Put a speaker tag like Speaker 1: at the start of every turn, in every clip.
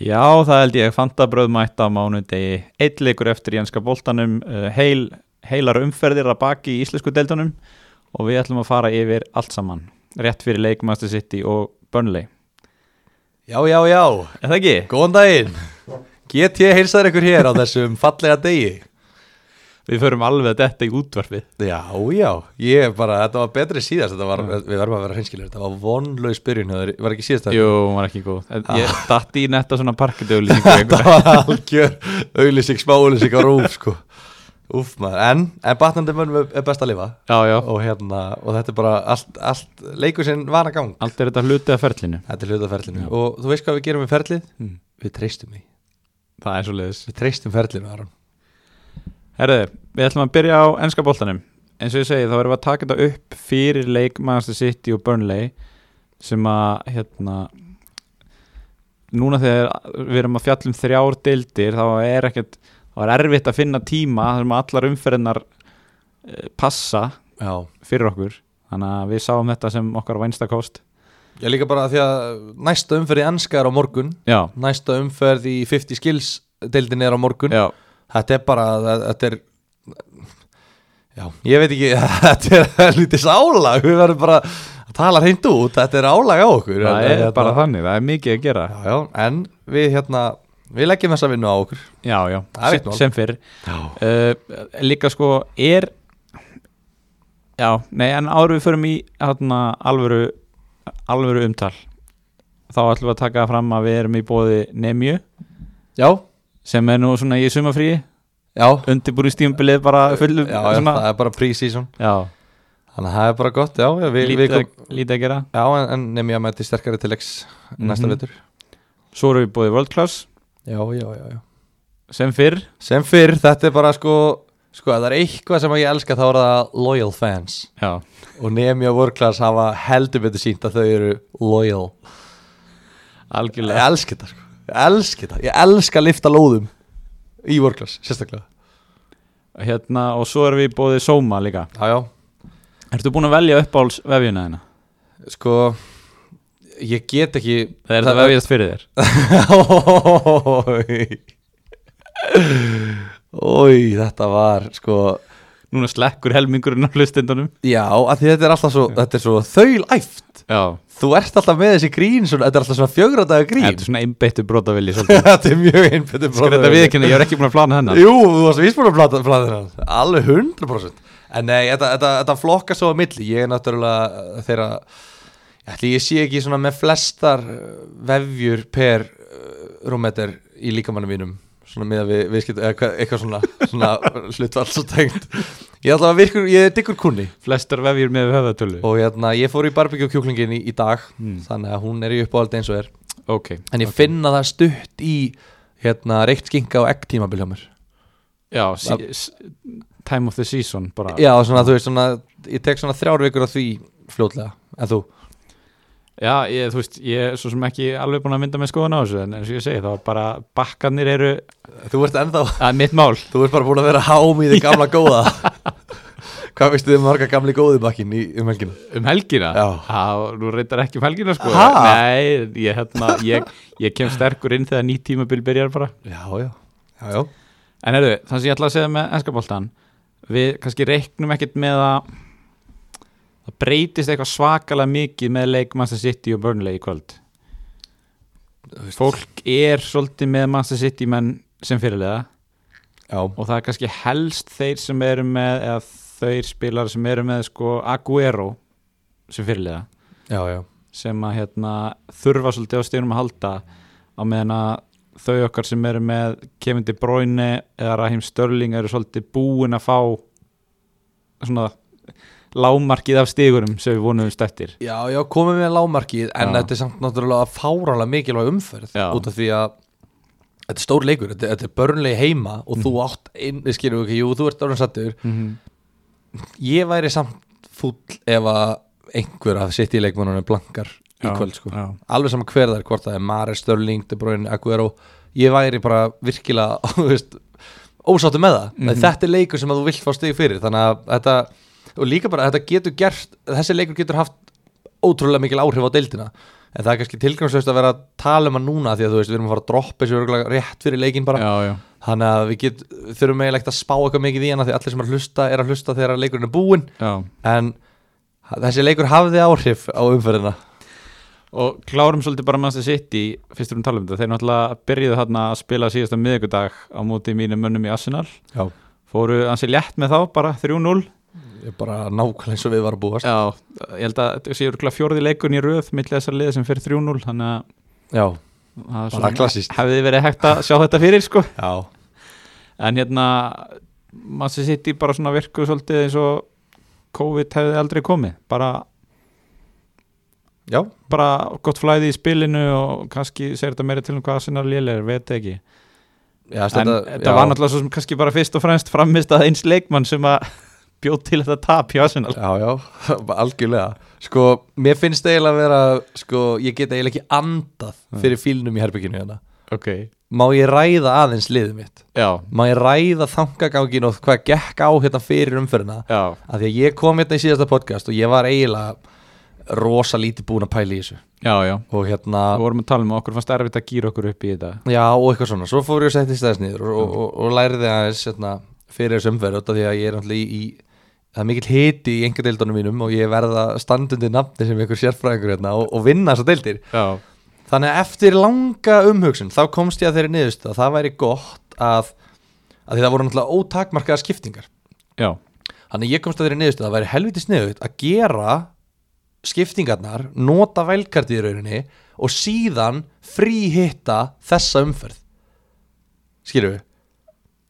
Speaker 1: Já, það held ég, fantabröð mætt á mánudegi, eitt leikur eftir í ennska boltanum, eh, heil, heilar umferðir að baki í íslensku deildunum og við ætlum að fara yfir allt saman, rétt fyrir leikmaster City og Burnley.
Speaker 2: Já, já, já,
Speaker 1: Er það ekki?
Speaker 2: góðan daginn Get ég heilsaður ykkur hér á þessum fallega degi
Speaker 1: Við förum alveg að detta í útvarfið.
Speaker 2: Já, já, ég er bara, þetta var betri síðast þetta var, Við verðum að vera hreinskilir, þetta var vonlaus byrjun hjá þér, var ekki síðast
Speaker 1: Jú, hún var ekki góð. Ah. En Ég datt í netta svona parketauðlýsingu.
Speaker 2: Þetta var algjör auðlýsing, smá auðlýsing á rúf sko Úf maður, en, en batnandi mönnum er best að lifa
Speaker 1: já, já,
Speaker 2: og, hérna, og þetta er bara allt, allt leikur sinn var að gang
Speaker 1: allt er þetta hlutið af ferlinu.
Speaker 2: Þetta er hlutaferlinu og þú veist hvað við gerum við ferlið?
Speaker 1: Mm.
Speaker 2: Við treystum því,
Speaker 1: Það er svo leiðis.
Speaker 2: við treystum ferlinu Aron
Speaker 1: Herðu, við ætlum að byrja á ennska boltanum eins og ég segi þá erum við að taka þetta upp fyrir leik Manchester City og Burnley sem að hérna núna þegar við erum að fjalla um þrjár deildir þá er ekkert, þá er erfitt að finna tíma þar sem allar umferðinar eh, passa
Speaker 2: Já,
Speaker 1: fyrir okkur þannig að við sáum þetta sem okkar vænstakost
Speaker 2: ég líka bara því að næsta umferð í ennska er á morgun
Speaker 1: Já,
Speaker 2: næsta umferð í 50 skills deildin er á morgun
Speaker 1: já,
Speaker 2: Þetta er bara, þetta er Já, ég veit ekki Þetta er lítið álag Við verðum bara að tala hreint út Þetta er álag á okkur
Speaker 1: það
Speaker 2: En,
Speaker 1: er
Speaker 2: hérna,
Speaker 1: bara þannig, það er mikið að gera
Speaker 2: já, já, En við hérna, við leggjum þessa vinnu á okkur
Speaker 1: Já, já,
Speaker 2: Það er eitt
Speaker 1: sem,
Speaker 2: mál.
Speaker 1: sem fyrr
Speaker 2: Já,
Speaker 1: uh, líka sko er já, nei en áður við förum í hátna, alvöru alvöru umtal þá ætlum við að taka fram að við erum í bóði Nemju
Speaker 2: já,
Speaker 1: sem er nú svona í sumafríi
Speaker 2: já,
Speaker 1: undirbúri stímbilið bara fullu svona,
Speaker 2: það er bara pre-season
Speaker 1: já,
Speaker 2: Þannig að það er bara gott, já, já við,
Speaker 1: lítið,
Speaker 2: við kom,
Speaker 1: að, lítið að gera
Speaker 2: Já, en, en nefnum ég að mæti sterkari til x næsta
Speaker 1: Mhm.
Speaker 2: vetur
Speaker 1: svo erum við í bóði World Class
Speaker 2: Já, já, já, já
Speaker 1: sem fyrr
Speaker 2: Sem fyrr, þetta er bara sko Sko, ef það er eitthvað sem ég elska þá er það loyal fans
Speaker 1: já,
Speaker 2: og nemi og vörklass hafa heldur betur sínt að þau eru loyal ég
Speaker 1: algjörlega
Speaker 2: elska þetta sko. ég elska þetta, ég elska að lifta lóðum í vörklass, sérstaklega
Speaker 1: hérna, og svo erum við í bóði Soma líka
Speaker 2: já, já,
Speaker 1: ertu búin að velja uppáhalds vefjuna þina?
Speaker 2: sko ég get ekki
Speaker 1: það er það vefjast fyrir þér
Speaker 2: vefið oi, þetta var sko,
Speaker 1: núna slekkur helmingurinn á hlustendunum
Speaker 2: já, af því þetta er alltaf svo, þetta er svo þaulæft
Speaker 1: já,
Speaker 2: þú ert alltaf með þessi grín svona, þetta er alltaf svona fjögra daga grín
Speaker 1: Þetta er svona einbeittu brotavili svolítið.
Speaker 2: þetta er mjög innbyttur
Speaker 1: Þetta hérna? viðkynna, ég er ekki búin að plana hennar
Speaker 2: Jú, þú varst vísbúin að plata, plata þennan Alveg 100% En nei, þetta, þetta, þetta flokka svo á milli Ég er náttúrulega uh, þeirra Ætli ég sé ekki svona með flestar uh, vefjur per rúmeter í líkamannum mínum Svona miða við, við skipt, eitthvað, eitthvað svona, svona hlutvall svo tengt Ég ætla að virkur, ég er dykkur kunni
Speaker 1: Flestar vefjur með höfðatölu
Speaker 2: Og hérna, ég fór í barbecue kjúklingin í, í dag
Speaker 1: Mm.
Speaker 2: Þannig að hún er í uppáhaldi eins og er
Speaker 1: Ok,
Speaker 2: En ég finn að það er stutt í hérna, reykt skinka og egg tímabil hjá mér
Speaker 1: já, sí, s- time of the season bara
Speaker 2: Já, svona, þú veist, svona, ég tek svona þrjár vikur á því fljótlega, en þú
Speaker 1: Já, ég, þú veist, ég er svo sem ekki alveg búin að mynda með skoðun á þessu En eins og ég segi, þá er bara bakkanir eru
Speaker 2: Þú ert ennþá,
Speaker 1: að mitt mál
Speaker 2: þú ert bara búin að vera hám í því gamla góða Hvað veistu þið marga gamli góði bakkin í um helgina?
Speaker 1: um helgina
Speaker 2: Já.
Speaker 1: nú reyndar ekki um helgina sko
Speaker 2: Ha?
Speaker 1: Nei, ég, hérna, ég, ég kem sterkur inn þegar nýtt tímabil byrjar bara
Speaker 2: Já, já, já, já
Speaker 1: En herru, þannig sem ég ætla að segja með enskaboltan Við kannski reiknum ekkert með að það breytist eitthvað svakalega mikið með leik Manchester City og Burnley í kvöld Fólk er svolítið með Manchester City menn sem fyrirlega
Speaker 2: Já,
Speaker 1: og það er kannski helst þeir sem eru með eða þeir spilar sem eru með sko Aguero sem fyrirlega
Speaker 2: já, já,
Speaker 1: sem að hérna, þurfa svolítið á stegunum að halda á meðan að þau okkar sem eru með Kevin De Bruyne eða Raheem Störling eru svolítið búin að fá svona lámarkið af stegunum sem við vonuðum stættir
Speaker 2: já, já komið með lámarkið En
Speaker 1: Já.
Speaker 2: þetta er samt náttúrulega fárálega mikilvæg umferð
Speaker 1: Já.
Speaker 2: Út af því að Þetta er stór leikur, þetta, þetta er börnlegi heima og þú átt inn, við skilum ekki, jú, þú ert orðin sattur
Speaker 1: mm -hmm.
Speaker 2: Ég væri samt fúll ef að einhver að sitt í leikmannunum blankar í kvöld sko
Speaker 1: já.
Speaker 2: alveg sama hver það er, hvort það er Mare, Störling, De Bruyne, Aguero ég væri bara virkilega þú veist, ósáttu með það mm
Speaker 1: Mhm.
Speaker 2: þetta er leikur sem að þú vilt fá stig fyrir þannig að þetta, og líka bara að þetta getur gert þessi leikur getur haft ótrúlega mikil áhrif á deildina en það er kannski tilgangslöst að vera að tala um hann núna því að þú veist, við erum að fara að droppa þessu örugglega rétt fyrir leikin bara
Speaker 1: já, já,
Speaker 2: þannig að við get, þurfum eiginlega ekkert að spá eitthvað mikið í hana því allir sem er að hlusta er að hlusta þegar leikurinn er búinn
Speaker 1: já
Speaker 2: en þessi leikur hafði áhrif á umferðina
Speaker 1: og klárum svolítið bara Manchester City fyrst erum tala um þetta, þeir náttúrulega byrjuðu þarna að spila síðasta miðvikudag á móti mínum mönnum í Arsenal,
Speaker 2: já,
Speaker 1: fóru ansi létt með þá bara 3-0
Speaker 2: ég bara nákvæmlega eins og við varum búast já,
Speaker 1: Já, ég held að þessi eru fjórði leikun í röð millir þessar liði sem fyrir 3-0 þannig að
Speaker 2: já,
Speaker 1: það er
Speaker 2: Bara klassískt.
Speaker 1: hefði verið hægt að sjá þetta fyrir sko.
Speaker 2: já.
Speaker 1: en hérna Manchester City bara svona virkuð svolítið eins og COVID hefði aldrei komið bara,
Speaker 2: já.
Speaker 1: bara gott flæði í spilinu og kannski segir þetta meira til um hvað Arsenal lélir, veit það ekki
Speaker 2: já
Speaker 1: en þetta var náttúrulega svo sem kannski bara fyrst og fremst framist að eins leikmann sem að bjóð til þetta tap hjá Arsenal
Speaker 2: Já, já, algjörlega Sko, mér finnst eiginlega að vera Sko, ég get eiginlega ekki andað Fyrir fílnum í herbygginu hérna
Speaker 1: ok,
Speaker 2: Má ég ræða aðeins liðið mitt
Speaker 1: já,
Speaker 2: Má ég ræða þangagangin og hvað gekk á hérna fyrir umferðina
Speaker 1: já
Speaker 2: Af því að ég kom hérna í síðasta podcast Og ég var eiginlega rosa lítið búin að pæla í þessu
Speaker 1: já, já,
Speaker 2: Og hérna
Speaker 1: við vorum að tala um að okkur fannst erfitt að gýra okkur upp í þetta
Speaker 2: Já, og eitthvað svona Svo fór ég að setja í stæðis niður Og, og, og læriði aðeins hérna, fyrir þessu umferð út af Því að ég er náttúrulega í, í Það er mikill hiti í enga deildunum mínum og ég verða standundi nafni sem einhver sérfræðingur hérna og, og vinna þessar deildir.
Speaker 1: já,
Speaker 2: Þannig að eftir langa umhugsun þá komst ég að þeirri niðurst að það væri gott að, að því það voru náttúrulega ótakmarkaða skiptingar
Speaker 1: já,
Speaker 2: Þannig að ég komst að þeirri niðurst að það væri helviti sniðut að gera skiptingarnar nota vælkarti í rauninni og síðan fríhitta þessa umferð skilur við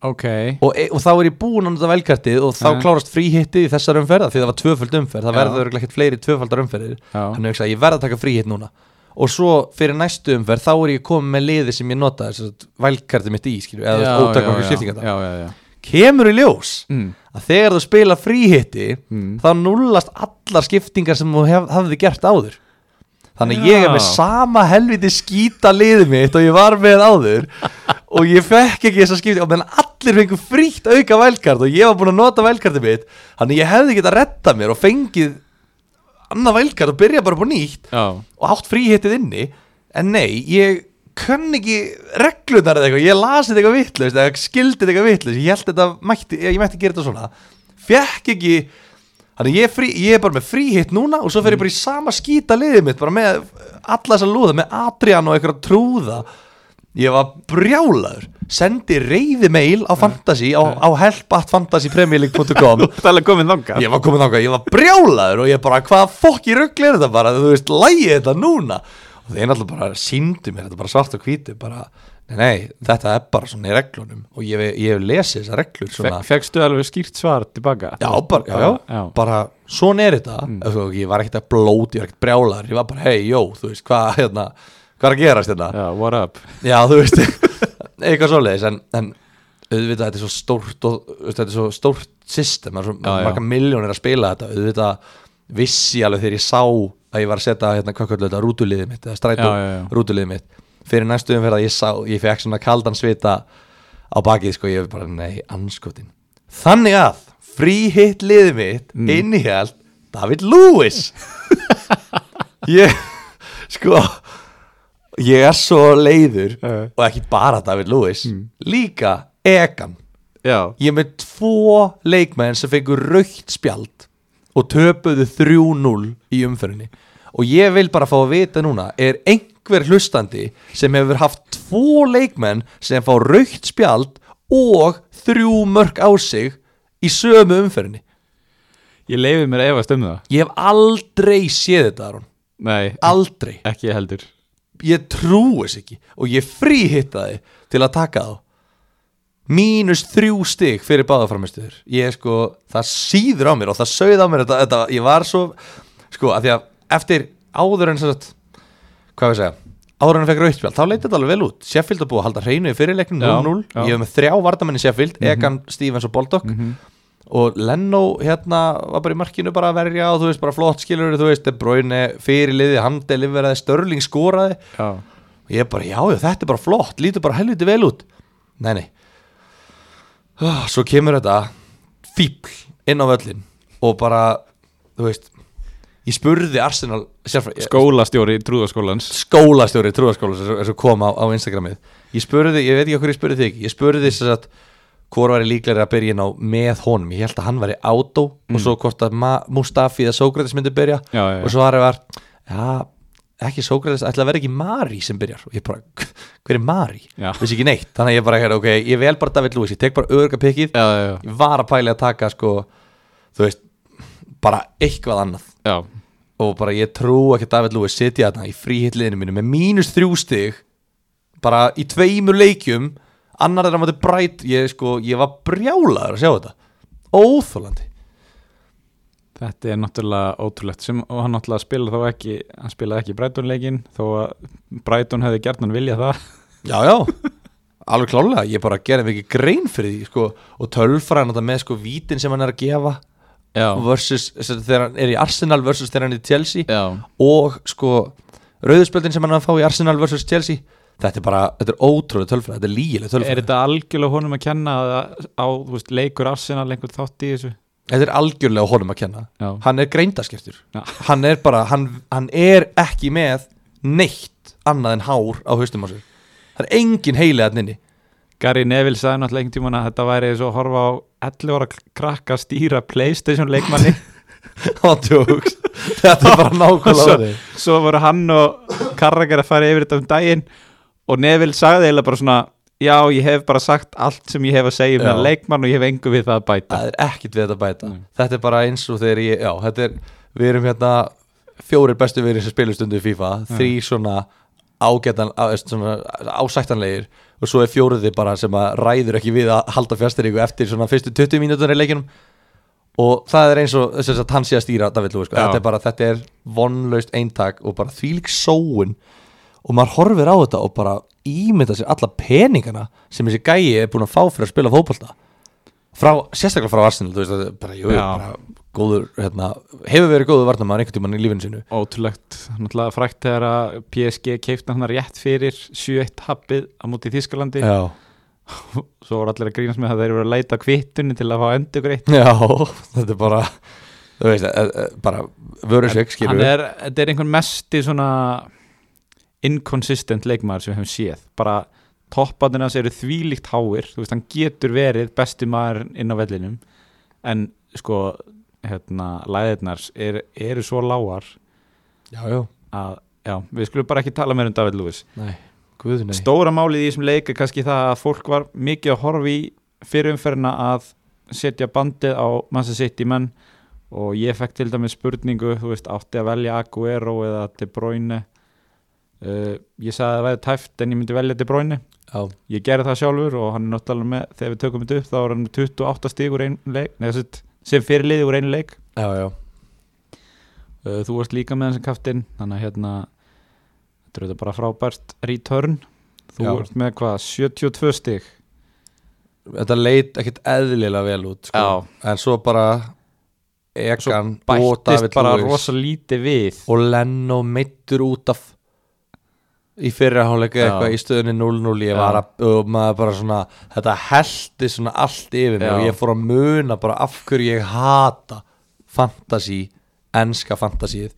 Speaker 1: ok
Speaker 2: og, e- og þá er ég búin að nota vælkartið og þá
Speaker 1: Ja.
Speaker 2: klárast fríhitti í þessar umferða því það var tvöföld umferð, það
Speaker 1: Mhm. Já.
Speaker 2: verður örugglega ekkert fleiri tvöfaldar umferðir
Speaker 1: já,
Speaker 2: hann hugsaði ég verð að taka fríhitt núna og svo fyrir næstu umferð þá er ég komið með liði sem ég nota þess að vælkarti mitt í skilju, eða ótakmarka skiptingarna
Speaker 1: já, já, já.
Speaker 2: kemur í ljós
Speaker 1: Mm.
Speaker 2: að þegar þú spila fríhitti
Speaker 1: Mm.
Speaker 2: þá nullast allar skiptingar sem þú hef, hafði gert áður þannig að ég er með
Speaker 1: Já.
Speaker 2: sama helviti skýta liði mitt og ég var með áður og ég fekk ekki þessa skiptingar og meðan allir fengu frítt auka vælkart og ég var búin að nota vælkarti mitt þannig að ég hefði getað retta mér og fengið annað vælkart og byrja bara búin nýtt
Speaker 1: já,
Speaker 2: og átt fríhittið inni en nei, ég kann ekki reglunar eða eitthvað, ég lasið eitthvað vittlust eða skildið eitthvað vittlust, ég held þetta mætti, ég, ég mætti gera þetta svona fekk ekki, þannig ég, er frí, ég er bara með fríhitt núna og svo fer ég bara í sama skýta liðið mitt, bara með alla þessa lúða, með Adrian og eitthvað trúða ég var brjálaður sendi reyði mail á fantasy á, á help.fantasypremjuleik.com
Speaker 1: þú ert alveg komin þangað
Speaker 2: Ég var komin þáka, ég var brjálaður og ég bara hvaða fokk í ruggli er þetta bara þú veist, lægi þetta núna og þeir náttúrulega bara síndu mér þetta bara svart og hvítu bara, nei, nei, þetta er bara svona í reglunum og ég, hef- ég hef lesið þessar reglur
Speaker 1: Fe,
Speaker 2: svona,
Speaker 1: Fekstu alveg skýrt svar tilbaka
Speaker 2: já, bara, já, já, bara svona er þetta, mm. ég var ekkert að blóti ég var ekkert brjálaður, ég var bara, hei, jó þú veist, hvað, hérna, hvað er að gerast hérna
Speaker 1: já, what up
Speaker 2: já, þú veist eitthvað svoleiðis, en, en auðvitað þetta er svo stórt og, þú veist, þetta er svo stórt system, það er svo
Speaker 1: Já, já.
Speaker 2: marga miljónir að spila þetta, auðvitað vissi ég alveg þegar ég sá að ég var að setja hérna hvað kallar þetta rútuliðið mitt, eða strætó
Speaker 1: Já, já, já.
Speaker 2: rútuliðið mitt, fyrir næstu umferð að ég sá, ég fekk svona kaldan svita á bakið, sko, ég var bara, nei, anskotin þannig að, fríhitt liðið mitt, mm. innihjald David Lewis ég, sko ég er svo leiður
Speaker 1: Já. Mm.
Speaker 2: og ekki bara David Lewis líka Egan
Speaker 1: Já,
Speaker 2: ég er með tvo leikmenn sem fengur raukt spjald og töpuðu 3-0 í umferðinni og ég vil bara fá að vita núna er einhver hlustandi sem hefur haft tvo leikmenn sem fá raukt spjald og þrjú mörg á sig í sömu umferðinni
Speaker 1: ég leifið mér að efast um það
Speaker 2: ég hef aldrei séð þetta Aron
Speaker 1: Nei,
Speaker 2: aldrei
Speaker 1: ekki heldur
Speaker 2: ég trúi þess ekki og ég fríhitta þið til að taka þá mínus þrjú stig fyrir báðaframistuður ég sko, það síður á mér og það sögð á mér þetta, þetta, ég var svo sko, að því að eftir áður en sem sagt, hvað við segja áður en hann fekk rauðspjál, þá leiti þetta alveg vel út Sheffield að búið að halda hreinu í fyrirleiknum
Speaker 1: Já,
Speaker 2: 0-0,
Speaker 1: já. Mhm.
Speaker 2: ég hef með þrjá vardamenni Sheffield Egan, Stevens og Baldock og Leno hérna var bara í markinu bara að verja og þú veist bara flott skilur þú veist, De Bruyne fyrirliði, hann deliveraði, Störling skoraði
Speaker 1: Já,
Speaker 2: og ég bara, já, já, þetta er bara flott lítur bara helviti vel út nei, nei Ah, svo kemur þetta fíbl inn á völlin og bara, þú veist ég spurði Arsenal sérfræ-
Speaker 1: skólastjóri trúðaskólans
Speaker 2: skólastjóri trúaskóla eins og kom á, á Instagramið ég spurði, ég veit ekki okkur ég spurði þig ég spurði þess að hvort væri líklega að byrja inn á með honum, ég held að hann væri átó og svo hvort að Ma Mustafi eða Sókrates myndi byrja
Speaker 1: Mm. Já, já, já.
Speaker 2: og svo aðra var ja, ekki Sókrates, ætla að vera ekki Mari sem byrjar og ég bara, hver er Mari?
Speaker 1: Já.
Speaker 2: vissi ekki neitt, þannig að ég bara, ok, ég vel bara David Lewis, ég tek bara öðruga pikkið
Speaker 1: já, já,
Speaker 2: ég var að pæli að taka sko, þú veist, bara eitthvað annað
Speaker 1: já,
Speaker 2: og bara ég trú ekki að David Lewis sitja þarna í fríhitliðinu mínu með mínus þrjú stig bara í tveimur leikjum annar þeirra mátti brætt ég, sko, ég var brjálaður að sjá þetta óþólandi
Speaker 1: þetta er náttúrulega ótrúlegt sem, og hann náttúrulega spila þá ekki hann spilaði ekki Breitunleikin þó að Breitun hefði gert hann vilja það
Speaker 2: já, já, alveg klálega ég bara gerði mig ekki grein fyrir því sko, og tölfræðan þetta með sko vítin sem hann er að gefa
Speaker 1: já,
Speaker 2: versus sem sagt, þegar hann er í Arsenal versus þegar hann er í Chelsea
Speaker 1: já,
Speaker 2: og sko rauðspöldin sem hann er að fá í Arsenal versus Chelsea þetta er bara, þetta er ótrúlega tölfræð þetta er lígileg tölfræð
Speaker 1: er þetta algjörlega honum að kenna að á, þú veist, leikur Arsenal einhvern þátt í þessu
Speaker 2: Þetta er algjörlega honum að kenna
Speaker 1: Já.
Speaker 2: Hann er greindaskiptur
Speaker 1: Já.
Speaker 2: Hann er bara, hann, hann er ekki með neitt annað en hár á haustum á sér Það er engin heili að nynni
Speaker 1: Gary Neville sagði náttúrulega einhvern tímann að þetta væri svo að horfa á 11 ára krakka að stýra Playstation leikmanni
Speaker 2: Þetta er bara nákvæmlega
Speaker 1: svo,
Speaker 2: þannig.
Speaker 1: svo voru hann og Carragher að fara yfir þetta um daginn og Neville sagði eiginlega bara svona já, ég hef bara sagt allt sem ég hef að segja um
Speaker 2: Já.
Speaker 1: það leikmann og ég hef engu við það að bæta
Speaker 2: Það er ekkit við þetta að bæta
Speaker 1: Nei.
Speaker 2: Þetta er bara eins og þegar ég, já, þetta er Við erum hérna fjórir bestu verið sem spilum stundu í FIFA Þrý svona ágætan, á, veist, svona ásættanlegir og svo er fjóruði bara sem að ræður ekki við að halda fjasteringu eftir svona fyrstu 20 mínútur í leikinum og það er eins og sem sagt, hann sé að stýra David Lewis, sko.
Speaker 1: Já.
Speaker 2: þetta er bara, þetta er vonlaust eintak og bara þvílík sóun og maður horfir á þetta og bara ímynda sér alla peningana sem þessi gæi er búin að fá fyrir að spila fótbolta frá, sérstaklega frá Arsenal þú veist, þetta er bara, jú,
Speaker 1: Já.
Speaker 2: bara góður hérna, hefur verið góður varnamaður einhvern tímann í lífinu sínu
Speaker 1: Ótrúlegt, náttúrulega frækt þegar að PSG keipta hann rétt fyrir 7-1 happið á móti í Þískalandi
Speaker 2: Já,
Speaker 1: svo voru allir að grínast með það að þeir voru að leita kvittunni til að fá endur greitt
Speaker 2: já, þetta er bara þú veist, e, e, bara vörur sig, skilur
Speaker 1: Hann er, þetta er einhvern mesti svona inconsistent leikmaður sem við hefum séð bara topparnir hans eru þvílíkt háir þú veist, hann getur verið besti maður inn á vellinum en sko, hérna, læðirnar er, eru svo lágar
Speaker 2: Já, já,
Speaker 1: að, já, við skulum bara ekki tala meir um David Lewis
Speaker 2: nei, guð, nei
Speaker 1: Stóra málið í þessum leik er kannski það að fólk var mikið að horfa í fyrirumferðina að setja bandið á Manchester City menn og ég fekk til dæmis spurningu, þú veist, átti að velja Aguero eða De Bruyne uh, ég sagði að það væri tæft en ég myndi velja De Bruyne
Speaker 2: Já,
Speaker 1: ég gerði það sjálfur og hann er náttúrulega með þegar við tökum þetta upp þá er hann með 28 stig úr einu leik nei, sem sagt, sem fyrirliði úr einu leik
Speaker 2: já, já
Speaker 1: uh, þú varst líka með hans kaftinn þannig að hérna þetta er auðvitað bara frábært return þú
Speaker 2: Já.
Speaker 1: ert með hvað, 72 stig
Speaker 2: Þetta leit ekkit eðlilega vel út sko.
Speaker 1: Já.
Speaker 2: En svo bara Egan og
Speaker 1: bættist
Speaker 2: David
Speaker 1: bara
Speaker 2: Lewis
Speaker 1: rosa lítið við
Speaker 2: Og Leno meittur út af Í fyrirháleika
Speaker 1: Já.
Speaker 2: eitthvað Í stöðunni 0-0 Ég
Speaker 1: Já.
Speaker 2: var að Og maður bara svona Þetta heldi svona allt yfir mig
Speaker 1: Já.
Speaker 2: Og ég fór að muna bara af hverju ég hata Fantasí Enska fantasíð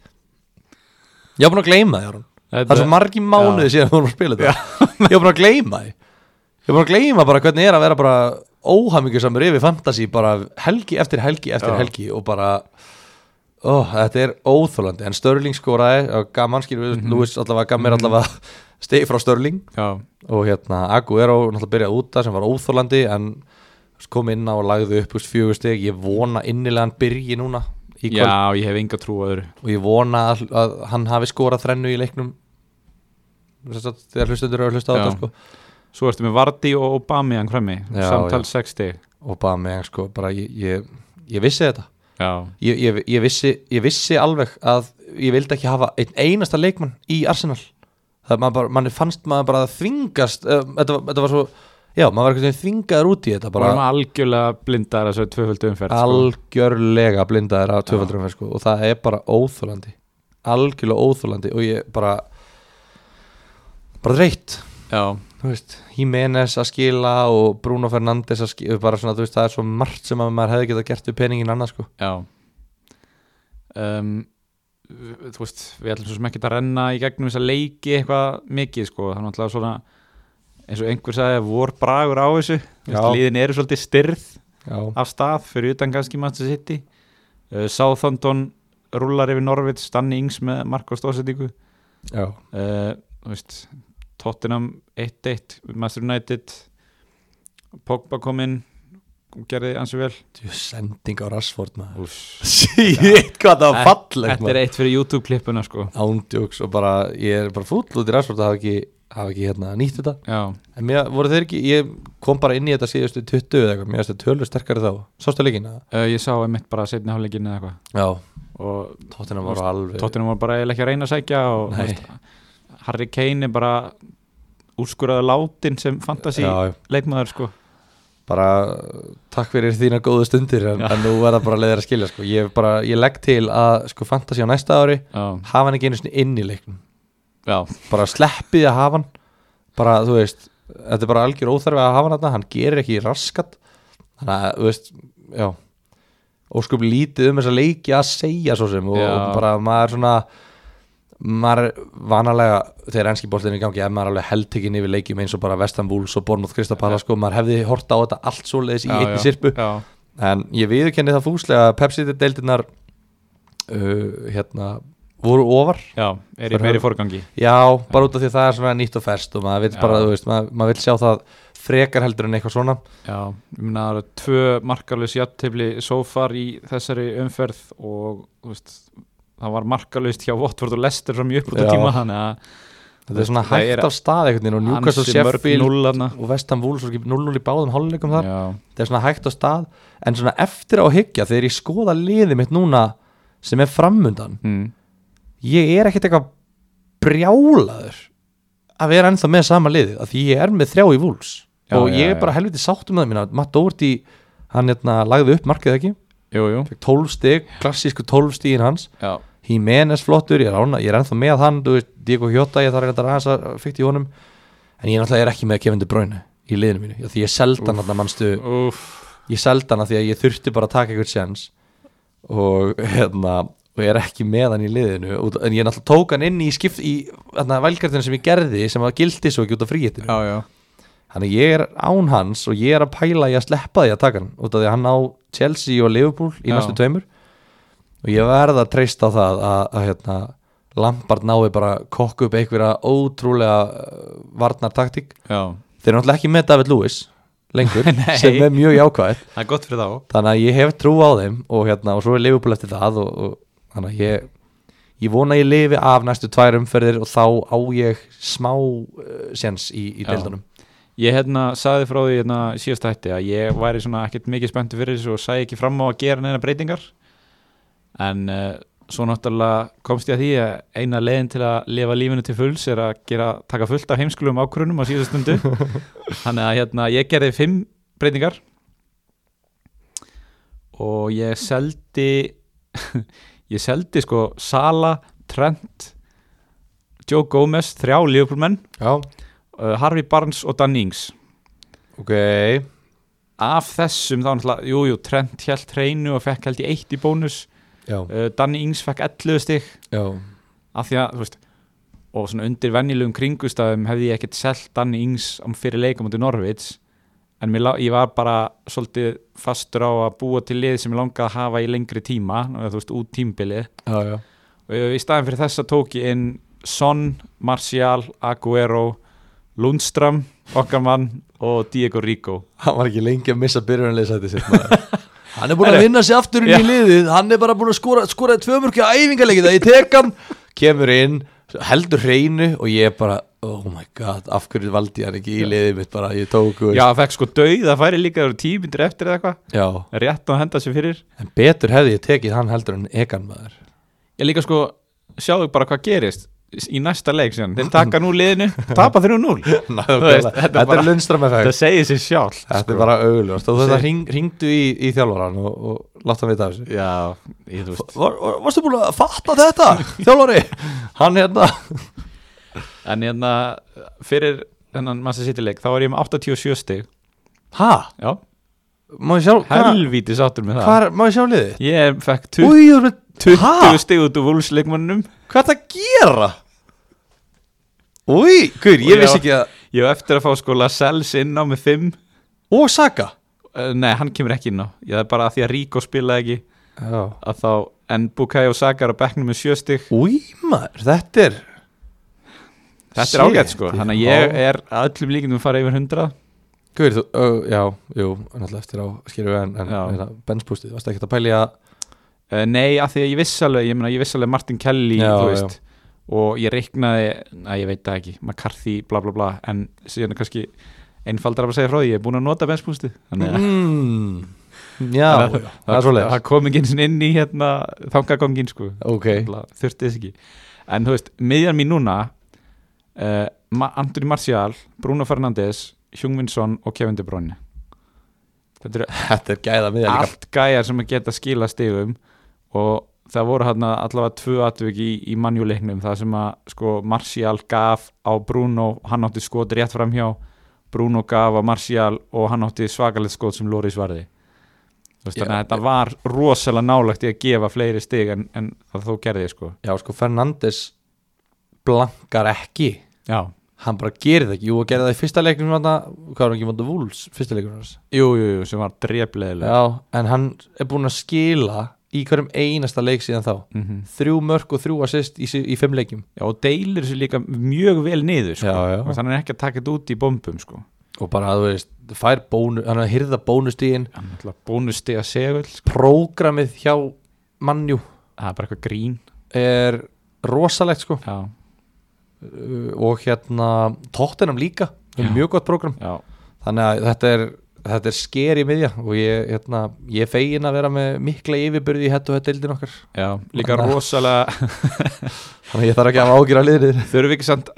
Speaker 2: Ég var búin að gleyma því Aron Það er svo margi mánuði síðan við vorum að spila þetta Ég var búin að gleyma því Ég var búin að gleyma bara hvernig er að vera bara óhamingjusamur yfir fantasy bara helgi eftir helgi eftir
Speaker 1: Já.
Speaker 2: helgi og bara ó, þetta er óþólandi en Störling skoraði og gaman skilur við
Speaker 1: Mhm.
Speaker 2: Lewis allavega gaf mér allavega stegi frá Störling
Speaker 1: já,
Speaker 2: og hérna Aguero náttúrulega byrjaði út að sem var óþólandi en kom inn á og lagði upp úst, fjögur steg ég vona innilega hann byrji núna í kvöld
Speaker 1: já, ég hef enga trú á öðru
Speaker 2: og ég vona að, að hann hafi skorað þrennu í leiknum Sem sagt, þegar hlustendur eru að hlusta á
Speaker 1: Já.
Speaker 2: þetta sko.
Speaker 1: svo ertu með Vardy og Obami hann hræmi,
Speaker 2: Já,
Speaker 1: samtal 6 stig
Speaker 2: og bara með sko, bara ég, ég, ég vissi þetta
Speaker 1: já,
Speaker 2: ég, ég, ég, vissi, ég vissi alveg að ég vildi ekki hafa einn einasta leikmann í Arsenal það maður bara, manni fannst maður bara að þvingast uh, þetta, var- þetta var svo, já, maður var eitthvað þvingaður út í þetta
Speaker 1: bara
Speaker 2: bara
Speaker 1: varum algjörlega blindar þessu tvöföldu umferð sko.
Speaker 2: algjörlega blindaðir af tvöfaldrum sko, og það er bara óþólandi algjörlega óþólandi og ég bara bara reytt
Speaker 1: já,
Speaker 2: þú veist, Jiménez að skila og Bruno Fernandes að skila bara svona, þú veist, það er svo margt sem að maður hefði getað gert við peningin annars sko.
Speaker 1: já um, þú veist, við ætlum svo sem ekki að renna í gegnum þessa leiki eitthvað mikið sko, þannig að alltaf svona eins og einhver sagði, vor bragur á þessu Þú veist,
Speaker 2: Já.
Speaker 1: liðin eru svolítið styrð
Speaker 2: Já,
Speaker 1: af stað fyrir utan kannski Manchester City uh, Southampton rúlar yfir Norvits, Danny Ings með Marko Stóðsendingu
Speaker 2: já,
Speaker 1: uh, þú veist, Tottenham 1-1, Master United Pogba kom inn og gerði ansi vel
Speaker 2: þú sending á Rashford maður
Speaker 1: Úff.
Speaker 2: Sýtt hvað það var fallegt
Speaker 1: Þetta er
Speaker 2: maður
Speaker 1: eitt fyrir YouTube klippuna sko
Speaker 2: Ándjóks og bara, ég er bara fúll út í Rashford að hafa ekki, hafa ekki hérna nýtt þetta
Speaker 1: Já,
Speaker 2: En mér voru þeir ekki, ég kom bara inn í þetta síðustu 20 eða eitthvað, mér finnst þetta tölur sterkari þá Sástu leikinn að?
Speaker 1: uh, ég sá einmitt bara setni hálfleikinn eða eitthvað
Speaker 2: Já,
Speaker 1: og eh,
Speaker 2: tóttina voru alveg
Speaker 1: Tottenham var bara eiginlega ekki að reyna að sækja og þú
Speaker 2: Nei.
Speaker 1: veist, Harry Kane er bara úrskurðaði látin sem fantasy
Speaker 2: Já, já.
Speaker 1: leikmaður sko
Speaker 2: bara takk fyrir þína góðu stundir en, en nú er það bara leiðir að skilja sko. ég, bara, ég legg til að sko, fantasi á næsta ári
Speaker 1: Já,
Speaker 2: hafa hann ekki einu sinni inn í leiknum
Speaker 1: já,
Speaker 2: bara sleppið að hafa hann bara þú veist, þetta er bara algjör óþarfi að hafa hann þarna, hann gerir ekki raskat þannig að þú veist, já óskup lítið um þessa leiki að segja svo sem og,
Speaker 1: Já.
Speaker 2: og bara maður svona maður er vanalega þegar enski bóltinn er í gangi ef maður er alveg heldtekinn yfir leikjum eins og bara Vestan Wools og Bornmoth Kristapala sko, maður hefði horta á þetta allt svoleiðis í
Speaker 1: já,
Speaker 2: einni
Speaker 1: já,
Speaker 2: sirpu
Speaker 1: já,
Speaker 2: en ég viðurkenni það fúslega að Pepsi-deildirnar uh, hérna voru ofar
Speaker 1: já, er í
Speaker 2: Þeir
Speaker 1: meiri
Speaker 2: höfðu-
Speaker 1: forgangi
Speaker 2: já, bara út af því að það er svona nýtt og ferst og maður vil
Speaker 1: Já.
Speaker 2: bara, þú veist, maður, maður vil sjá það frekar heldur en eitthvað svona
Speaker 1: Já, ég meina það eru tvö markalus jafntefli so far í þessari umferð og þú veist, það var markalust hjá Watford og Leicester frá mjög uppbúta
Speaker 2: Já.
Speaker 1: tíma þannig að
Speaker 2: þetta er svona
Speaker 1: Það er
Speaker 2: hægt af stað einhvern veginn og Newcastle
Speaker 1: ansi mörg
Speaker 2: Sheffield
Speaker 1: núllana
Speaker 2: og Vestham Wolves voru ekki 0-0 í báðum hálfleikum þar
Speaker 1: Já,
Speaker 2: þetta er svona hægt af stað en svona eftir á að hyggja þegar ég skoða liðið mitt núna sem er framundan
Speaker 1: mm.
Speaker 2: ég er ekkert eitthvað brjálaður að vera ennþá með sama liðið að því ég er með þrjá í vúls
Speaker 1: Já,
Speaker 2: og
Speaker 1: já,
Speaker 2: ég
Speaker 1: já.
Speaker 2: er bara helviti sáttum með það mína Matt Doherty, hann hérna lagði upp markið ekki,
Speaker 1: jú, jú
Speaker 2: fekk 12 stig klassísku 12 stigin hans
Speaker 1: Já,
Speaker 2: Jimenez flottur, ég er, ána, ég er ennþá með hann þú veist, Diego Hjóta, ég þarf reyndar aðeins að fykta í honum en ég náttúrulega er ekki með Kevin De Bruyne í liðinu mínu, af því ég seldi hann þarna manstu,
Speaker 1: úff
Speaker 2: ég seldi hann af því að ég þurfti bara að taka eitthvað sjans og hérna og ég er ekki með hann í liðinu út- en ég náttúrulega tók hann inn í skipt í hérna, vælgjartinu sem ég gerði sem að gildi svo ekki út af fríhetinu
Speaker 1: Já, já,
Speaker 2: þannig að ég er án hans og ég er að pæla í að sleppa því að taka hann út af því að hann á Chelsea og Liverpool í
Speaker 1: Já.
Speaker 2: næstu tveimur og ég verð að treysta á það að, að hérna, Lampard nái bara að kokka upp einhverja ótrúlega uh, varnartaktík
Speaker 1: já
Speaker 2: þeir eru náttúrulega ekki með David Lewis lengur
Speaker 1: Nei.
Speaker 2: sem er mjög jákvæð
Speaker 1: Það er gott fyrir þá
Speaker 2: þannig að ég hef trú á þeim og, hérna, og svo er Liverpool eftir það og, og þannig að ég, ég vona að ég lifi af næstu tvær umferðir og þá á ég smá uh, sens í, í
Speaker 1: Já.
Speaker 2: deildunum
Speaker 1: Ég hérna saði frá því hérna síðast hætti að ég væri svona ekkert mikið spennti fyrir þessu og sæði ekki fram á að gera neina breytingar en uh, svo náttúrulega komst ég að því að eina leiðin til að lifa lífinu til fulls er að gera, taka fullt af heimskulum ákvörunum á síðast stundu þannig að hérna ég gerði fimm breytingar og ég seldi ég seldi sko Sala, Trent Joe Gomez, þrjá lífbúrmenn
Speaker 2: Já,
Speaker 1: uh, Harvey Barnes og Dan Ings
Speaker 2: ok
Speaker 1: af þessum þá náttúrulega, jú, jú, Trent held hreinu og fekk held í eitt í bónus
Speaker 2: Já,
Speaker 1: uh, Danny Ings fekk 11 stig
Speaker 2: já,
Speaker 1: af því að, þú veist og svona undir venjulegum kringustafum hefði ég ekkert selt Danny Ings um fyrir leikum út í Norvits en mér, lá- ég var bara svolítið fastur á að búa til lið sem ég langaði að hafa í lengri tíma eða, þú veist, út tímbilið
Speaker 2: já, já.
Speaker 1: og ég- í staðin fyrir þessa tók ég inn Son, Martial, Aguero Lundström, okkar mann og Diego Rico
Speaker 2: Hann var ekki lengi að missa byrjunarleysæti sitt maður. Hann er búin að
Speaker 1: Herru.
Speaker 2: vinna sér aftur inn í liðið Hann er bara búin að skora, skora tvömörkja æfingarleikið Það ég tek hann, kemur inn heldur hreinu og ég bara oh my god, af hverju valdi ég hann ekki í liðið mitt bara, ég tók þú veist.
Speaker 1: Já, það fekk sko dauð, það færi líka það eru tíu myndir eftir eða eitthvað,
Speaker 2: Já,
Speaker 1: rétt að henda sér fyrir
Speaker 2: en betur hefði ég tekið hann heldur en egan maður
Speaker 1: Ég líka sko, sjáðu bara hvað gerist í næsta leik síðan, þeir taka nú liðinu tapa 3-0, veist,
Speaker 2: Nákvæmlega.
Speaker 1: þetta er
Speaker 2: Þetta
Speaker 1: bara-
Speaker 2: er sko- lundstram
Speaker 1: það
Speaker 2: effekt
Speaker 1: segir sko. sér sjálf
Speaker 2: Þetta er bara augljóst og þetta
Speaker 1: Seg-
Speaker 2: hring, hringdu í, í þjálfaran og, og látt hann vita af þessu
Speaker 1: Já, ég þú veist
Speaker 2: var, var, Varstu búin að fatta þetta, þjálfari? Hann hérna
Speaker 1: En hérna, fyrir þennan massa sittileik, þá er ég með 87 stig
Speaker 2: Hæ?
Speaker 1: Já,
Speaker 2: Má ég sjá, hvað
Speaker 1: helvíti sáttur með það
Speaker 2: hvar- má ég sjá liðið?
Speaker 1: Ég fekk 20,
Speaker 2: Úi, þú ert með Ha?
Speaker 1: 20 stig út úr vúlsleikmannum
Speaker 2: Hvað er það að gera? Úi, guður, ég
Speaker 1: Og
Speaker 2: vissi
Speaker 1: já.
Speaker 2: ekki að
Speaker 1: Ég á eftir að fá sko Lascelles inn á með 5
Speaker 2: Og Saka
Speaker 1: uh, Nei, hann kemur ekki inn á Ég það er bara að því að Ríko spilaði ekki
Speaker 2: Já
Speaker 1: að þá, En Bukayo Saka er á bekknum með 7 stig
Speaker 2: Úi, maður, þetta er
Speaker 1: Þetta er
Speaker 2: Shit,
Speaker 1: ágætt sko Þannig að
Speaker 2: já.
Speaker 1: ég er að öllum líkindum að fara yfir 100
Speaker 2: Guður, þú, uh, já, jú, náttúrulega eftir á skilur við en, en
Speaker 1: Já.
Speaker 2: hérna, benspústið, varstu ekki að pæli að
Speaker 1: Uh, nei, af því að ég viss alveg, ég meina, ég viss alveg Martin Kelly,
Speaker 2: Já,
Speaker 1: þú veist og ég reiknaði, að ég veit það ekki McCarthy, bla bla bla, en síðan er kannski einfaldar að segja frá því, ég er búin að nota benspústi, þannig að
Speaker 2: mm, Já,
Speaker 1: Þannig
Speaker 2: já, það er svoleiðis
Speaker 1: það kom ekki einu sinni inn í hérna, þangagangin sko
Speaker 2: Ok,
Speaker 1: Alla, þurfti þess ekki, en þú veist miðjan mín núna uh, Ma- Anthony Martial, Bruno Fernandes Hjungvinsson og Kevin De Bruyne þetta eru
Speaker 2: þetta er gæða miðja líka
Speaker 1: allt gæjar sem að geta skila stigum og það voru hann allavega tvö atvik í, í mannjuleiknum það sem að sko Martial gaf á Bruno, hann átti skot rétt framhjá Bruno gaf á Martial og hann átti svakalegt skot sem Loris varði Þú veist,
Speaker 2: Já.
Speaker 1: þannig að þetta var rosalega nálægt í að gefa fleiri stig en, en það þó gerði sko
Speaker 2: Já, sko, Fernandes blankar ekki
Speaker 1: já,
Speaker 2: Hann bara gerir það ekki, jú, að gera það í fyrsta leiknum þarna, Hvað er hann ekki vandu vúls, fyrsta leiknum hans
Speaker 1: jú, jú, jú, sem var drefleðilega
Speaker 2: Já, en hann er búinn að skila í hverjum einasta leik síðan þá
Speaker 1: mm -hmm.
Speaker 2: þrjú mörg og þrjú assist í, sí- í fimm leikjum
Speaker 1: já, og deilir sér líka mjög vel niður sko.
Speaker 2: Já, já.
Speaker 1: Og þannig er ekki að taka þetta út í bombum sko.
Speaker 2: og bara, þú veist, fær bónu hann er að hyrða bónustíðin
Speaker 1: bónustega segul sko.
Speaker 2: prógramið hjá mannjú
Speaker 1: það er bara eitthvað grín
Speaker 2: er rosalegt sko
Speaker 1: já,
Speaker 2: Uh, og hérna tóttinam líka
Speaker 1: Já.
Speaker 2: mjög gott prógram
Speaker 1: já,
Speaker 2: þannig að þetta er, þetta er sker í miðja og ég, hérna, ég er fegin að vera með mikla yfirbyrði í hett og hett deildin okkar
Speaker 1: já, líka
Speaker 2: Þannig að-
Speaker 1: rosalega
Speaker 2: þannig að ég þarf ekki að hafa ágjur að liðrið
Speaker 1: þurfum við ekki samt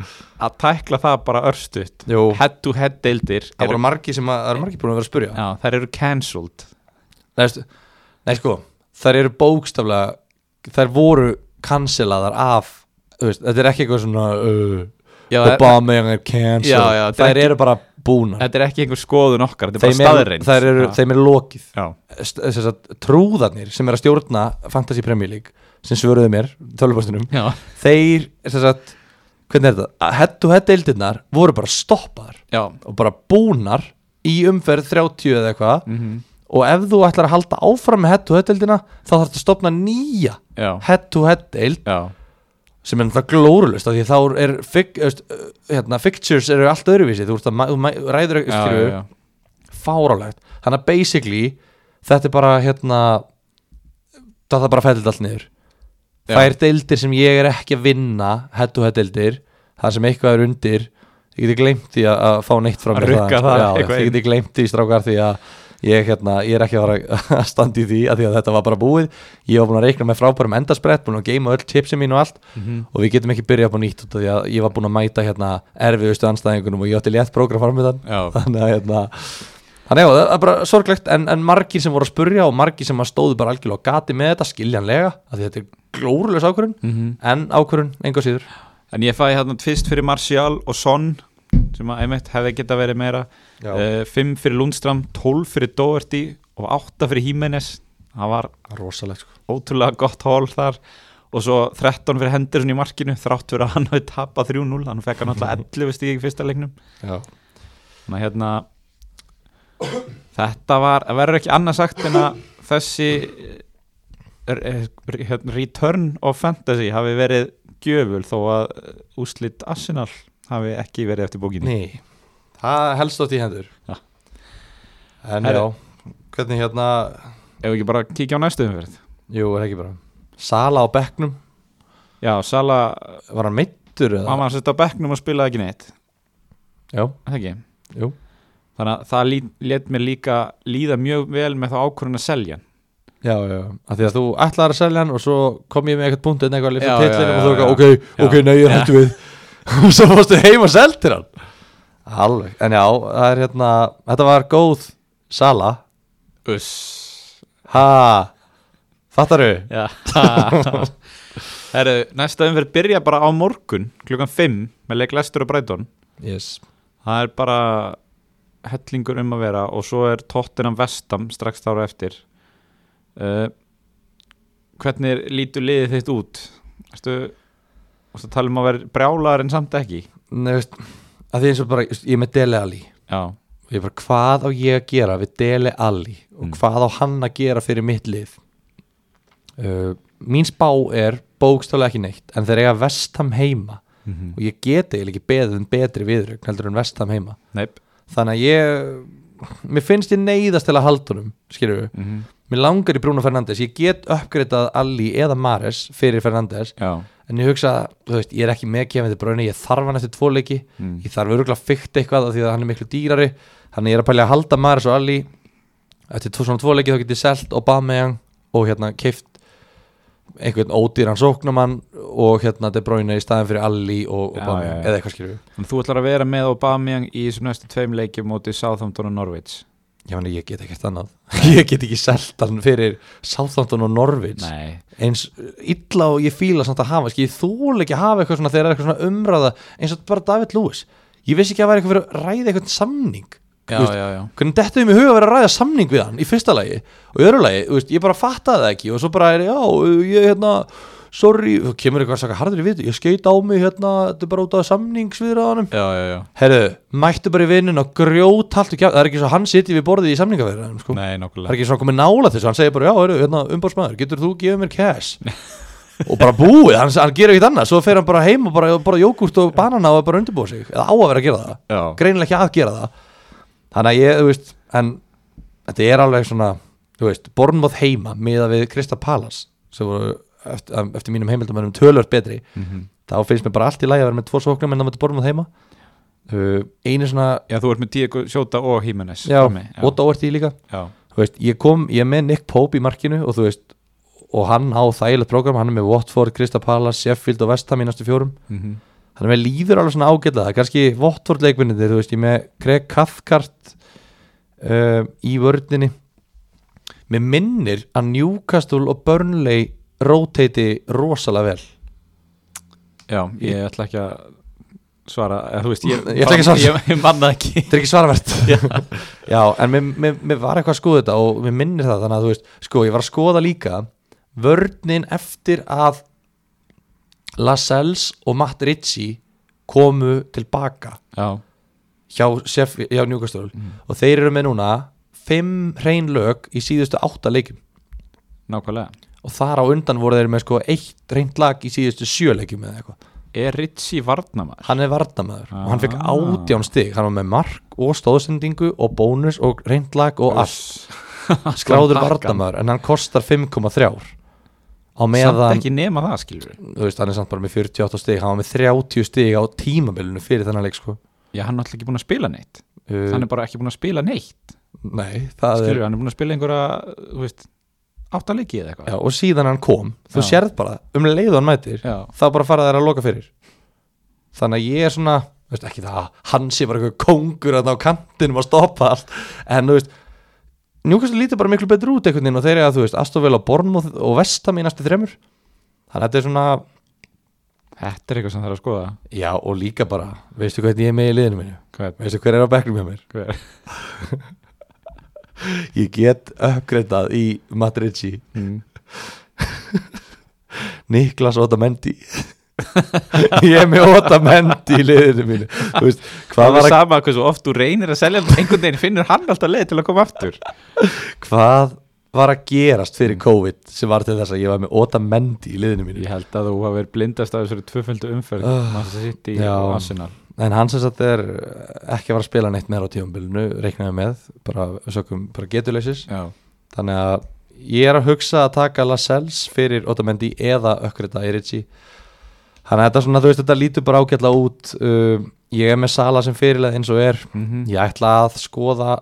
Speaker 1: að tækla það bara örstuðt
Speaker 2: Jú,
Speaker 1: head to head deildir
Speaker 2: það
Speaker 1: eru,
Speaker 2: voru margi sem að, það eru margi búin að vera að spurja
Speaker 1: já, þær eru cancelled
Speaker 2: Nei, veistu- nei sko, þær eru bókstaflega þær voru cancelaðar af þú veist, þetta er ekki eitthvað svona uh,
Speaker 1: já, það-
Speaker 2: Obama er cancel
Speaker 1: Já, já, þetta er
Speaker 2: þær
Speaker 1: ekki-
Speaker 2: eru bara búnar
Speaker 1: þetta er ekki einhver skoðun okkar þetta er
Speaker 2: þeim
Speaker 1: bara
Speaker 2: er,
Speaker 1: staðreind
Speaker 2: þær eru,
Speaker 1: já.
Speaker 2: þeim er lokið
Speaker 1: já,
Speaker 2: St- þess að trúðarnir sem er að stjórna Fantasy Premier League sem svöruðu mér, tölvupastunum
Speaker 1: já,
Speaker 2: þeir, þess að, hvernig er þetta head to head deildirnar voru bara stoppaðar
Speaker 1: já.
Speaker 2: og bara búnar í umferð 30 eða eitthvað
Speaker 1: Mm
Speaker 2: og ef þú ætlar að halda áfram með head to head deildina þá þarfst að stopna nýja
Speaker 1: já,
Speaker 2: head to head deild
Speaker 1: já,
Speaker 2: sem er náttúrulega glórulust af því þá er fig, öst, hérna, fixtures eru allt öðruvísi þú, ert að, ma- þú ma-
Speaker 1: já,
Speaker 2: ræður
Speaker 1: já,
Speaker 2: ekki
Speaker 1: já.
Speaker 2: fárálegt þannig að basically þetta er bara hérna það þarf bara að fælla allt niður
Speaker 1: Já.
Speaker 2: þær deildir sem ég er ekki að vinna head to head deildir það sem eitthvað er undir ég geti glemt því að, að fá neitt frá
Speaker 1: Að
Speaker 2: mér
Speaker 1: rukka
Speaker 2: þaðan,
Speaker 1: það
Speaker 2: já,
Speaker 1: eitthvað
Speaker 2: ég
Speaker 1: inn.
Speaker 2: geti glemt því strákar því að ég, hérna, ég er ekki að fara að standa í því að því að þetta var bara búið ég var búin að reikna með frábærum endasprett búin að geima öll tipsin mín og allt
Speaker 1: Mhm.
Speaker 2: og við getum ekki byrjað upp á nýtt út af því að ég var búin að mæta hérna erfiðustu anstæðingunum og ég átti létt prógram framöðan
Speaker 1: já.
Speaker 2: þannig að hérna þannig að það er bara sorglegt en, en margir sem voru að spurja og margir sem að stóðu bara algjörlega á gati með þetta skiljanlega af því þetta er glórulegs ákvörun
Speaker 1: Mhm.
Speaker 2: en ákvörun enga síður
Speaker 1: en ég fæði hérna fyrst fyrir Martial og Son sem að einmitt hefði geta verið meira
Speaker 2: Eh,
Speaker 1: 5 fyrir Lundstram, 12 fyrir Doherty og 8 fyrir Jimenez það var
Speaker 2: rosalegt sko
Speaker 1: ótrúlega gott hól þar og svo 13 fyrir Henderson í markinu þrátt fyrir að hann hafi tapað 3-0 hann fekk hann alltaf 11 stík í fyrsta leiknum
Speaker 2: já.
Speaker 1: þannig að hérna þetta var, það verður ekki annað sagt en að þessi er, er, hérna, return of fantasy hafi verið gjöful þó að eh, úrslit Arsenal hafi ekki verið eftir bókinni
Speaker 2: Nei, það helst átt í hendur
Speaker 1: Já.
Speaker 2: en
Speaker 1: Herri.
Speaker 2: já, hvernig hérna
Speaker 1: ef við ekki bara kíkja á næstu umferð
Speaker 2: jú, er ekki bara Sala á bekknum,
Speaker 1: já, Sala,
Speaker 2: var hann meittur eða?
Speaker 1: hann var að setja á bekknum og spilaði ekki neitt
Speaker 2: já,
Speaker 1: er það ekki
Speaker 2: jú
Speaker 1: þannig að það lí- lét mér líka líða mjög vel með þá ákvörðun að selja hann.
Speaker 2: Já, já, af því að þú ætlar að selja hann og svo kom ég með eitthvað punkt en eitthvað
Speaker 1: Já,
Speaker 2: fyrir
Speaker 1: já,
Speaker 2: tillinu og
Speaker 1: já,
Speaker 2: þú
Speaker 1: já.
Speaker 2: eitthvað, ok,
Speaker 1: Já.
Speaker 2: ok, nei, ég er
Speaker 1: Já.
Speaker 2: hættu við og svo fórstu heim og seldir hann Alveg, en já, það er hérna þetta var góð sala
Speaker 1: Uss
Speaker 2: Ha, fattaru?
Speaker 1: Já Herru, næsta umferð byrja bara á morgun klukkan 5 með leik Lestur og Brighton
Speaker 2: Yes
Speaker 1: það er bara hellingur um að vera og svo er Tottenham Vestam strax þára eftir uh, hvernig lítur liðið þitt út Ertu, og það tala um að vera brjálar en samt ekki
Speaker 2: Nei, veist, að því eins og bara, veist, ég er með Dele Alli
Speaker 1: já,
Speaker 2: og ég bara, hvað á ég að gera við Dele Alli og
Speaker 1: Mm.
Speaker 2: hvað á hann að gera fyrir mitt lið uh, mín spá er bókstálega ekki neitt en þeir eiga vestam heima
Speaker 1: mm -hmm.
Speaker 2: og ég geti eiginlega ekki beðið um betri viðrögn heldur en vestam heima
Speaker 1: neip
Speaker 2: þannig að ég mér finnst ég neyðast til að halda honum skilju,
Speaker 1: mm
Speaker 2: mér langar í Bruno Fernandes ég get uppgreitað Alli eða Mares fyrir Fernandes,
Speaker 1: já,
Speaker 2: en ég hugsa þú veist, ég er ekki með kemur til bröðinu, ég þarf hann eftir tvo leiki
Speaker 1: mm.
Speaker 2: ég þarf öruglega að fykta eitthvað af því að hann er miklu dýrari þannig ég er að pælja að halda Maris og Ali eftir tvo, svona tvo leiki þá get ég selt Aubameyang og hérna keift einhvern ódýran sóknumann og hérna De Bruyne í staðin fyrir Ali og
Speaker 1: Já,
Speaker 2: Aubameyang
Speaker 1: já, já.
Speaker 2: eða eitthvað skilur við
Speaker 1: þú ætlar að vera með Aubameyang í þessum næstu tveim leikjum móti Southampton og Norwich
Speaker 2: ég, meni, ég get ekkert annað ég get ekki selt hann fyrir Southampton og Norvins
Speaker 1: nei,
Speaker 2: eins illa og ég fíla samt að hafa skil, ég þól ekki að hafa eitthvað svona þegar er eitthvað svona umræða eins og bara David Lewis ég vissi ekki að það væri eitthvað fyrir að ræða eitthvað samning
Speaker 1: já,
Speaker 2: Þú veist,
Speaker 1: já, já
Speaker 2: hvernig dettu ég mér huga að vera að ræða samning við hann í fyrsta lagi og í öðru lagi, þú veist, ég bara fattaði það ekki og svo bara er, já, ég hérna sorry, þú kemur eitthvað að saka harður í vitu ég skeit á mig hérna, þetta er bara út af samningsviðraðanum
Speaker 1: já, já, já,
Speaker 2: herru, mættu bara í vinnun og grjótalt og kjá, það er ekki svo hann sitji við borðið í samningaviðraðanum sko.
Speaker 1: nei,
Speaker 2: það er
Speaker 1: nokkulega
Speaker 2: ekki svo komið nála þessu, hann segir bara já, herru, hérna, umbásmaður, getur þú gefið mér cash og bara búið, hann, hann gerir ekkert annað svo fer hann bara heim og bara, bara jógurt og banana og er bara að undirbúa sig, eða á að vera að gera það
Speaker 1: já,
Speaker 2: greinilega ekki að gera það þannig að ég, þú veist, en þetta er alveg svona, þú veist Bornmoth heima miða við Krista Palas sem voru eftir, um, eftir mínum heimildamönnum tölvöld betri,
Speaker 1: mm
Speaker 2: þá finnst mér bara allt í lagi að vera með tvo sóknum en þá með Bornmoth heima uh, einu svona,
Speaker 1: já, þú ert með Diego Sjóta og Jimenez
Speaker 2: já,
Speaker 1: frammi, já,
Speaker 2: Óta Óerti líka
Speaker 1: já,
Speaker 2: þú veist, ég kom, ég er með Nick Pope í markinu og þú veist, og hann á þægilegt program, hann er með Watford, Krista Palas Sheffield og Vestham í næstu fjórum
Speaker 1: mm -hmm.
Speaker 2: þannig að mér líður alveg svona ágætlega það er kannski Votvort leikvinnindir, þú veist ég er með Greg Cathcart uh, í vördinni mér minnir að Newcastle og Burnley roteiti rosalega vel
Speaker 1: já ég ætla ekki að svara, eða, þú veist, ég,
Speaker 2: Ég ætla ekki að svara.
Speaker 1: ég, ég manna ekki
Speaker 2: þetta er ekki svaravert já, en mér, mér, mér var eitthvað að skoða þetta og mér minnir það þannig að þú veist, sko, ég var að skoða líka vörnin eftir að Lascelles og Matt Ritchie komu tilbaka
Speaker 1: já,
Speaker 2: hjá, Sheff- hjá Newcastle
Speaker 1: Mm.
Speaker 2: og þeir eru með núna fimm hrein lög í síðustu átta leikum
Speaker 1: nákvæmlega
Speaker 2: og þar á undan voru þeir með sko eitt reynd lag í síðustu sjö leikum eða eitthvað
Speaker 1: er Ritchie varnamaður?
Speaker 2: hann er vardamaður og hann fekk
Speaker 1: Ah.
Speaker 2: átján stig hann var með mark og stóðsendingu og bónus og reynd lag og allt skráður vardamaður en hann kostar 5,3 á
Speaker 1: samt
Speaker 2: meðan
Speaker 1: ekki nema það, skilur
Speaker 2: þú veist hann er samt bara með 48 stig hann var með 30 stig á tímabilinu fyrir þennan leik sko
Speaker 1: já, hann er alltaf ekki búin að spila neitt
Speaker 2: uh,
Speaker 1: hann er bara ekki búin að spila neitt
Speaker 2: nei, það er
Speaker 1: skilur, hann er búin að spila einhverja þú veist, áttaleiki eða eitthvað
Speaker 2: Já, og síðan hann kom, þú
Speaker 1: Já.
Speaker 2: sérð bara um leið og hann mætir,
Speaker 1: já,
Speaker 2: þá bara fara þær að loka fyrir þannig að ég er svona veist, ekki það, að hann sé bara eitthvað kóngur að á kantinum að stoppa allt en þú veist, njúkast lítið bara miklu betur út einhvern veginn og þeir eru að þú veist Astovil og Bornmóð og Vestam í næstu þremur þannig að þetta er svona,
Speaker 1: þetta er eitthvað sem þarf að skoða
Speaker 2: já og líka bara veistu hvernig ég er með í liðinu mínu
Speaker 1: hver,
Speaker 2: veistu hver er á bekknum hjá mér
Speaker 1: hver,
Speaker 2: ég get uppgreitað í Matrici
Speaker 1: mm.
Speaker 2: Niklas Otamendi ég er með Otamendi í liðinu mínu Þú veist,
Speaker 1: það
Speaker 2: hvað var að
Speaker 1: er sama hversu oft þú reynir að selja hann, einhvern veginn finnur hann alltaf leið til að koma aftur
Speaker 2: hvað var að gerast fyrir COVID sem var til þess að ég var með Otamendi í liðinu mínu
Speaker 1: ég held að þú hafa verið blindast af þessari tvöföldu umferð
Speaker 2: Ah,
Speaker 1: Manchester City
Speaker 2: já.
Speaker 1: og Arsenal
Speaker 2: en hans þess að þetta er ekki að vera að spila neitt meira á tífumbilinu, reiknaði með bara, sökum, bara getuleysis
Speaker 1: já,
Speaker 2: þannig að ég er að hugsa að taka Lascelles fyrir Otamendi eða Ökkrita Irici þannig að þetta, er svona, þú veist, þetta lítur bara ágætla út um, ég er með Sala sem fyrirlega eins og er
Speaker 1: mm -hmm.
Speaker 2: ég ætla að skoða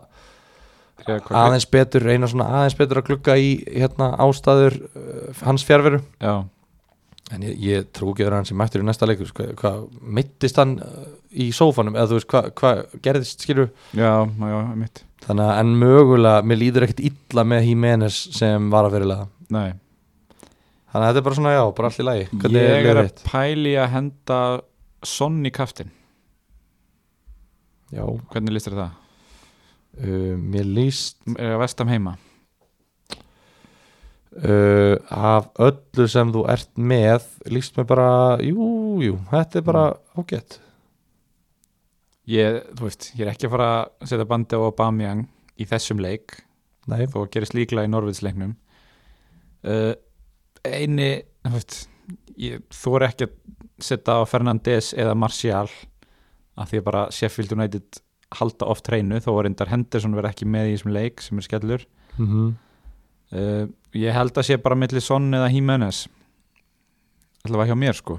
Speaker 2: aðeins betur, eina svona aðeins betur að glugga í hérna ástæður uh, hans fjárveru
Speaker 1: já,
Speaker 2: En ég, ég trú ekki að hann sem mættur í næsta leikur sko, hvað mittist hann uh, í sófanum eða þú veist hvað hva gerðist skilur
Speaker 1: já, já, mitt
Speaker 2: þannig að en mögulega, mér líður ekkert illa með Jiménez sem var að fyrirlega
Speaker 1: nei
Speaker 2: þannig að þetta er bara svona já, bara allt í lagi Hvernig
Speaker 1: ég
Speaker 2: liðið
Speaker 1: er að
Speaker 2: þitt?
Speaker 1: pæli að henda Sonny kaftin,
Speaker 2: Já,
Speaker 1: hvernig listir það?
Speaker 2: uh, mér líst
Speaker 1: Er að vestam heima?
Speaker 2: uh, á, af öllu sem þú ert með líst mér bara, jú, jú þetta er bara ágætt
Speaker 1: ég, þú veist, ég er ekki að fara að setja bandi á Aubameyang í þessum leik
Speaker 2: Nei,
Speaker 1: þó að gerist líklega í Norvidsleiknum uh, eini þú veist, ég þóra ekki að setja á Fernandes eða Martial að því að bara Sheffield United halda oft hreinu þó að reyndar Henderson verið ekki með í þessum leik sem er skellur
Speaker 2: mm
Speaker 1: uh, ég held að sé bara milli Son eða Jimenez allavega hjá mér sko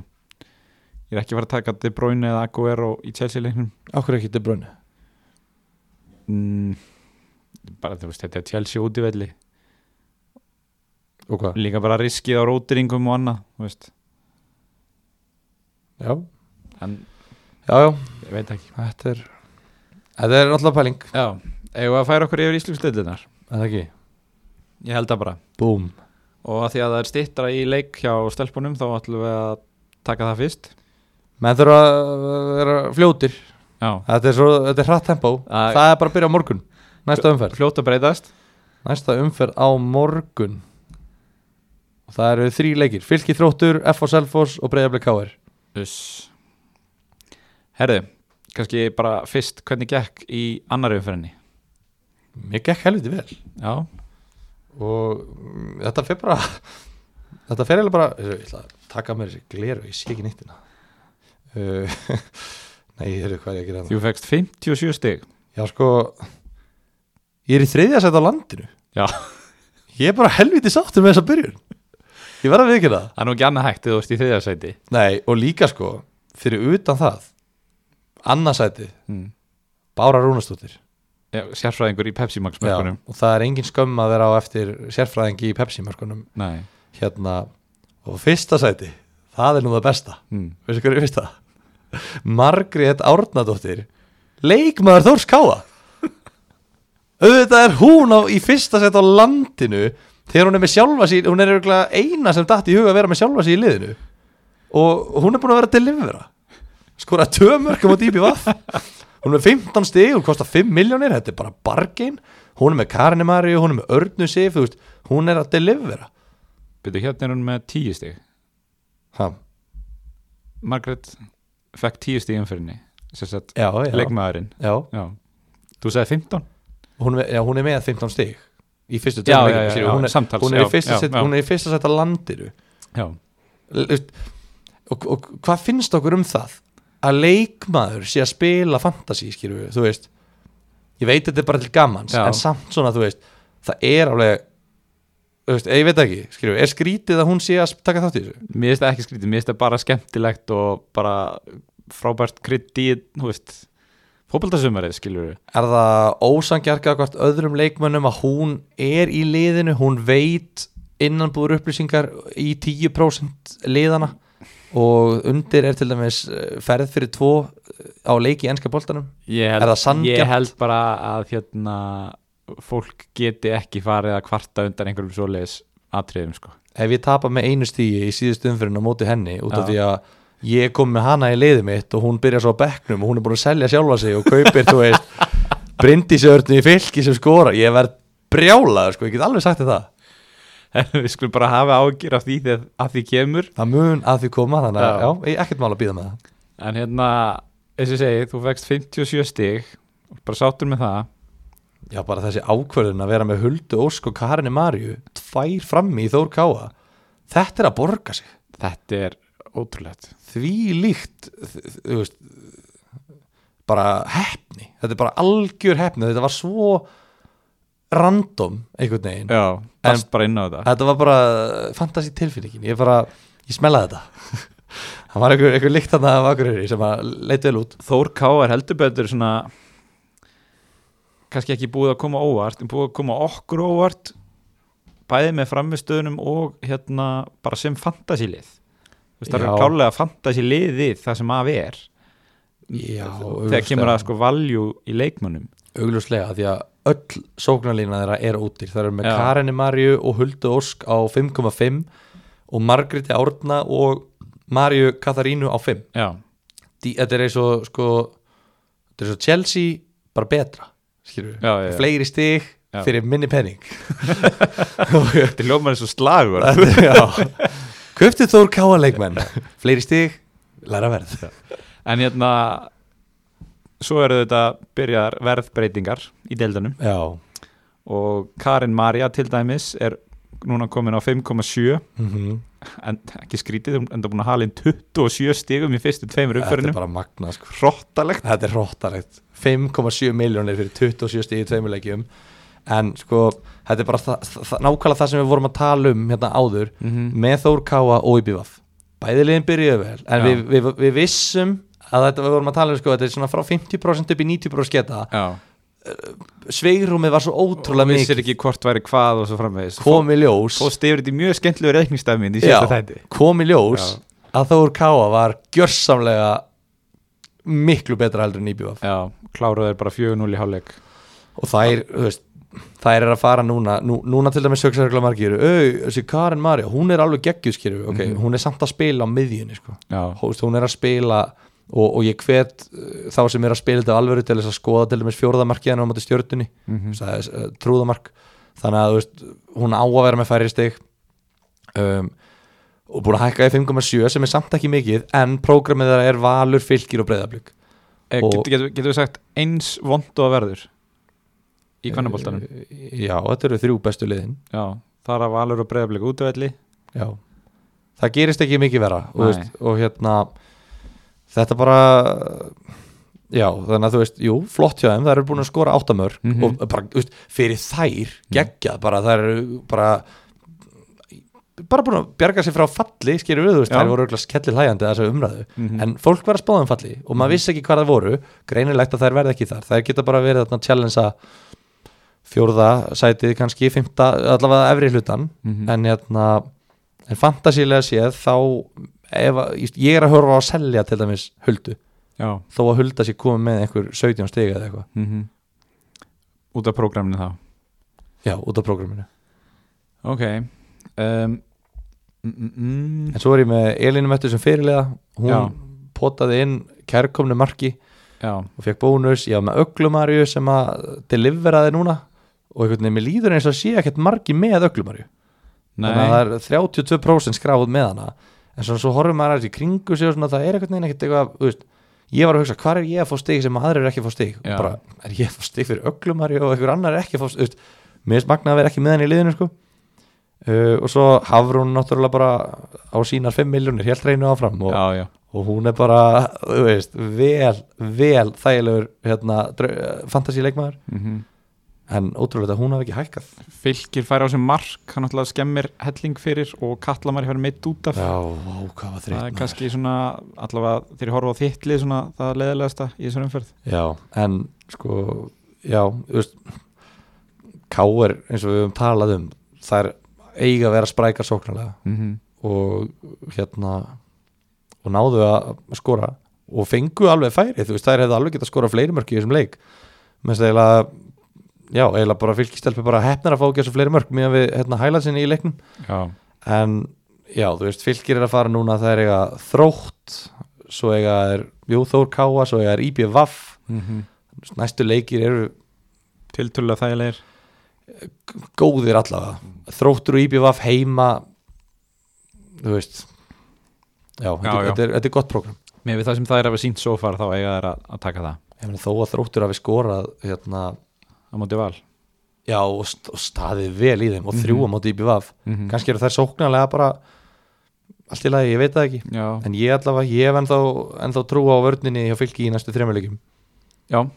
Speaker 1: ég er ekki að fara að taka De Bruyne eða Aguero í Chelsea leiknum
Speaker 2: okkur ekki til brunni
Speaker 1: mm, bara þú veist þetta er Chelsea út í velli
Speaker 2: Og hvað?
Speaker 1: líka bara riskið á rótiringum og annað þú veist.
Speaker 2: Já,
Speaker 1: en
Speaker 2: já, já,
Speaker 1: ég veit ekki sko.
Speaker 2: þetta er þetta er alltaf pæling,
Speaker 1: já, eigum við að færa okkur yfir íslumstildunar
Speaker 2: en það ekki
Speaker 1: ég held það bara
Speaker 2: Búm
Speaker 1: og að því að það er stittra í leik hjá stelpunum þá ætlum við að taka það fyrst
Speaker 2: Menn þurfa að vera fljótir
Speaker 1: já,
Speaker 2: Þetta er, svo, þetta er hratt tempó
Speaker 1: Æ.
Speaker 2: Það er bara að byrja á morgun Næsta umferð
Speaker 1: fljótt að breytast
Speaker 2: Næsta umferð á morgun Og það eru þrý leikir Fylki þróttur, FH Selfoss og Breiðablik KR
Speaker 1: Uss. herðu, kannski bara fyrst hvernig gekk í annari umferðinni
Speaker 2: Mér gekk helviti vel
Speaker 1: já,
Speaker 2: Og mm, þetta fer bara Þetta fer eiginlega bara Ég ætla að taka mér þessi gleru Ég sé ekki nýttina uh, Nei, ég eru hvað er ég að gera það
Speaker 1: þú fegst 57 stig
Speaker 2: Já, sko Ég er í þriðja sætt á landinu
Speaker 1: já,
Speaker 2: Ég er bara helviti sáttur með þessa byrjun Ég verða við ekki það
Speaker 1: það er nú ekki annað hægt eða þú veist í þriðarsæti
Speaker 2: Nei, og líka sko, fyrir utan það Annarsæti,
Speaker 1: mm.
Speaker 2: Bára Rúnastóttir
Speaker 1: Já, sérfræðingur í Pepsi Max mörkunum
Speaker 2: Og það er engin skömm að vera á eftir sérfræðingi í Pepsi-mörkunum
Speaker 1: nei
Speaker 2: Hérna, og fyrsta sæti Það er nú það besta
Speaker 1: mm.
Speaker 2: Veistu hverju fyrsta? Margrét Árnadóttir Leikmaður Þórs Káa Auðvitað er hún á, í fyrsta sæti á landinu Þegar hún er með sjálfa sín Hún er örugglega eina sem datt í huga að vera með sjálfa sín í liðinu Og hún er búin að vera að delivera Skora tömörkum á dýpi vaff Hún er með 15 stig Hún kostar 5 miljónir, þetta er bara bargain Hún er með Karinni Maríu, hún er með Örnu Sif þú veist, Hún er að delivera
Speaker 1: byrju hérna er hún með 10 stig
Speaker 2: ha,
Speaker 1: Margaret fekk 10 stig í umferðinni sem sagt
Speaker 2: Já, já,
Speaker 1: leikmaðurinn
Speaker 2: já.
Speaker 1: já. þú sagði 15
Speaker 2: hún, er- já, hún er með 15 stig í fyrstu
Speaker 1: Já,
Speaker 2: tveimur
Speaker 1: já,
Speaker 2: leikjum,
Speaker 1: já,
Speaker 2: skilur,
Speaker 1: já,
Speaker 2: hún, er-
Speaker 1: samtals,
Speaker 2: hún, er í
Speaker 1: já,
Speaker 2: fyrsta
Speaker 1: já,
Speaker 2: set-
Speaker 1: já.
Speaker 2: hún er í fyrsta setta landiru
Speaker 1: já.
Speaker 2: L- veist, og, og hvað finnst okkur um það að leikmaður sé að spila fantasy skilur við, þú veist ég veit þetta er bara til gamans
Speaker 1: Já.
Speaker 2: en samt svona, þú veist, það er alveg þú veist, ég veit það ekki, skilur við er skrítið að hún sé að taka þátt í þessu
Speaker 1: mér finnst það ekki skrítið, mér finnst það bara skemmtilegt og bara frábært krydd í þú veist, fótboltasumarið skilur við
Speaker 2: er það ósangjarka hvort öðrum leikmönnum að hún er í liðinu, hún veit innanbúður upplýsingar í 10% liðana og undir er til dæmis eh, ferð fyrir tvo eh, á leiki í enska boltanum
Speaker 1: ég
Speaker 2: Er
Speaker 1: held,
Speaker 2: það sanngjarnt?
Speaker 1: ég held bara að hérna, fólk geti ekki farið að kvarta undan einhverjum svoleiðis atriðum sko.
Speaker 2: ef ég tapa með einu stíi í síðustu umfyrin á móti henni út
Speaker 1: Já.
Speaker 2: af því að ég kom með hana í liðið mitt og hún byrjar svo á bekknum og hún er búin að selja sjálfa sig og kaupir, þú veist brindisörnu í fylki sem skora ég verð brjálaður, sko, ég get alveg sagt þér það
Speaker 1: við skulum bara hafa ágjur af því þegar að því kemur
Speaker 2: það mun að því koma þannig að
Speaker 1: Já.
Speaker 2: já, ég ekkert mál að býða með það
Speaker 1: en hérna, eins og ég segi, þú vekst 57 stig bara sáttur með það
Speaker 2: já, bara þessi ákvörðun að vera með Huldu Ósk og Karinni Marju tvær frammi í Þór Káa þetta er að borga sig
Speaker 1: þetta er ótrúlegt
Speaker 2: því líkt þ- þú veist bara hefni, þetta er bara algjör hefni þetta var svo random einhvern veginn
Speaker 1: já, fast bara inn á þetta
Speaker 2: þetta var bara fantasi tilfinningin ég bara, ég smellaði þetta það var einhver, einhver líkt þarna af Akureyri sem að leit vel út
Speaker 1: Þór Ká er heldur betur svona kannski ekki búið að koma óvart en búið að koma okkur óvart bæði með framistöðunum og hérna bara sem fantasílið Þú veist, það
Speaker 2: Já.
Speaker 1: er klálega fantasíliðið það sem af er
Speaker 2: já,
Speaker 1: þegar kemur að sko valjú í leikmönnum
Speaker 2: augljóslega því að öll sóknarlína þeirra er útir það eru með
Speaker 1: Já.
Speaker 2: Karinni Marju og Huldu Ósk á 5,5 og Margréti Árna og Marju Katharínu á 5
Speaker 1: já,
Speaker 2: Því, þetta er eins og sko, þetta er eins og Chelsea bara betra skilur við,
Speaker 1: Já, já, já.
Speaker 2: fleiri stig
Speaker 1: Já.
Speaker 2: fyrir minni penning
Speaker 1: Þetta ljómar eins og slagur
Speaker 2: Köptið Þór Káa leikmenn Fleiri stig, læra verð
Speaker 1: En hérna Svo eru þetta byrjar verðbreytingar í deildanum
Speaker 2: Já,
Speaker 1: og Karin Maria til dæmis er núna komin á 5,7
Speaker 2: mm
Speaker 1: en ekki skrítið, hún enda búin að hala inn 27 stigum í fyrstu tveimur
Speaker 2: þetta er
Speaker 1: umförinu
Speaker 2: bara magna sko.
Speaker 1: Hrottalegt
Speaker 2: Þetta er hróttarlegt 5,7 miljónir fyrir 27 stíði tveimur leikjum En sko, þetta er bara þa þa nákvæmlega það sem við vorum að tala um hérna áður
Speaker 1: Mhm.
Speaker 2: Með Þór Káa og IBVF Bæði liðin byrjuðu vel
Speaker 1: Já.
Speaker 2: En við, við, við vissum að þetta við vorum að tala um sko Þetta er svona frá 50% upp í 90% sketa
Speaker 1: Já,
Speaker 2: Sveigrúmið var svo ótrúlega
Speaker 1: og vissir
Speaker 2: mikið
Speaker 1: ekki hvort væri hvað og svo framvegis
Speaker 2: Komi ljós
Speaker 1: Fóðst yfir þetta í mjög skemmtilegu reikningstæmin í
Speaker 2: Já,
Speaker 1: síðasta þætti
Speaker 2: komi ljós
Speaker 1: Já.
Speaker 2: Að Þór Káa var gjörsamlega Miklu betra heldur en IBVF
Speaker 1: Já, kláruðu er bara 4-0 í hálfleik
Speaker 2: og þær, þú veist þær er að fara núna, nú, núna til dæmis sögsarkla margir, au, þessi Karin Marja hún er alveg geggjuskerfi, ok,
Speaker 1: Mhm.
Speaker 2: hún er samt að spila á miðjunni, sko,
Speaker 1: Já,
Speaker 2: Þú veist, hún er að spila og, og ég hvet uh, þá sem er að spila þetta á alvöru til þess að skoða til dæmis fjórðamarkiðan á móti stjörnunni
Speaker 1: mhm,
Speaker 2: mm -hmm. trúðamark þannig að þú veist, hún á að vera með færri stig um, og búin að hækka í 5,7 sem er samt ekki mikið en prógramið þeirra er valur, fylgir og breyðablík
Speaker 1: Eh,
Speaker 2: Og-
Speaker 1: get- Getum getum við sagt eins vond og að verður í
Speaker 2: Eh,
Speaker 1: kvannabóltanum
Speaker 2: já, þetta eru þrjú bestu liðin
Speaker 1: Já, þar að Valur og Breiðablik útvelli
Speaker 2: Já, það gerist ekki mikið vera og,
Speaker 1: Nei.
Speaker 2: veist, og hérna þetta bara já, þannig að þú veist, jú, flott hjá þeim það eru búin að skora áttamör mm
Speaker 1: Mhm.
Speaker 2: og bara, þú veist, fyrir þær, geggjað bara það eru bara bara búin að bjarga sér frá falli skilur við, þú veist,
Speaker 1: Já.
Speaker 2: þær voru örugglega skellir hlægjandi þessu umræðu,
Speaker 1: Mhm.
Speaker 2: en fólk var að spáða um falli og maður vissi ekki hvað það voru, greinilegt að þær verði ekki þar, þær geta bara verið þarna challengea fjórða sætið kannski, fymta, allavega efri hlutan
Speaker 1: Mhm.
Speaker 2: en hérna en fantasílega séð þá ef, að- ég er að horfa á að selja til dæmis huldu,
Speaker 1: Já Mhm.
Speaker 2: þó að hulda sér komið með einhver 17 stiga eða eitthvað
Speaker 1: Út af prógraminu þá
Speaker 2: já, út af prógraminu,
Speaker 1: Ok um, mm, mm, mm,
Speaker 2: en svo er ég með Elinu Möttu sem fyrirlega, hún
Speaker 1: Já.
Speaker 2: potaði inn kærkomnu marki
Speaker 1: Já,
Speaker 2: og fekk bónus, ég var með Öglumarju sem að deliveraði núna og einhvern veginn, mér líður eins og sé ekkert marki með Öglumarju, þannig að það
Speaker 1: nei
Speaker 2: er 32% skráð með hana en svona svo horfum maður aðeins í kringu sig og svona það er einhvern veginn ekkert eitthvað þú veist, ég var að hugsa hvar er ég að fá stig sem aðrir er ekki að fá stig
Speaker 1: Já.
Speaker 2: bara er ég að fá stig fyrir öglumari og einhver annar er ekki að fá stig þú veist, mér finnst magnað að vera ekki með henni í liðinu sko. uh, og svo Hafrún náttúrulega bara á sínar 5 miljónir helt reynu áfram og,
Speaker 1: Já, já,
Speaker 2: og hún er bara þú veist, vel, vel þægilegur hérna, fantasíleikmaður
Speaker 1: mm
Speaker 2: en ótrúlega að hún hafi ekki hækkað
Speaker 1: Fylkir fær á sem mark hann alltaf skemmir helling fyrir og kallamari fær meitt út af
Speaker 2: já, vá, hvað var
Speaker 1: Það er
Speaker 2: þreytt maður.
Speaker 1: kannski svona allavega þegar ég horfa á þittlið svona það er leðilegasta í þessari umferð
Speaker 2: Já, en sko já, þú veist Káir, eins og við höfum talað um þær eiga að vera sprækar sóknarlega
Speaker 1: mm
Speaker 2: og hérna og náðu að skora og fengu alveg færi, þú veist, þær hefðu alveg getað skora fleiri mörk í þessum leik menn þess að eiginlega já, eiginlega bara fylgistelpi bara hefnar að fá ekki þessu fleiri mörk meðan við hérna hælaðsinni í leiknum
Speaker 1: Já,
Speaker 2: en já, þú veist, fylgir er að fara núna þær eiga þrótt svo eiga er, jú, Þór Káa svo eiga er IBVF
Speaker 1: mm
Speaker 2: næstu leikir eru
Speaker 1: tiltölulega þægilegir
Speaker 2: góðir allavega þróttur og IBVF heima þú veist já, þetta,
Speaker 1: já.
Speaker 2: Þetta, er, þetta er gott prógram
Speaker 1: Mér við það sem það er að vera sínt svo far þá eiga þær að, að taka það
Speaker 2: ég meni þó að þróttur hafi skorað hérna,
Speaker 1: á móti val
Speaker 2: já, og, st og staðið vel í þeim og
Speaker 1: Mhm.
Speaker 2: þrjú á móti IBVF
Speaker 1: mm -hmm.
Speaker 2: kannski eru þær sóknarlega bara allt í lagi, ég veit það ekki
Speaker 1: Já,
Speaker 2: en ég allavega, ég hef ennþá, ennþá trú á vörninni hjá fylki í næstu þremjuleikum
Speaker 1: já.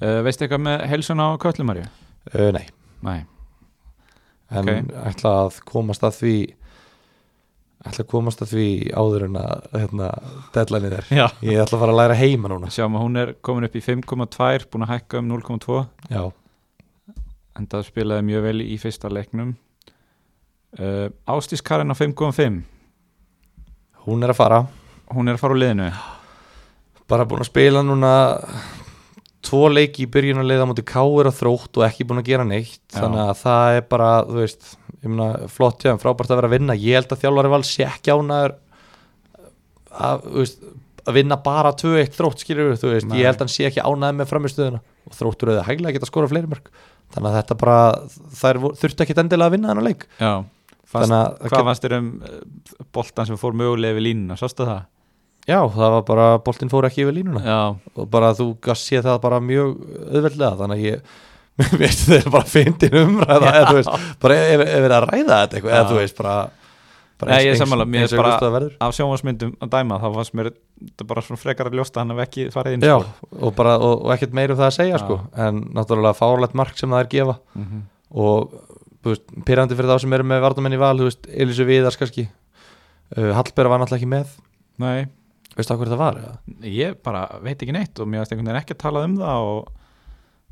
Speaker 1: Uh, Veistu eitthvað með helsun á Köllumarju?
Speaker 2: uh, nei,
Speaker 1: Nei
Speaker 2: en
Speaker 1: Ok.
Speaker 2: ætla að komast að því ætla að komast að því áður en að hérna, deadline er
Speaker 1: Já
Speaker 2: Ég ætla að fara að læra heima núna
Speaker 1: Sjáum að hún er komin upp í 5,2 búin að hækka um 0,2
Speaker 2: Já,
Speaker 1: en það spilaði mjög vel í fyrsta leiknum uh, Ástís Karin á 5,5
Speaker 2: hún er að fara
Speaker 1: hún er að fara úr liðinu
Speaker 2: Bara búin að spila núna Tvo leiki í byrjun að leiða á móti Káir og þrótt og ekki búin að gera neitt
Speaker 1: Já.
Speaker 2: Þannig að það er bara, þú veist Ég meina, flott hjá, þeim, frábært að vera að vinna Ég held að þjálfari vals sé ekki ánæður að, þú veist, að vinna bara 2-1 þrótt skilur við, þú veist
Speaker 1: Nei.
Speaker 2: Ég held að hann sé ekki ánæður með framistöðuna Og þróttur auðvitað hæglega geta skora fleiri mörg þannig að þetta bara, þær vo- þurftu ekki endilega að vinna þennan leik
Speaker 1: Já, fannst,
Speaker 2: þannig að,
Speaker 1: hvað fannst þér um eh, boltan sem fór mögulega við línuna, sástu það?
Speaker 2: já, það var bara, boltinn fór ekki yfir línuna
Speaker 1: Já,
Speaker 2: og bara þú gast séð það bara mjög auðveldlega, þannig að ég mér veist þeir bara fyndin umræða eða þú veist, bara ef ef við erum að ræða þetta eitthvað, eða
Speaker 1: Já.
Speaker 2: þú veist, bara, bara
Speaker 1: Nei, ég er sammála, mér
Speaker 2: eins
Speaker 1: er
Speaker 2: og
Speaker 1: bara-
Speaker 2: Gústaf verður.
Speaker 1: af sjónvarsmyndum að dæma þá fannst mér þetta bara svona frekar að ljósta hann ef ekki farið inn
Speaker 2: Já,
Speaker 1: sko.
Speaker 2: og bara, og, og ekkert meir um það að segja
Speaker 1: Já.
Speaker 2: sko, en náttúrulega fárlegt mark sem það er gefa
Speaker 1: Mhm.
Speaker 2: og þú veist, pyrrandi fyrir þá sem eru með varnamenn í val, þú veist, Elísu Viðars kannski uh, Hallberg var náttúrulega ekki með
Speaker 1: Nei,
Speaker 2: veistu á hverju það var? eða?
Speaker 1: ég bara veit ekki neitt og mér varst einhvern veginn ekki að tala um það og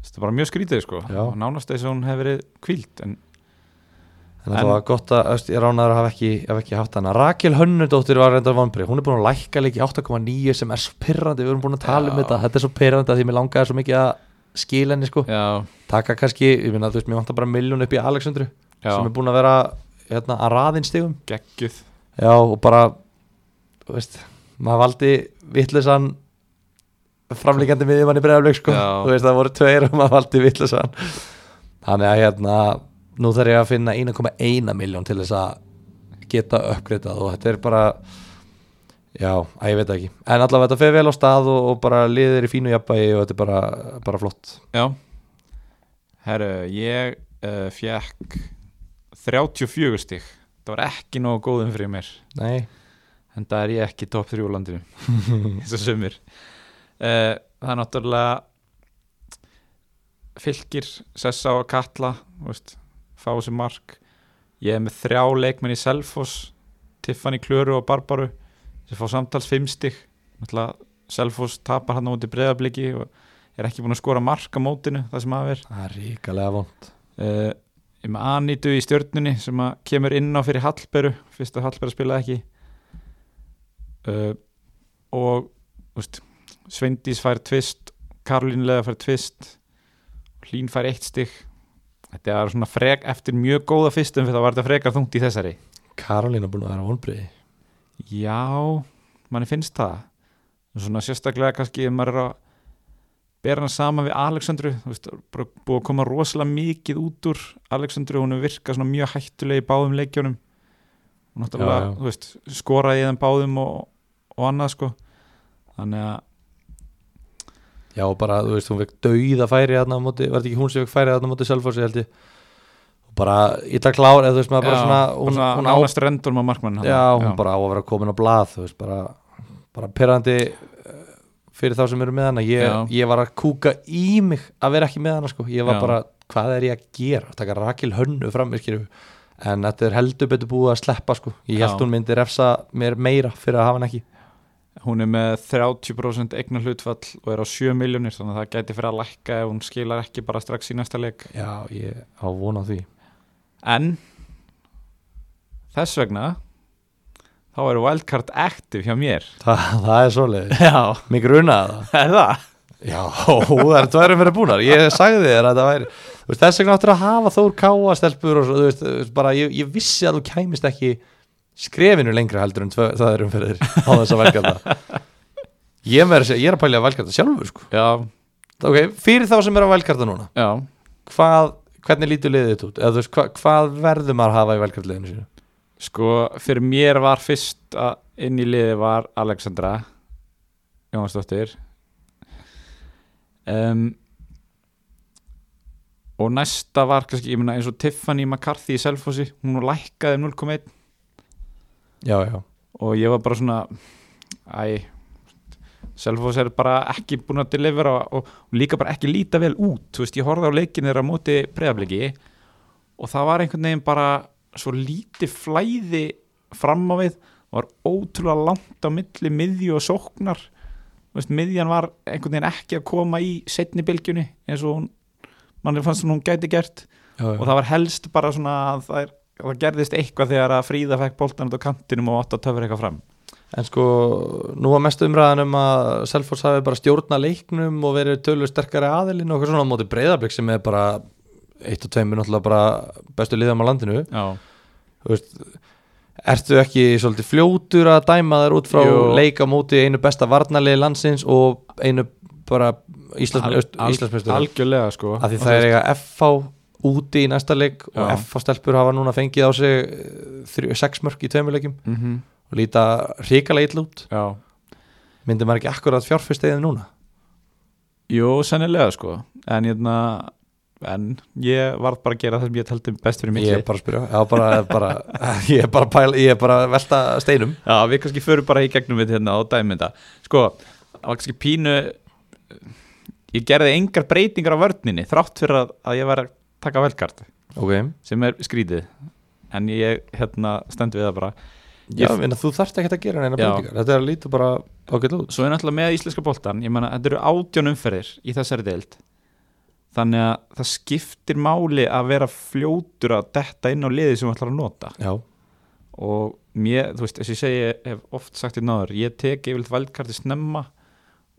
Speaker 1: þetta er bara mjög skrítið sko
Speaker 2: Já.
Speaker 1: og nánast þess að hún hefur verið kvíld en
Speaker 2: En það
Speaker 1: En-
Speaker 2: var gott að, öst, ég ránaður að hafa ekki, hafa ekki haft hana. Rakel Hönnudóttir var reyndar vonbrið, hún er búin að lækka leik í 8,9 sem er svo pyrrandi, við erum búin að tala um
Speaker 1: Já.
Speaker 2: þetta, þetta er svo pyrrandi að því mér langaði svo mikið að skila henni sko.
Speaker 1: já,
Speaker 2: Taka kannski, ég minna, þú veist, mér vantar bara miljón upp í Alexandru
Speaker 1: já,
Speaker 2: sem er búin að vera hérna, að raðinn stigum.
Speaker 1: geggjuð
Speaker 2: Já, og bara, þú veist, maður valdi vittlisann framlíkandi miðjumann í bregðarleik sko,
Speaker 1: Já.
Speaker 2: þú veist, það voru tveir og maður valdi vittlisann. Þannig að hérna, nú þarf ég að finna 1,1 miljón til þess að geta uppgreitað og þetta er bara, já, að ég veit það ekki. En allavega þetta fer vel á stað og, og bara liðir í fínu jafnbægi og þetta er bara, bara flott.
Speaker 1: Já Herru, ég uh, fjekk 34 stig Það var ekki nógu góðum fyrir mér
Speaker 2: Nei,
Speaker 1: En það er ég ekki top 3 úr landinu eins og sumir uh, Það er náttúrulega fylgir Sessa og Katla þú veist, fá sér mark Ég er með þrjá leikmenn í Selfoss Tiffany Klöru og Barbaru sem fá samtals 5 stig Náttúrulega Selfoss tapar hann á móti breyðabliki og er ekki búin að skora mark á mótinu það sem af er
Speaker 2: það er ríkalega vond.
Speaker 1: uh, ég er með Anitu í stjörnunni sem að kemur inn á fyrir Hallberu fyrst að Hallberu spilaði ekki uh, og úst, Sveindís fær tvist Karolín Leða fær tvist Hlín fær eitt stygg þetta er svona frek eftir mjög góða fyrstum fyrir það var þetta frekar þungt í þessari
Speaker 2: Karolína búin að vera vonbriði.
Speaker 1: já, manni finnst það svona sérstaklega kannski ef maður er að bera hana saman við Alexandru þú veist, bara búið að koma rosalega mikið út úr Alexandru, hún hefur virkað svona mjög hættulega í báðum leikjunum og náttúrulega,
Speaker 2: Já, já.
Speaker 1: þú veist, skoraði í þeim báðum og, og annað sko þannig að,
Speaker 2: Já, bara, þú veist, hún fekk dauða færi þarna á móti, var þetta ekki hún sem fekk færi þarna á móti Selfossi, held ég og bara illa klár, eða þú veist, maður bara svona hún,
Speaker 1: bara
Speaker 2: hún,
Speaker 1: svona nánast rendum á markmann
Speaker 2: á, já, hún bara á að vera komin á blað, þú veist, bara bara perandi fyrir þá sem eru með hana, ég,
Speaker 1: Já.
Speaker 2: ég var að kúka í mig að vera ekki með hana, sko ég var
Speaker 1: Já.
Speaker 2: bara, hvað er ég að gera, taka rakil hönnu fram, skilju, en þetta er heldur betur búið að sleppa, sko, ég
Speaker 1: Já.
Speaker 2: held hún myndi refsa mér meira fyrir að hafa hann ekki
Speaker 1: hún er með 30% eignar hlutfall og er á 7 miljónir þannig að það gæti fyrir að lækka ef hún skilar ekki bara strax í næsta leik
Speaker 2: já, ég á vona því
Speaker 1: En þess vegna þá er wildcard active hjá mér
Speaker 2: Þa, það er svoleiðis,
Speaker 1: Já,
Speaker 2: mig grunaði það
Speaker 1: er það?
Speaker 2: Já, það er tværum verið búnar Ég sagði þér að það væri þú veist, Þess vegna áttur að hafa Þór Káa stelpur og, svo, þú veist, þú veist, bara, ég, ég vissi að þú kæmist ekki skrefinu lengra heldur en tvö- það er umferðir á þess að velga það Ég, meira að segja- ég er að pælja að velga það sjálfur sko.
Speaker 1: Já,
Speaker 2: okay, Fyrir þá sem er að velga það núna
Speaker 1: já
Speaker 2: hvað, Hvernig lítur liðið þetta út? Eða, þú veist, hva, hvað verður maður að hafa í velkartliðinu sínu?
Speaker 1: Sko, fyrir mér var fyrst að inn í liði var Alexandra Jónsdóttir um, og næsta var kannski, ég meina eins og Tiffany McCarthy í Selfossi, hún lækkaði um 0,1
Speaker 2: Já, já,
Speaker 1: og ég var bara svona æ Selfoss er bara ekki búin að delivera og, og líka bara ekki líta vel út þú veist, ég horfði á leikin þeirra á móti breyðabliki og það var einhvern veginn bara svo lítið flæði fram á við, það var ótrúlega langt á milli miðju og sóknar þú veist, miðjan var einhvern veginn ekki að koma í setni bylgjunni eins og hún, mann fannst hún hún gæti gert
Speaker 2: já, já.
Speaker 1: og það var helst bara svona að það, er, að það gerðist eitthvað þegar að Fríða fekk boltan út á kantinum og átt að töfra eitthvað fram
Speaker 2: En sko, nú var mest umræðan um að Selfoss hafi bara stjórna leiknum og verið tölu sterkari aðilinn og eitthvað svona á móti breyðarblik sem er bara eitt og tveimur náttúrulega bara bestu liðum á landinu
Speaker 1: Já,
Speaker 2: Þú veist, Ertu ekki svolítið fljótur að dæma þær út frá
Speaker 1: Jú.
Speaker 2: leik á móti einu besta varnarlið landsins og einu bara
Speaker 1: Al- al-
Speaker 2: Íslandsmestur
Speaker 1: algjörlega sko
Speaker 2: af því það er eiga FH úti í næsta leik og
Speaker 1: Já.
Speaker 2: FH stelpur hafa núna fengið á sig eh, þrjú- sex mörg í tveimur leikum
Speaker 1: mm -hmm.
Speaker 2: og líta hrikalega illa út
Speaker 1: já
Speaker 2: myndi maður ekki akkurat fjárfyrsteðið núna
Speaker 1: Jú, sennilega sko En, hérna, en ég varð bara að gera það sem ég taldi best fyrir mig
Speaker 2: ég er bara að spyrja já, bara, bara, ég er bara að pæla, ég er bara að velta steinum
Speaker 1: Já, við kannski förum bara í gegnum við hérna og dæmum þetta Sko, það var kannski pínu Ég gerði engar breytingar á vörninni Þrátt fyrir að, að ég var að taka velkart
Speaker 2: ok,
Speaker 1: Sem er skrítið En ég hérna stend við það bara
Speaker 2: já,
Speaker 1: Ég-
Speaker 2: ég, þú þarft ekki að gera neina
Speaker 1: Já.
Speaker 2: breytingar þetta er að líta bara ágætlega út
Speaker 1: Svo er náttúrulega með íslenska boltan Ég meina, þetta eru átjón umferðir í þessari deild Þannig að það skiptir máli að vera fljótur að detta inn á liði sem við ætlar að nota
Speaker 2: já,
Speaker 1: og mér, þú veist, þess að ég segi ég hef oft sagt í náður, ég tek yfirleitt valdkarti snemma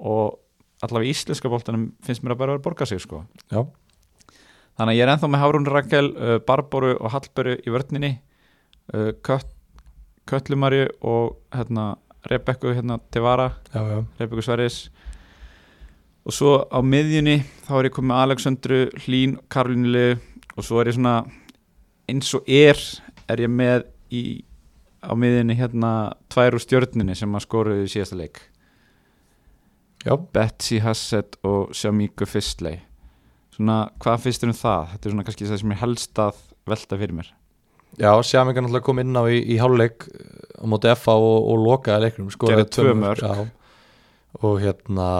Speaker 1: og allavega í íslenska boltanum finnst mér að bara vera að borga sig sko.
Speaker 2: já,
Speaker 1: þannig að ég er ennþá með Hárún Rakel uh, Barboru og Hallberu í vörninni uh, Kött, Kötlumarju og hérna, Rebekku hérna, Tevara,
Speaker 2: já, já,
Speaker 1: Rebekku Sveris og svo á miðjunni þá er ég komið með Alexandru, Hlín Karlinu og svo er ég svona eins og er er ég með í, á miðjunni hérna tvær úr stjörninni sem að skoruðu í síðasta leik
Speaker 2: já.
Speaker 1: Betsy Hassett og Shamíku Fistley svona hvað finnst þér um það? Þetta er svona kannski það sem ég helst að velta fyrir mér
Speaker 2: já Sjamingar náttúrulega kom inn á í, í háluleik á móti FA og, og lokaði leiknum skoraði
Speaker 1: Gerði tvö mörk.
Speaker 2: já. og hérna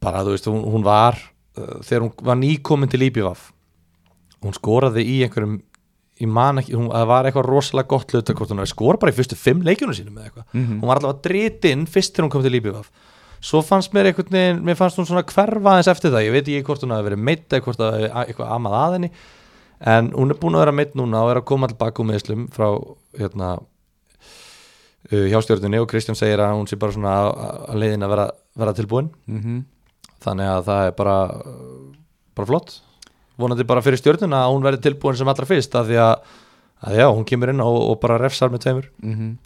Speaker 2: bara þú veist, hún, hún var uh, þegar hún var nýkomin til Íbjöfaf hún skoraði í einhverjum ég man ekki, hún, það var eitthvað rosalega gott hluta hvort hún hafi skorað bara í fyrstu fimm leikjunum sínum eða eitthvað
Speaker 1: mm
Speaker 2: hún var allavega dritinn fyrst þegar hún kom til Líbjöfaf svo fannst mér einhvern veginn, mér fannst hún svona hverfa aðeins eftir það, ég veit ekki hvort hún hafi verið meitt eða hvort það hafi a- eitthvað amað að henni en hún er búin að vera meitt núna og er að koma tilbaka úr meðslum frá hérna uh, hjástjörnunni og Kristján segir að hún sé bara svona á- á- á leiðin að vera, vera tilbúin þannig að það er bara uh, bara flott vonandi bara fyrir stjörnuna að hún verði tilbúin sem allra fyrst af því að, að já, hún kemur inn og, og bara refsar með tveimur
Speaker 1: Mhm.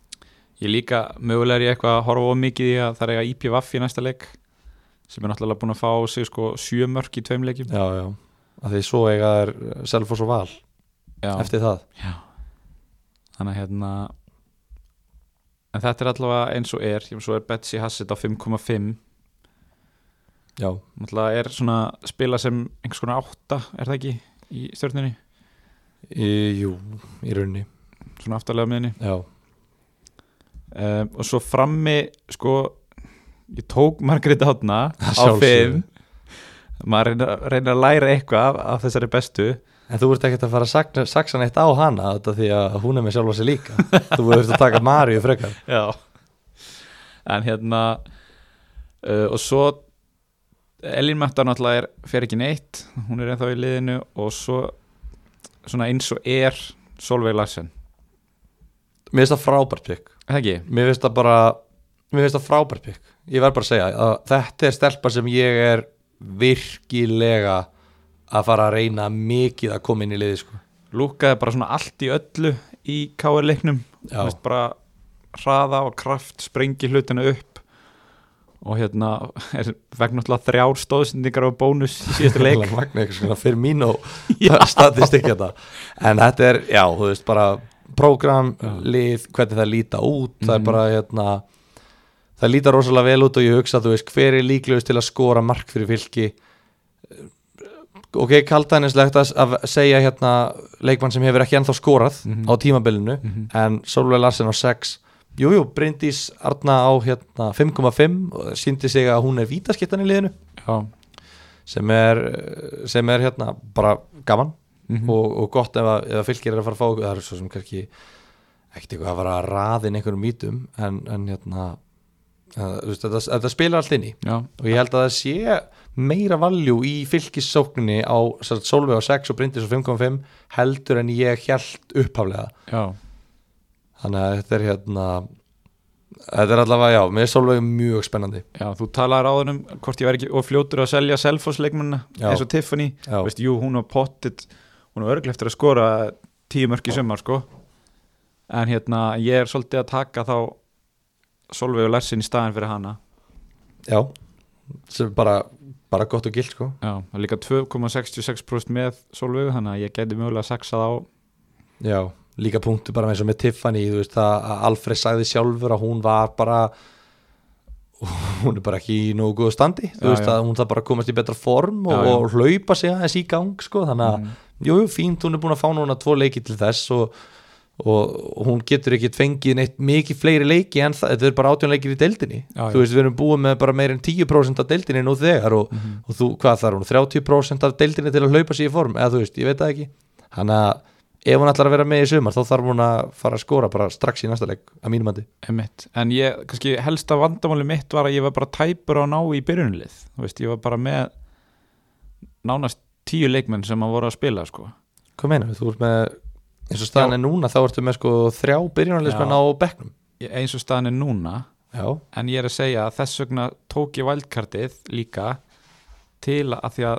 Speaker 1: Ég líka mögulega er ég eitthvað að horfa á mikið í að það er að IPVF í næsta leik sem er náttúrulega búin að fá á sig sko sjö mörk í tveim leikjum
Speaker 2: Já, já, að því svo eiga þær eh, Selfoss og Val
Speaker 1: Já.
Speaker 2: eftir það
Speaker 1: þannig að hérna en þetta er allavega eins og er Ég meina, svo er Betsy Hassett á 5,5
Speaker 2: Já,
Speaker 1: náttúrulega er svona spila sem einhvers konar átta, er það ekki í stjórninni,
Speaker 2: í, jú, í rauninni
Speaker 1: svona aftarlega miðinni
Speaker 2: Já,
Speaker 1: um, og svo frammi sko, ég tók Margrét Átna á
Speaker 2: Að sjálfsögðu.
Speaker 1: 5 maður reynir, reynir að læra eitthvað af, af þessari bestu
Speaker 2: en þú ert ekkert að fara að sakna, saksa neitt á hana þetta því að hún er með sjálfa sig líka Þú ert að taka Maríu frekar
Speaker 1: Já En hérna uh, Og svo Elín Metta náttúrulega er, fer ekki neitt Hún er ennþá í liðinu og svo Svona eins og er Solveig Larsen
Speaker 2: Mér finnst það frábært pikk
Speaker 1: Er Það ekki?
Speaker 2: Mér finnst það bara, mér finnst það frábært pikk Ég verð bara að segja að þetta er stelpa sem ég er virkilega að fara að reyna mikið að koma inn í liði sko
Speaker 1: Lúkaði bara svona allt í öllu Í KR leiknum
Speaker 2: Já,
Speaker 1: Þú veist, Bara hraða og kraft Sprengi hlutina upp Og hérna er vegna náttúrulega þrjár stóðsendingar og bónus í síðasta leik
Speaker 2: Eiginlega magna eitthvað svona fyrir mín og statistik þetta en þetta er, já, þú veist bara prógram, lið, hvernig það líta út það er
Speaker 1: Mhm.
Speaker 2: bara, hérna það líta rosalega vel út og ég hugsa þú veist, hver er líklegust til að skora mark fyrir fylki ok, kaldænislegt að að segja hérna leikmann sem hefur ekki ennþá skorað
Speaker 1: Mhm.
Speaker 2: á tímabilinu
Speaker 1: Mhm.
Speaker 2: en Solveig Larsen á 6 Jújú, jú, Bryndís Arna á hérna 5,5 og það síndi sig að hún er vítaskittan í liðinu
Speaker 1: Já
Speaker 2: sem er, sem er hérna bara gaman
Speaker 1: Mhm.
Speaker 2: og, og gott ef að, ef að fylgir er að fara að fá það er svo sem kannski ekkert eitthvað að fara að raðin einhverjum vítum en, en hérna uh, þú veist, þetta, þetta spilar allt inn í
Speaker 1: Já,
Speaker 2: og ég held að það sé meira valjú í fylgissókninni á sem sagt, Solveig á 6 og Bryndis á 5.5 heldur en ég held upphaflega
Speaker 1: já
Speaker 2: þannig að þetta er hérna þetta er allavega, já, mér er Solveig mjög spennandi
Speaker 1: Já, þú talaðir áður um hvort ég væri ekki og fljótur að selja Selfoss leikmennina
Speaker 2: Já.
Speaker 1: eins og Tiffany,
Speaker 2: Já.
Speaker 1: veist, jú, hún var pottit hún var örglega eftir að skora tíu mörk í sömmar, sko en hérna, ég er svolítið að taka þá Solveig og Larsin í staðin fyrir hana
Speaker 2: já, sem er bara, bara gott og gilt sko
Speaker 1: Já, það er líka 2,66% með Solveig, þannig að ég geti mögulega saxað á
Speaker 2: Já, líka punktu bara eins og með Tiffany þú veist það að Alfred sagði sjálfur að hún var bara hún er bara ekki í nógu góðu standi þú
Speaker 1: Já,
Speaker 2: veist
Speaker 1: já.
Speaker 2: að hún þarf bara að komast í betra form og,
Speaker 1: Já, já.
Speaker 2: og hlaupa sig aðeins í gang sko, þannig að
Speaker 1: Mm.
Speaker 2: jú, jú, fínt, hún er búin að fá núna tvo leiki til þess og, og hún getur ekki fengið neitt mikið fleiri leiki en það, þetta er bara átjón leikir í deildinni
Speaker 1: Já, já.
Speaker 2: þú veist, við erum búin með bara meir en 10% af deildinni nú þegar og,
Speaker 1: Mhm.
Speaker 2: og þú, hvað þarf hún, 30% af deildinni til að hlaupa sér í form, eða þú veist, ég veit það ekki hann að ef hún ætlar að vera með í sumar þá þarf hún að fara að skora bara strax í næsta leik að mínum andi,
Speaker 1: Einmitt. En ég, kannski helsta vandamáli mitt var að ég var bara tæpur á að ná í byrjunlið Þú veist, ég var bara með nánast tíu leikmenn sem að voru að spila sko.
Speaker 2: hvað meina þú ert með, eins og staðan
Speaker 1: Já.
Speaker 2: er núna þá ertu með sko þrjá byrjunarleismenn
Speaker 1: Já.
Speaker 2: á bekknum
Speaker 1: Ég- eins og staðan er núna
Speaker 2: já,
Speaker 1: en ég er að segja að þess vegna tók ég valdkartið líka til að því að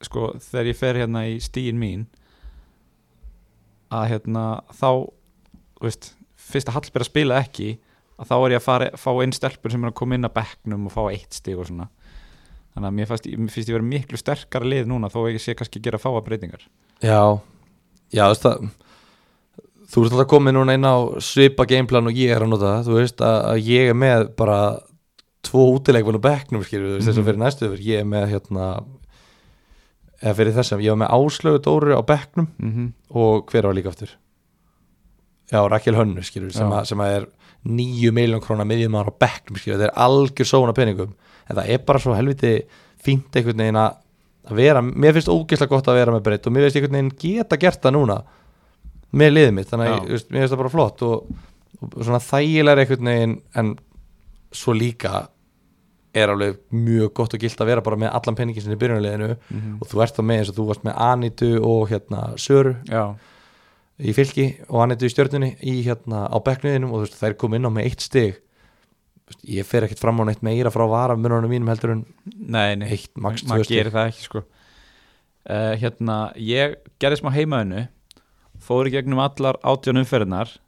Speaker 1: sko, þegar ég fer hérna í stíin mín að hérna þá þú veist, fyrst að Hallberg spila ekki að þá er ég að fara, fá einn stelpur sem er að koma inn að bekknum og fá eitt stig og svona þannig að mér fannst, mér finnst ég verið miklu sterkara lið núna þó ég sé kannski að gera fáa breytingar
Speaker 2: Já, já, þú veist að þú ert alltaf komið núna inn á svipa gameplan og ég er að nota það, þú veist að, að ég er með bara tvo útileikmenn á bekknum, skilur þú veist þess að
Speaker 1: Mhm.
Speaker 2: fyrir næstu yfir, ég er með hérna eða fyrir þessum, ég var með Áslaugu Dóru á bekknum
Speaker 1: mm -hmm.
Speaker 2: og hver var líka aftur Já, Rakel Hönnu, skilur við, sem,
Speaker 1: Já.
Speaker 2: að- sem að er níu miljón krónar miðjumar á bekknum, skilur við, þetta er algjör sóna peningum, en það er bara svo helviti fínt einhvern veginn að að vera, mér finnst ógeðslega gott að vera með breytt og mér finnst einhvern veginn geta gert það núna með liðið mitt, þannig að
Speaker 1: Já.
Speaker 2: ég- þú veist, mér finnst það bara flott og, og svona þægilega einhvern veginn en svo líka er alveg mjög gott og gilt að vera bara með allan peningin sinni í byrjunarliðinu og þú ert þá með eins og þú varst með Anitu og hérna Söru
Speaker 1: Já,
Speaker 2: í fylki og hann eitthvað í stjörnunni í hérna á bekknuðinum og þú veist þær kom inn á með eitt stig Þú veist, ég fer ekkert fram á neitt meira frá varamununum mínum heldur en
Speaker 1: nei, nei
Speaker 2: eitt max tvö
Speaker 1: maður
Speaker 2: stig
Speaker 1: gerir það ekki sko uh, hérna, ég gerði smá heimaðinu fór í gegnum allar átján umferðinar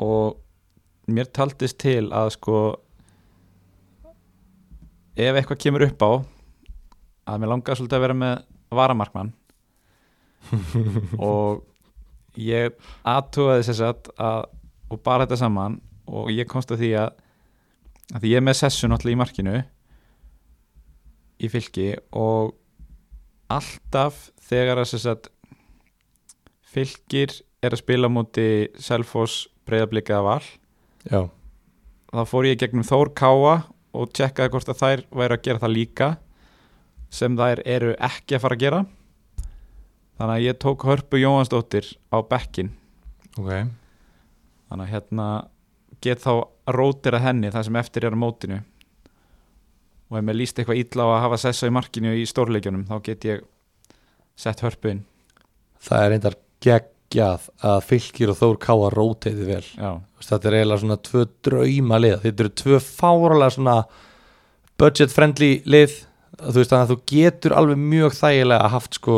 Speaker 1: og mér taldist til að sko ef eitthvað kemur upp á að mér langar svolítið að vera með varamarkmann og ég aðtúaði sér satt að, og bara þetta saman og ég komst að því að, að því ég er með sessun allir í markinu í fylki og alltaf þegar að sem sagt, fylkir er að spila á móti Selfoss breyðablika eða val
Speaker 2: já,
Speaker 1: þá fór ég í gegnum Þór Káa og tjekkaði hvort að þær væri að gera það líka sem þær eru ekki að fara að gera þannig að ég tók Hörpu Jóhansdóttir á bekkin
Speaker 2: ok
Speaker 1: þannig að hérna get þá rótir að henni það sem eftir er á mótinu og ef mér líst eitthvað illa á að hafa sessa í markinu í stórleikjunum þá get ég sett hörpu inn
Speaker 2: það er reyndar geggjað að fylkir og þór káa rótiði vel
Speaker 1: já,
Speaker 2: Þú veist, þetta er eiginlega svona tvö drauma lið þetta eru tvö fáralega svona budget friendly lið þú veist þannig að þú getur alveg mjög þægilega haft sko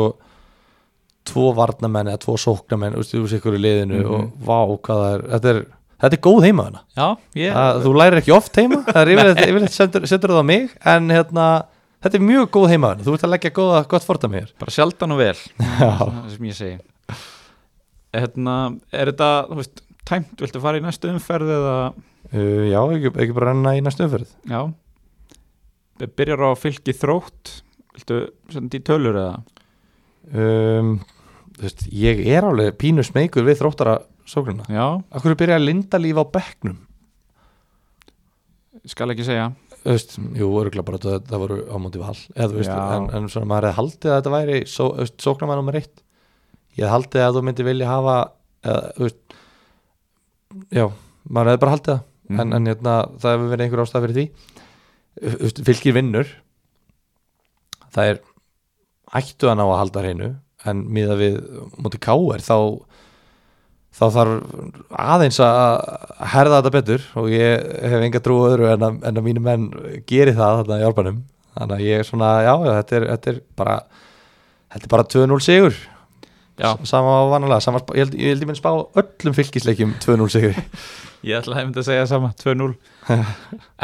Speaker 2: tvo varnamenn eða tvo sóknamenn úr sikkur í liðinu
Speaker 1: Mhm.
Speaker 2: og vá hvað það er þetta er, þetta er góð heima hana
Speaker 1: já ég,
Speaker 2: yeah. þú lærir ekki oft heima það er yfirleitt, yfirleitt sendur, sendur það á mig en hérna þetta er mjög góð heima hana þú ert að leggja góða, gott fordæmi hér
Speaker 1: bara sjaldan og vel
Speaker 2: já,
Speaker 1: svona sem ég segi hérna, er þetta þú veist, tæmt, viltu fara í næstu umferð eða,
Speaker 2: uh, já ekki, ekki bara renna í næstu umferð
Speaker 1: já Við byrjar á fylki þrótt viltu senda í tölur eða
Speaker 2: um, þú veist, ég er alveg pínu smeykur við þróttara sóknuna
Speaker 1: já,
Speaker 2: Akkur er byrjað að linda líf á bekknum
Speaker 1: skal ekki segja
Speaker 2: Þú veist, Jú, örgulega bara það, það voru á móti val eða, þú veist,
Speaker 1: Já.
Speaker 2: en, en svona maður hefði haldið að þetta væri só, þú veist, sóknarmann nummer eitt ég hefði haldið að þú myndi vilja hafa eða, þú veist, já, maður hefði bara haldið það en, en hérna, það hefur verið einhver ástæð fyrir því Þú veist, fylgir vinnur það er ættu að ná að halda hreinu en miða við móti káir þá þá þarf aðeins að herða þetta betur og ég hef enga trú á öðru en að, en að mínu menn geri það þarna í orbanum þannig að ég er svona, já, já, þetta er, þetta er bara þetta er bara 2-0 sigur
Speaker 1: já,
Speaker 2: S- sama vanalega, sama, spá- ég held ég, held ég minn spá öllum fylgisleikjum 2-0 sigur
Speaker 1: Ég ætlaði að mynda að segja sama, 2-0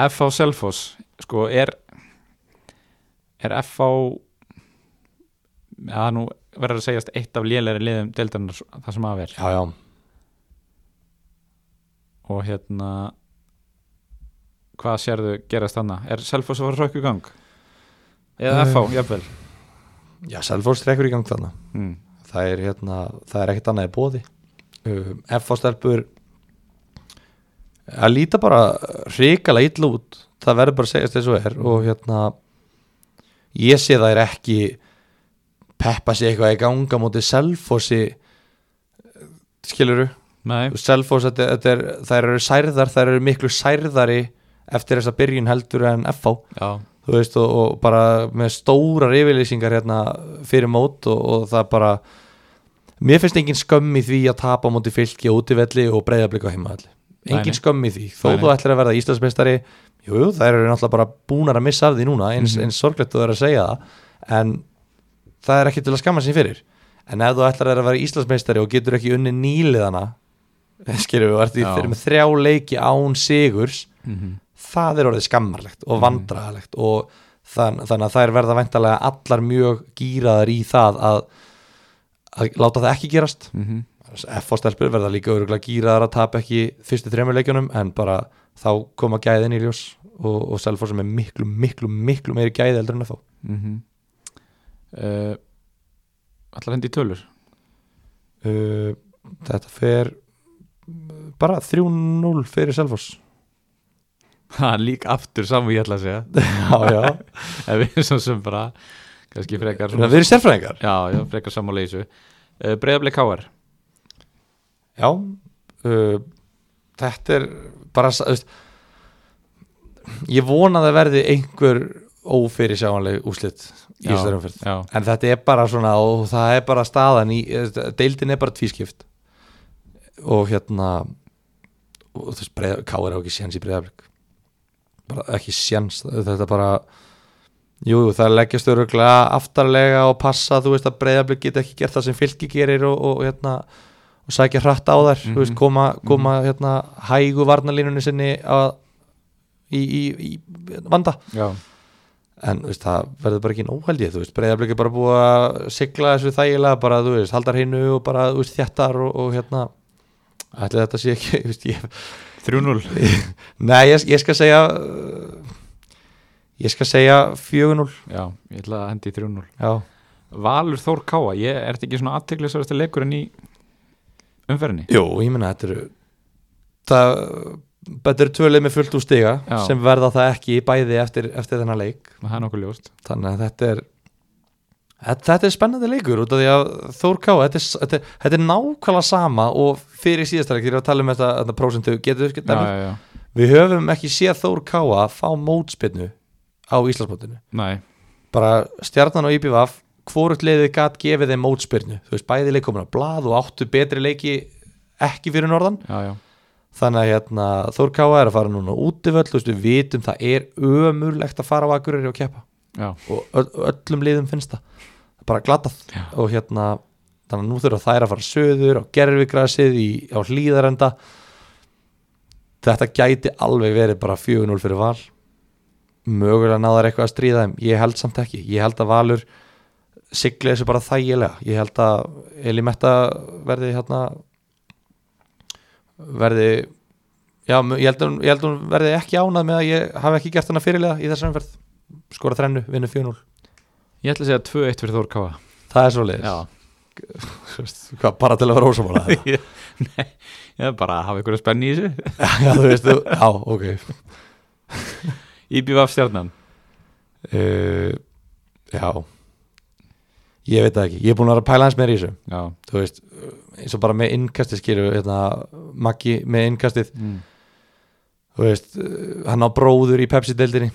Speaker 1: F á Selfoss sko er er FH já nú verður að segjast eitt af lélæri liðum deildarnar s- það sem af er
Speaker 2: já, já,
Speaker 1: og hérna hvað sérðu gerast þannig er Selfoss að fara rökku gang eða
Speaker 2: Eh.
Speaker 1: FH, jafnvel
Speaker 2: já Selfoss trekkur í gang þarna
Speaker 1: mm.
Speaker 2: það er, hérna, það er ekkert annað í bóði um, FH stelpur að líta bara hrikala illa út það verður bara að segjast eins og er og hérna ég sé það er ekki peppa sig eitthvað í ganga móti Selfossi skiluru
Speaker 1: nei,
Speaker 2: Selfoss, þetta, þetta er, þær eru særðar þær eru miklu særðari eftir þessa byrjun heldur en FH
Speaker 1: já,
Speaker 2: þú veist og, og bara með stórar yfirlýsingar hérna fyrir mót og, og það bara mér finnst engin skömm í því að tapa á móti fylki á útivelli og breyðablík á heimavelli
Speaker 1: Nei, nei.
Speaker 2: engin skömm í því, þó
Speaker 1: Nei, nei.
Speaker 2: þú ætlir að verða Íslandsmeistari jú, jú, þær eru náttúrulega bara búnar að missa af því núna, eins,
Speaker 1: Mhm.
Speaker 2: eins sorglegt þú er að segja það en það er ekki til að skamma sín fyrir en ef þú ætlar að vera Íslandsmeistari og getur ekki unni nýliðana skilur við, og ert í
Speaker 1: Já.
Speaker 2: þeir með þrjá leiki án sigurs
Speaker 1: mm
Speaker 2: það er orðið skammarlegt og
Speaker 1: Mhm.
Speaker 2: vandraðalegt og þann, þannig að þær verða væntalega allar mjög gýraðar í það að, að láta það ekki gerast
Speaker 1: Mhm.
Speaker 2: F.O. stelpur verða líka öruglega gýraðar að tapa ekki fyrstu þremur leikjunum en bara þá koma gæðin í ljós og, og Selfoss sem er miklu, miklu, miklu meiri gæði eldur en F.O.
Speaker 1: Mm -hmm. uh, Allar hendi í tölur
Speaker 2: Uh, þetta fer uh, bara 3-0 fyrir Selfoss
Speaker 1: ha, Líka aftur saman ég ætla að segja
Speaker 2: Já, já,
Speaker 1: En Við erum svo sem bara kannski frekar
Speaker 2: við
Speaker 1: svona,
Speaker 2: erum sérfræðingar
Speaker 1: Já, já, frekar saman leysu uh, Breiðablik KR
Speaker 2: Já uh, Þetta er bara sa- þú veist, Ég vona að það verði einhver ófyrir sjáanleg úslit í
Speaker 1: Já,
Speaker 2: þessari umferð
Speaker 1: Já,
Speaker 2: En þetta er bara svona og það er bara staðan í eh, deildin er bara tvískipt og hérna og þú veist, breið, Káir á ekki séns í breyðaflik bara ekki séns þetta er bara jú, jú, það leggjast öruglega aftarlega og passa, þú veist að breyðaflik geta ekki gert það sem fylki gerir og, og hérna og sækja hratt á þær, þú veist,
Speaker 1: Mhm.
Speaker 2: koma, koma hérna, hægu varnalínunni sinni að, í, í, í vanda
Speaker 1: já,
Speaker 2: en þú veist, það verður bara ekki nóhæld ég þú veist, breyðarblik er bara búið að sigla þessu þægilega, bara þú veist, haldar hinnu og bara þú veist, þjættar og, og hérna ætli þetta sé ekki, þú veist, ég
Speaker 1: 3-0
Speaker 2: nei, ég, ég skal segja uh, ég skal segja 4-0,
Speaker 1: Já, ég ætla að hendi í 3-0
Speaker 2: já
Speaker 1: Valur Þór KR, ég er þetta ekki svona aðteglisverðasti leikurinn í umferðinni
Speaker 2: Jú, ég menna, þetta eru það, þetta eru tvölið með fullt úr stiga
Speaker 1: Já.
Speaker 2: sem verða það ekki bæði eftir, eftir þennan leik
Speaker 1: Það er nokkuð ljóst
Speaker 2: þannig að þetta er þetta, þetta er spennandi leikur út af því að Þór Ká, þetta er, þetta, er- þetta er nákvæmlega sama og fyrir síðastaleg þegar við talum um þetta, þetta prósentu getur,
Speaker 1: Já,
Speaker 2: getur,
Speaker 1: já, já,
Speaker 2: við höfum ekki séð Þór Ká að fá mótspinnu á Íslandsmótinu
Speaker 1: nei
Speaker 2: bara stjarnan og IPVaf hvort leiðið gat gefið þeim mótspinnu þú veist, bæði leik komin á blað og áttu betri leiki ekki fyrir norðan
Speaker 1: Já, já,
Speaker 2: þannig að hérna, Þór Ká er að fara núna á útivöll, þú veist, við vitum það er ömurlegt að fara á Akureyri og keppa
Speaker 1: já,
Speaker 2: og öll- öllum liðum finnst það bara glatað
Speaker 1: Já.
Speaker 2: og hérna þannig að nú þurfa þær að fara söður á gerfigrasið í, á hlýðarenda þetta gæti alveg verið bara 4-0 fyrir val mögulega náðar eitthvað að stríða þeim ég held samt ekki, ég held að valur sigli þessu bara þægilega ég held að Elimetta verði hérna verði já, mö- ég held, að, hún- ég held að hún verði ekki ánað með að ég hafi ekki gert hana fyrirlega í þessum umferð skora þrennu, vinnu 4-0
Speaker 1: ég ætla að segja 2-1 fyrir Þór KR
Speaker 2: það er svo leiðis
Speaker 1: Já,
Speaker 2: Hvað, bara til að vera ósamála það
Speaker 1: ég er bara að hafa ykkur að spenni í þessu
Speaker 2: já, þú veist, þú, já, ok
Speaker 1: Íbjöfaf stjarnan
Speaker 2: uh, já ég veit það ekki, ég er búin að vera að pæla hans meira í þessu
Speaker 1: Já,
Speaker 2: þú veist, uh, eins og bara með innkastið skilur hérna, Maggi með innkastið
Speaker 1: mm.
Speaker 2: þú veist, uh, hann á bróður í Pepsi-deildinni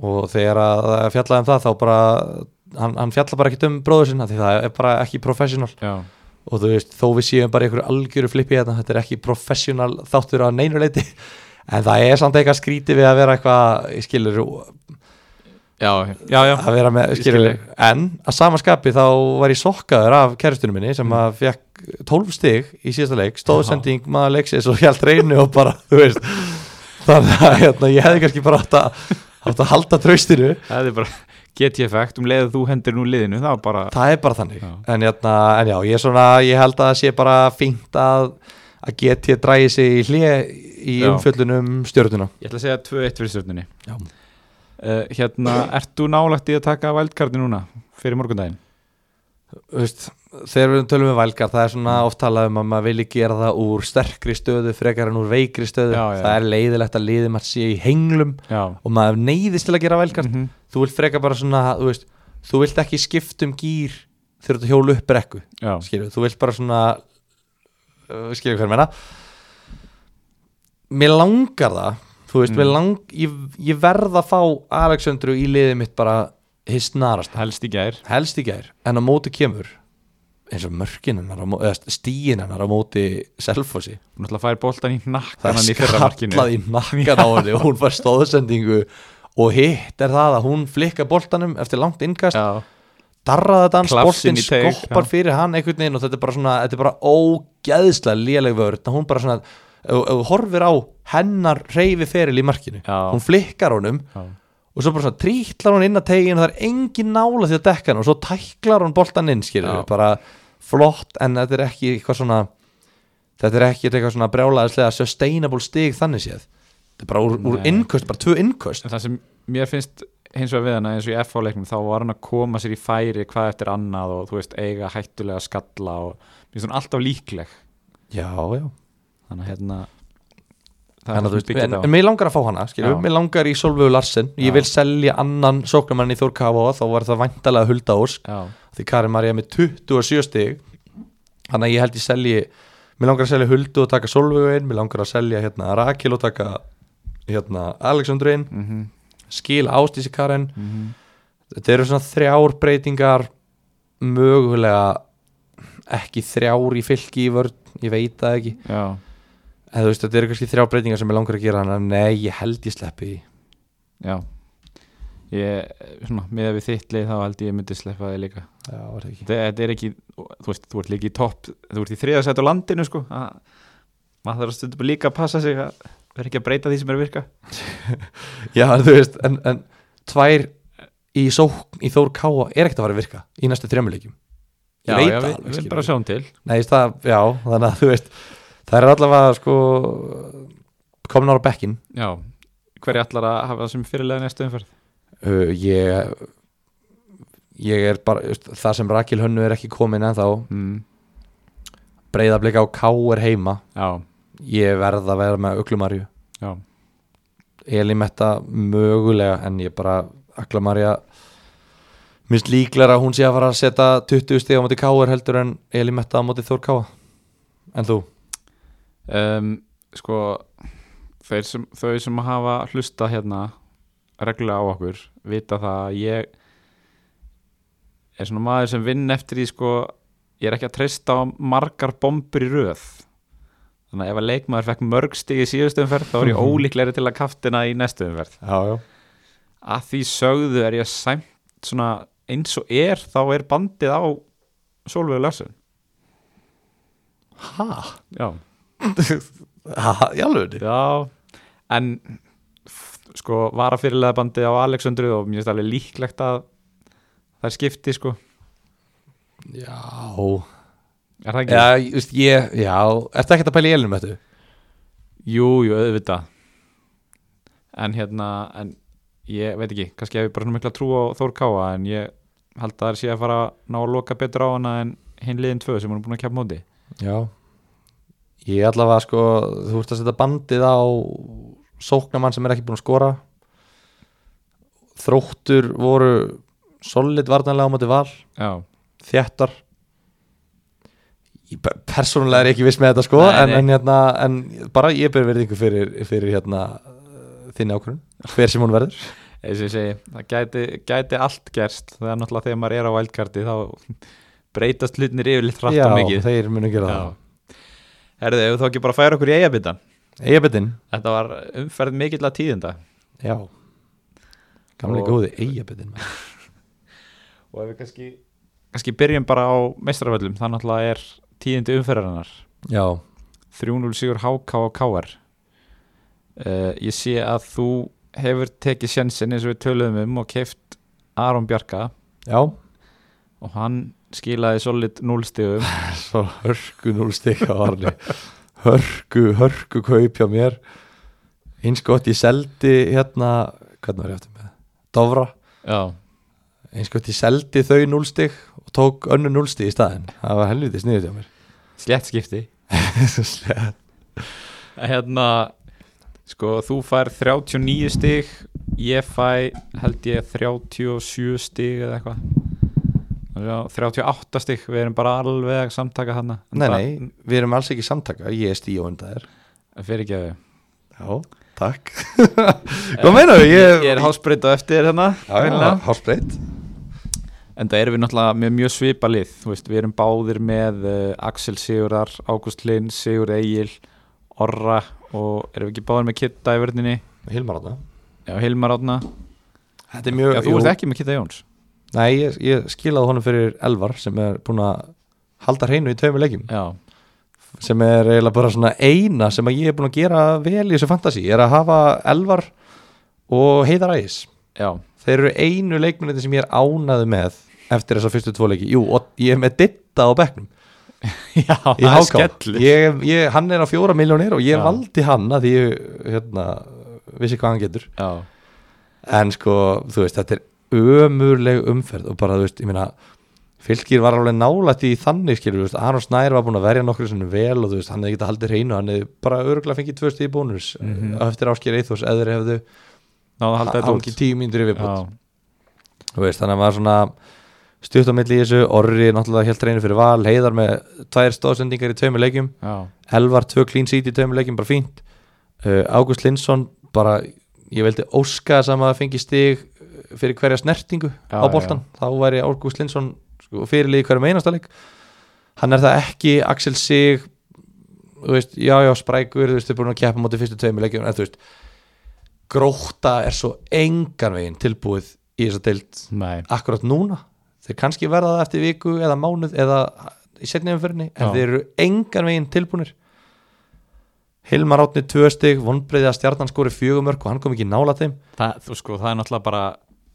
Speaker 2: og þegar að það er fjallað um það þá bara hann, hann fjalla bara ekkert um bróður sinna því það er bara ekki professional
Speaker 1: já,
Speaker 2: og þú veist, þó við séum bara í einhverju algjöru flippi hérna, þetta er ekki professional þáttur á neinu leiti en það er samt eitthvað skrítið við að vera eitthvað ég skilur,
Speaker 1: já, já, já.
Speaker 2: að vera með
Speaker 1: Ég skil
Speaker 2: skilur, en að sama skapi þá var ég sokkaður af kærustunum minni sem
Speaker 1: Mm.
Speaker 2: að fekk 12 stig í síðasta leik, stóðsending maður leiksins og hjælt reynu og bara, þú veist þannig að hérna, ég hefði kannski bara átt að átt að halda traustinu
Speaker 1: það er bara get ég effekt um leiðu þú hendir nú liðinu það var bara
Speaker 2: það er bara þannig
Speaker 1: Já.
Speaker 2: en, jatna, en já, ég, er svona, ég held að það sé bara fínt að, að get ég dræði sig í hlje í um
Speaker 1: Já.
Speaker 2: umfjöllunum stjórnuna
Speaker 1: ég ætla að segja 2-1 fyrir stjórninni
Speaker 2: Já.
Speaker 1: uh, hérna, ert þú nálagt í að taka vældkarti núna fyrir morgundaginn
Speaker 2: Vist, þegar við tölum við vælgar það er svona oft talað um að maður vilji gera það úr sterkri stöðu frekar en úr veikri stöðu
Speaker 1: Já, já.
Speaker 2: það er leiðilegt að liðið maður sé í henglum
Speaker 1: já,
Speaker 2: og maður neyðist til að gera vælgar
Speaker 1: Mhm.
Speaker 2: þú vilt frekar bara svona þú, veist, þú vilt ekki skipta um gýr þegar þú ert að hjóla upp brekku
Speaker 1: já.
Speaker 2: skilur, þú vilt bara svona uh, skilur hver meina mér langar það þú veist,
Speaker 1: Mm.
Speaker 2: mér lang, ég, ég verð að fá Alexandru í liðið mitt bara hins narast,
Speaker 1: helst í gær
Speaker 2: helst í gær en á móti kemur eins og mörkin hennar, á mó- eða stíin hennar á móti selfossi,
Speaker 1: hún ætla að færa boltan í nakkan
Speaker 2: það
Speaker 1: hann í
Speaker 2: er
Speaker 1: fyrra markinu
Speaker 2: skallað í nakkan á henni og hún var stóðsendingu og hitt er það að hún flikka boltanum eftir langt innkast
Speaker 1: já,
Speaker 2: darraða dans,
Speaker 1: Klafsin
Speaker 2: boltinn
Speaker 1: í teig,
Speaker 2: skoppar
Speaker 1: já.
Speaker 2: fyrir hann einhvern veginn og þetta er bara svona, þetta er bara ógeðslega léleg vörð, hún bara svona ef ef þú horfir á hennar reyfi feril í markinu,
Speaker 1: Já.
Speaker 2: hún flikkar honum
Speaker 1: já,
Speaker 2: og svo bara svona trítlar hún inn að tegin og það er engin nála því að dekka hann og svo tæklar hún boltan inn, skilur
Speaker 1: Já.
Speaker 2: bara flott, en þetta er ekki eitthvað svona þetta er ekki eitthvað svona brjálaðislega sustainable stig þannig séð þetta er bara úr, úr
Speaker 1: Nei.
Speaker 2: innköst, bara tvö innköst
Speaker 1: en það sem mér finnst hins vegar við hana eins og í FH-leiknum þá var hann að koma sér í færi hvað eftir annað og þú veist eiga hættulega skalla og mér finnst hún alltaf líkleg
Speaker 2: já, já
Speaker 1: þannig að hérna það
Speaker 2: en,
Speaker 1: er
Speaker 2: þú
Speaker 1: það
Speaker 2: veist,
Speaker 1: sem byggir
Speaker 2: en, en
Speaker 1: á
Speaker 2: mér langar að fá hana skilur,
Speaker 1: Já.
Speaker 2: mér langar í Solveig Larsen ég
Speaker 1: Já.
Speaker 2: vil selja annan sóknumann í Þórkáfa þá var það væntalega Hulda Ósk
Speaker 1: já,
Speaker 2: því Karin Maria er með 27 stig þannig að ég held ég selji mér langar að selja Huldu og taka Solveig inn mér langar að selja hérna Rakil og taka hérna Alexandru inn
Speaker 1: mm -hmm,
Speaker 2: skila Ástísi Karin
Speaker 1: mhm.
Speaker 2: þetta eru svona þrjár breytingar mögulega ekki þrjár í fylki í vörn ég veit það ekki
Speaker 1: já.
Speaker 2: eða þú veist þetta eru kannski þrjá breytingar sem ég langar að gera þannig að nei ég held ég sleppi því.
Speaker 1: já ég, svona, með við þitt lið þá held ég myndi sleppa þig líka
Speaker 2: Já, var það ekki
Speaker 1: þetta, þetta er ekki, þú veist, þú ert líka í topp þú ert í þriðasætt á landinu sko að, maður þarf að stundum líka að passa sig að vera ekki að breyta því sem er að virka
Speaker 2: Já, en þú veist, en, en tvær í sókn í Þór Káa er ekkert að fara að virka í næstu þrjámuleikjum Ég veit það
Speaker 1: við,
Speaker 2: alveg,
Speaker 1: við
Speaker 2: skilur.
Speaker 1: bara sjáum til
Speaker 2: Nei, ég veist það, já, þannig að þú veist það er allavega sko komnar á bekkin
Speaker 1: já, hverju allar að hafa það sem fyrirlega næstu umferð
Speaker 2: uh, ég ég er bara, þú veist, það sem Rakil Hönnu er ekki komin en þá
Speaker 1: mm.
Speaker 2: breyðablika á Ká er heima
Speaker 1: já,
Speaker 2: ég verð að vera með Uglumarju
Speaker 1: já,
Speaker 2: Elimetta mögulega en ég bara akla Marja minnst líklar að hún sé að fara að setja 20 stig á móti Káar heldur en Elimetta á móti Þór Káa en þú?
Speaker 1: um, sko þeir sem, þau sem hafa hlusta hérna reglulega á okkur vita það að ég er svona maður sem vinn eftir því sko ég er ekki að treysta á margar bombur í röð þannig að ef að leikmaður fekk mörg stig í síðustu umferð þá er ég ólíklegri til að kaftina í næstu umferð
Speaker 2: Já, já
Speaker 1: að því sögðu er ég sæmt svona eins og er þá er bandið á Solveig Larsen
Speaker 2: Hæ?
Speaker 1: já
Speaker 2: Í alveg?
Speaker 1: Já, en f- sko vara fyrirlega bandið á Alexandru og mér finnst alveg líklegt að það er skipti sko
Speaker 2: Já
Speaker 1: Er það ekki?
Speaker 2: Já, ég, veist, ég, já Ertu ekkert að pæla í Elimetta?
Speaker 1: Jú, jú, auðvitað En hérna, en ég veit ekki, kannski hef ég bara svona mikla trú á Þór Káa en ég held að það er sé að fara að ná að loka betur á hana en hinn liðin tvö sem hún er búin að keppa móti
Speaker 2: Já Ég allavega sko, þú ert að setja bandið á sóknamann sem er ekki búin að skora Þróttur voru solid vartanlega á móti val
Speaker 1: Já,
Speaker 2: þjættar ég pe- persónulega er ég ekki viss með þetta sko
Speaker 1: Nei,
Speaker 2: en,
Speaker 1: nei.
Speaker 2: En, hérna, en bara ég ber verðingu fyrir, fyrir hérna, uh, þinni ákvörun hver sem hún verður
Speaker 1: eins og ég segi, það gæti, gæti allt gerst það er náttúrulega þegar maður er á vældkarti þá breytast hlutnir yfirleitt hratt
Speaker 2: Já,
Speaker 1: og mikið
Speaker 2: þeir munu gera
Speaker 1: Já. Herðu, ef þú ekki bara færa okkur í eigabitan
Speaker 2: það Eyjabitinn
Speaker 1: Þetta var umferð mikill að tíðinda
Speaker 2: Já Gamli
Speaker 1: Og-
Speaker 2: góði Eyjabitinn maður.
Speaker 1: Og ef við kannski Kannski byrjum bara á meistaraföllum Þannig að er tíðindi umferðarinnar
Speaker 2: Já
Speaker 1: 3-0 sigur HK og KR uh, Ég Eh, sé að þú hefur tekið sjensin eins og við töluðum um og keift Aron Bjarka
Speaker 2: Já,
Speaker 1: og hann skilaði solid 0 stigum
Speaker 2: svo hörku núl stikka á Arni hörku, hörku kaup hjá mér eins gott ég seldi hérna, hvernig var ég aftur með Dovra,
Speaker 1: Já,
Speaker 2: eins gott ég seldi þau núlstig og tók önnu núlstig í staðin það var helviti sniðið hjá
Speaker 1: slétt skipti
Speaker 2: mér
Speaker 1: Hérna, sko þú fær 39 stig ég fæ held ég 37 stig eða eitthvað Já, 38 stig, við erum bara alveg að samtaka hana
Speaker 2: Nei, nei, við erum alls ekki samtaka ég er stíu og undan þér
Speaker 1: Fyrir ekki að við
Speaker 2: Já, takk Hvað meinar við? Ég,
Speaker 1: Ég er hásbreyta eftir hérna
Speaker 2: Já,
Speaker 1: greinilega.
Speaker 2: hásbreyt
Speaker 1: En það erum við náttúrulega með mjög svipa lið þú veist, Við erum báðir með uh, Axel Sigurðar, Ágúst Lind, Sigur Egil Orra og erum við ekki báðir með Kitta í vörninni
Speaker 2: Hilmar átna
Speaker 1: Já, Hilmar Átna
Speaker 2: Þetta er mjög
Speaker 1: Já, þú ert ekki með Kitta Jóns
Speaker 2: Nei, ég, ég skilaði honum fyrir Elvar sem er búin að halda hreinu í tveimur leikjum
Speaker 1: Já,
Speaker 2: sem er eiginlega bara svona eina sem að ég er búin að gera vel í þessu fantasi er að hafa Elvar og Heiðar Ægis
Speaker 1: já,
Speaker 2: þeir eru einu leikminni sem ég er ánaði með eftir þessa fyrstu tvo leiki Jú, og ég er með ditta á bekknum
Speaker 1: já
Speaker 2: í
Speaker 1: það er
Speaker 2: HK.
Speaker 1: skellur.
Speaker 2: ég, ég, hann er á fjóra miljónir og ég
Speaker 1: Já.
Speaker 2: valdi hann að því ég hérna, vissi hvað hann getur
Speaker 1: Já,
Speaker 2: en sko, þú veist, þetta er ömurleg umferð og bara, þú veist, ég meina fylgir var alveg nálætt í þannig skilur, þú veist, Aron Snær var búin að verja nokkur sinni vel og þú veist, hann hefði getað haldið hreinu hann hefði bara örgulega fengið tvö stíði bónus mm
Speaker 1: Mhm.
Speaker 2: eftir ásker eithos, eða þeir hefðu
Speaker 1: náðu að halda þetta
Speaker 2: hangið tíu mínútur í viðbútt
Speaker 1: Já,
Speaker 2: þú veist, þannig að maður svona stutt á milli í þessu, Orri náttúrulega helt hreinu fyrir val, heiðar með tvær stóðsendingar í tveimur leikjum
Speaker 1: já,
Speaker 2: Elvar tvö clean seat í tveimur leikjum bara fínt uh, Ágúst Lindsson bara ég veldi óska þess að maður fengi stig uh, fyrir hverja snertingu
Speaker 1: Já,
Speaker 2: á boltan þá væri Ágúst Lindsson sko, fyrirlið í hverjum einasta leik hann er það ekki, Axel Sig þú veist, já já sprækur þú veist, þau búin að keppa móti fyrstu tveimur leikjum en þú veist, gróta er svo engan veginn tilbúið í þess að deilt
Speaker 1: nei,
Speaker 2: akkurat núna þeir kannski verða það eftir viku eða mánuð eða í setni umfyrinni en
Speaker 1: Já.
Speaker 2: þeir eru engan veginn tilbúnir Hilmar átni tvö stig vonbreiði að stjarnan skori fjögumörk og hann kom ekki nála þeim
Speaker 1: það, þú sko, það er náttúrulega bara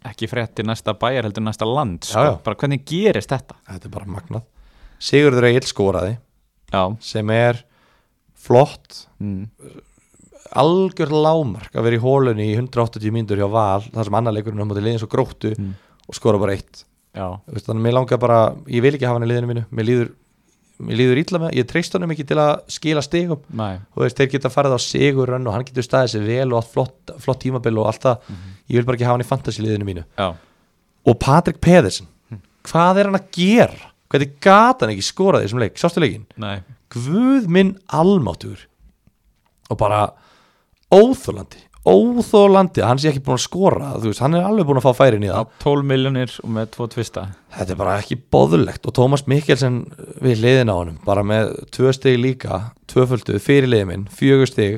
Speaker 1: ekki fréttir næsta bæjar heldur næsta land sko.
Speaker 2: Já, já.
Speaker 1: bara hvernig gerist þetta
Speaker 2: þetta er bara magnað Sigurður Egil skoraði
Speaker 1: Já,
Speaker 2: sem er flott
Speaker 1: mm.
Speaker 2: algjör lámark að vera í hólunni í 180 mínútur hjá Val þar sem annar leikurinn á móti liðin svo gróttu
Speaker 1: Mm.
Speaker 2: og skora bara eitt
Speaker 1: já,
Speaker 2: Þú veist, þannig að mér langar bara, ég vil ekki hafa hann í liðinu mínu mér líður, mér líður illa með, ég treyst honum ekki til að skila stigum
Speaker 1: nei,
Speaker 2: þú veist, þeir geta farið á sigurönn og hann getur staðið sér vel og átt flott, flott tímabil og allt það, ég vil bara ekki hafa hann í fantasiliðinu mínu
Speaker 1: já
Speaker 2: og Patrik Pedersen, hvað er hann að gera? hvernig gata hann ekki skorað í þessum leik, sástu leikin?
Speaker 1: Nei,
Speaker 2: Guð minn almáttur og bara óþólandi, óþólandi að hann sé ekki búin að skora, þú veist, hann er alveg búin að fá færin í
Speaker 1: á
Speaker 2: það,
Speaker 1: 12 miljonir og með tvo tvista
Speaker 2: þetta er bara ekki boðulegt og Tómas Mikkelsen við liðin á honum, bara með tvö stig líka tvöföldu, fyrir liðin minn, fjögur stig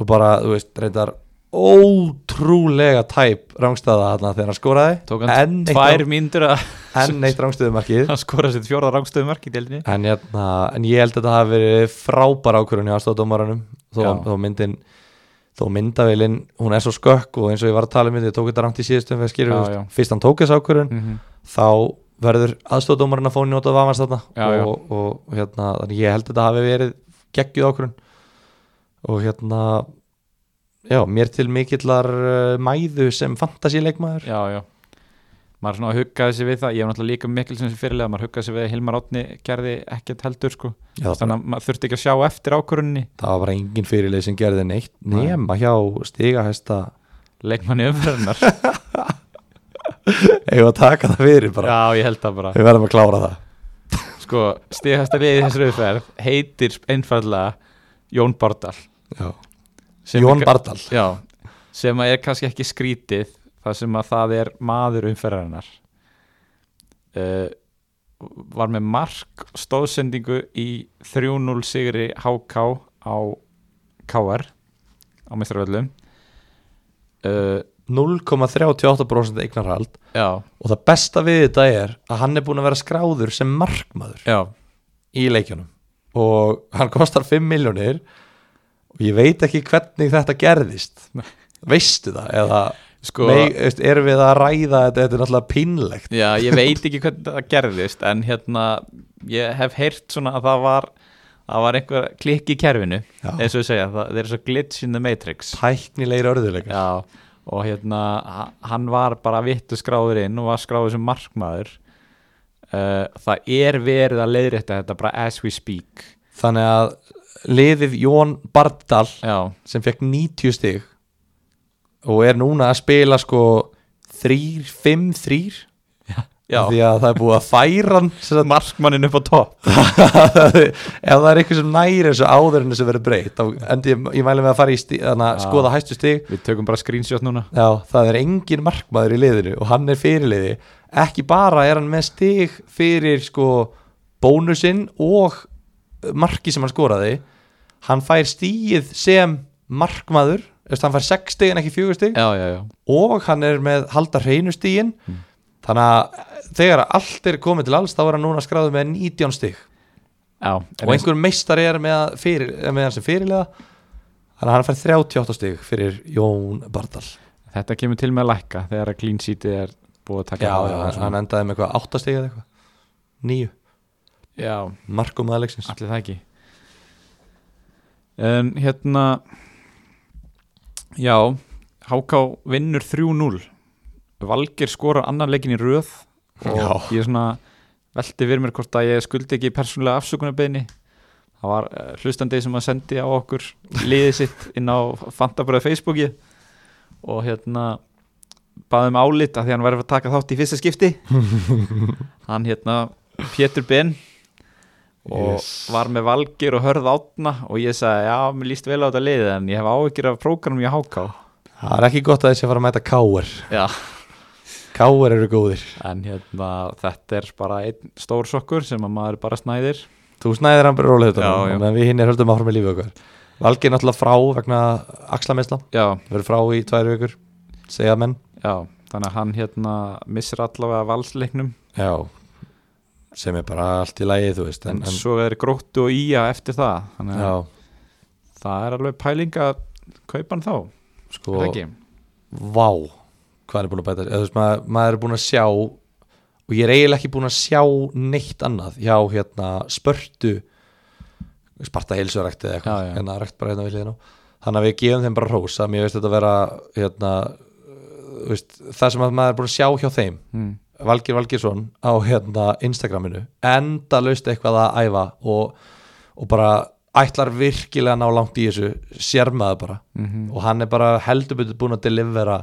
Speaker 2: og bara, þú veist, reyndar ótrúlega tæp rángstæða þarna þegar hann skoraði
Speaker 1: Tók hann
Speaker 2: Enn eitt
Speaker 1: tvær
Speaker 2: rang-
Speaker 1: mínútur að
Speaker 2: enn eitt rángstöðumarkið
Speaker 1: að skora sitt fjóra rangstöðu mark í deildinni
Speaker 2: en, jæna, en ég held að þetta hafi verið frábær ákvörðun í aðstofdómaranum þó,
Speaker 1: Já.
Speaker 2: þó myndin þó myndavélinn, hún er svo skökk og eins og ég var að tala um þetta, ég tók þetta rangt í síðustum fyrir skýrur,
Speaker 1: Já,
Speaker 2: þú
Speaker 1: já.
Speaker 2: veist, fyrst hann tók þess ákvörðun
Speaker 1: mm -hmm.
Speaker 2: þá verður aðstofdómarinn að fá njóta vafans þarna
Speaker 1: Já, já.
Speaker 2: og, og hérna, þannig ég held að þetta hafi verið geggjuð ákvörun og hérna já, mér til mikillar uh, mæðu sem fantasíleikmaður
Speaker 1: Já, já maður svona huggaði sér við það, ég hef náttúrulega líka mikil sem fyrirlega, maður huggaði sér við að Hilmar Átni gerði ekkert heldur sko,
Speaker 2: Já, það,
Speaker 1: þannig að maður þurfti ekki að sjá eftir ákvörunni
Speaker 2: það var bara engin fyrirlið sem gerði neitt nema hjá stigahesta
Speaker 1: leikmanni umfyrirnar
Speaker 2: eða að taka það fyrir bara,
Speaker 1: Já, ég held það bara
Speaker 2: við verðum að klára það
Speaker 1: Sko, stíðasta liðið í þessari auðferð heitir einfallega Jón Bardal
Speaker 2: já. Jón
Speaker 1: er,
Speaker 2: Bardal
Speaker 1: Já, sem að er kannski ekki skrítið þar sem að það er maður umferðarinnar uh, Var með mark og stóðsendingu í 3-0 sigri HK á KR á mestraröllum uh,
Speaker 2: 0,38% eignarhald
Speaker 1: Já,
Speaker 2: og það besta við þetta er að hann er búin að vera skráður sem markmaður
Speaker 1: já,
Speaker 2: í leikjunum og hann kostar 5 miljónir og ég veit ekki hvernig þetta gerðist veistu það eða
Speaker 1: Sko,
Speaker 2: Nei, veist, erum við að ræða þetta, þetta er náttúrulega pínlegt
Speaker 1: já, ég veit ekki hvernig það gerðist en hérna, ég hef heyrt svona að það var það var einhver klikk í kerfinu
Speaker 2: Já.
Speaker 1: eins og ég segja, það, það er svo glitch in the matrix
Speaker 2: tæknilegir örðuleikar
Speaker 1: já, og hérna ha- hann var bara vittu skráður inn og var skráður sem markmaður uh, það er verið að leiðrétta þetta bara as we speak
Speaker 2: þannig að liðið Jón Bardal
Speaker 1: já,
Speaker 2: sem fekk 90 stig og er núna að spila sko 3-5-3
Speaker 1: já.
Speaker 2: því að það er búið að færa hann sem sagt,
Speaker 1: markmannin upp á topp
Speaker 2: ef það er eitthvað sem næri þessu áður en þessu verður breytt þá endi ég, ég mæli með að fara í stig, þannig að
Speaker 1: Já.
Speaker 2: skoða hæstu stig
Speaker 1: við tökum bara screenshot núna
Speaker 2: já, það er engin markmaður í liðinu og hann er fyrirliði ekki bara er hann með stig fyrir sko bónusinn og marki sem hann skoraði hann fær stíið sem markmaður þú veist, hann fær 6 stig en ekki 4 stig
Speaker 1: já, já, já,
Speaker 2: og hann er með halda hreinu stíin
Speaker 1: Mm.
Speaker 2: þannig að þegar allt er komið til alls þá er hann núna skráður með 19 stig
Speaker 1: já
Speaker 2: og einhver meistari er með, að fyrir, með hann sem fyrirlega þannig að hann fær 38 stig fyrir Jón Bardal
Speaker 1: Þetta kemur til með að lækka þegar að clean sheetið er búið að taka á og
Speaker 2: hann,
Speaker 1: svona.
Speaker 2: hann endaði með eitthvað 8 stig eða eitthvað 9,
Speaker 1: já,
Speaker 2: markum aðleiksins
Speaker 1: allir það ekki um, Hérna Já Háká vinnur 3-0 Valgir skorar annan leikin í röð og
Speaker 2: Já.
Speaker 1: ég svona velti fyrir mér hvort að ég skuldi ekki persónulega afsökunarbeini það var uh, hlustandi sem að sendi á okkur liðið sitt inn á Fantabröð Facebooki og hérna baðum um álit að því hann verður að taka þátt í fyrsta skipti hann hérna Pétur Ben og
Speaker 2: Yes.
Speaker 1: var með Valgir og Hörð Átna og ég sagði já, mér líst vel á þetta liðið en ég hef áhyggjur af prógramum í HK
Speaker 2: það er ekki gott að þessi að fara að mæta Káur
Speaker 1: já,
Speaker 2: Káur eru góðir,
Speaker 1: en hérna þetta er bara einn stór sokkur sem að maður bara snæðir
Speaker 2: þú snæðir hann bara rólið þetta
Speaker 1: Já,
Speaker 2: núna,
Speaker 1: já.
Speaker 2: meðan við hinn er höldum áfram í lífi okkar Valgir er náttúrulega frá vegna axlamesla,
Speaker 1: já,
Speaker 2: verður frá í tvær vikur segja menn
Speaker 1: já, þannig að hann hérna missir allavega valsleiknum
Speaker 2: Já, sem er bara allt í lagi þú veist
Speaker 1: en,
Speaker 2: en, en,
Speaker 1: svo er gróttu og ía eftir það þannig að
Speaker 2: Já,
Speaker 1: það er alveg pæling að kaupa hann þá, er
Speaker 2: sko,
Speaker 1: það ekki?
Speaker 2: vá hvað hann er búin að bæta sér, eða þú veist, maður, maður er búin að sjá og ég er eiginlega ekki búin að sjá neitt annað, já, hérna spörtu sparta heilsurækt eða
Speaker 1: Já,
Speaker 2: eitthvað,
Speaker 1: já.
Speaker 2: hérna rækt bara hérna við hliðina á. þannig að við gefum þeim bara rósa mér veist þetta vera, hérna þú veist, það sem að maður er búin að sjá hjá þeim
Speaker 1: Mm.
Speaker 2: Valgir Valgirsson á hérna Instagraminu enda laust eitthvað að æfa og, og bara ætlar virkilega að ná langt í þessu sérmaður bara
Speaker 1: mhm.
Speaker 2: og hann er bara heldurbyrðu búin að delivera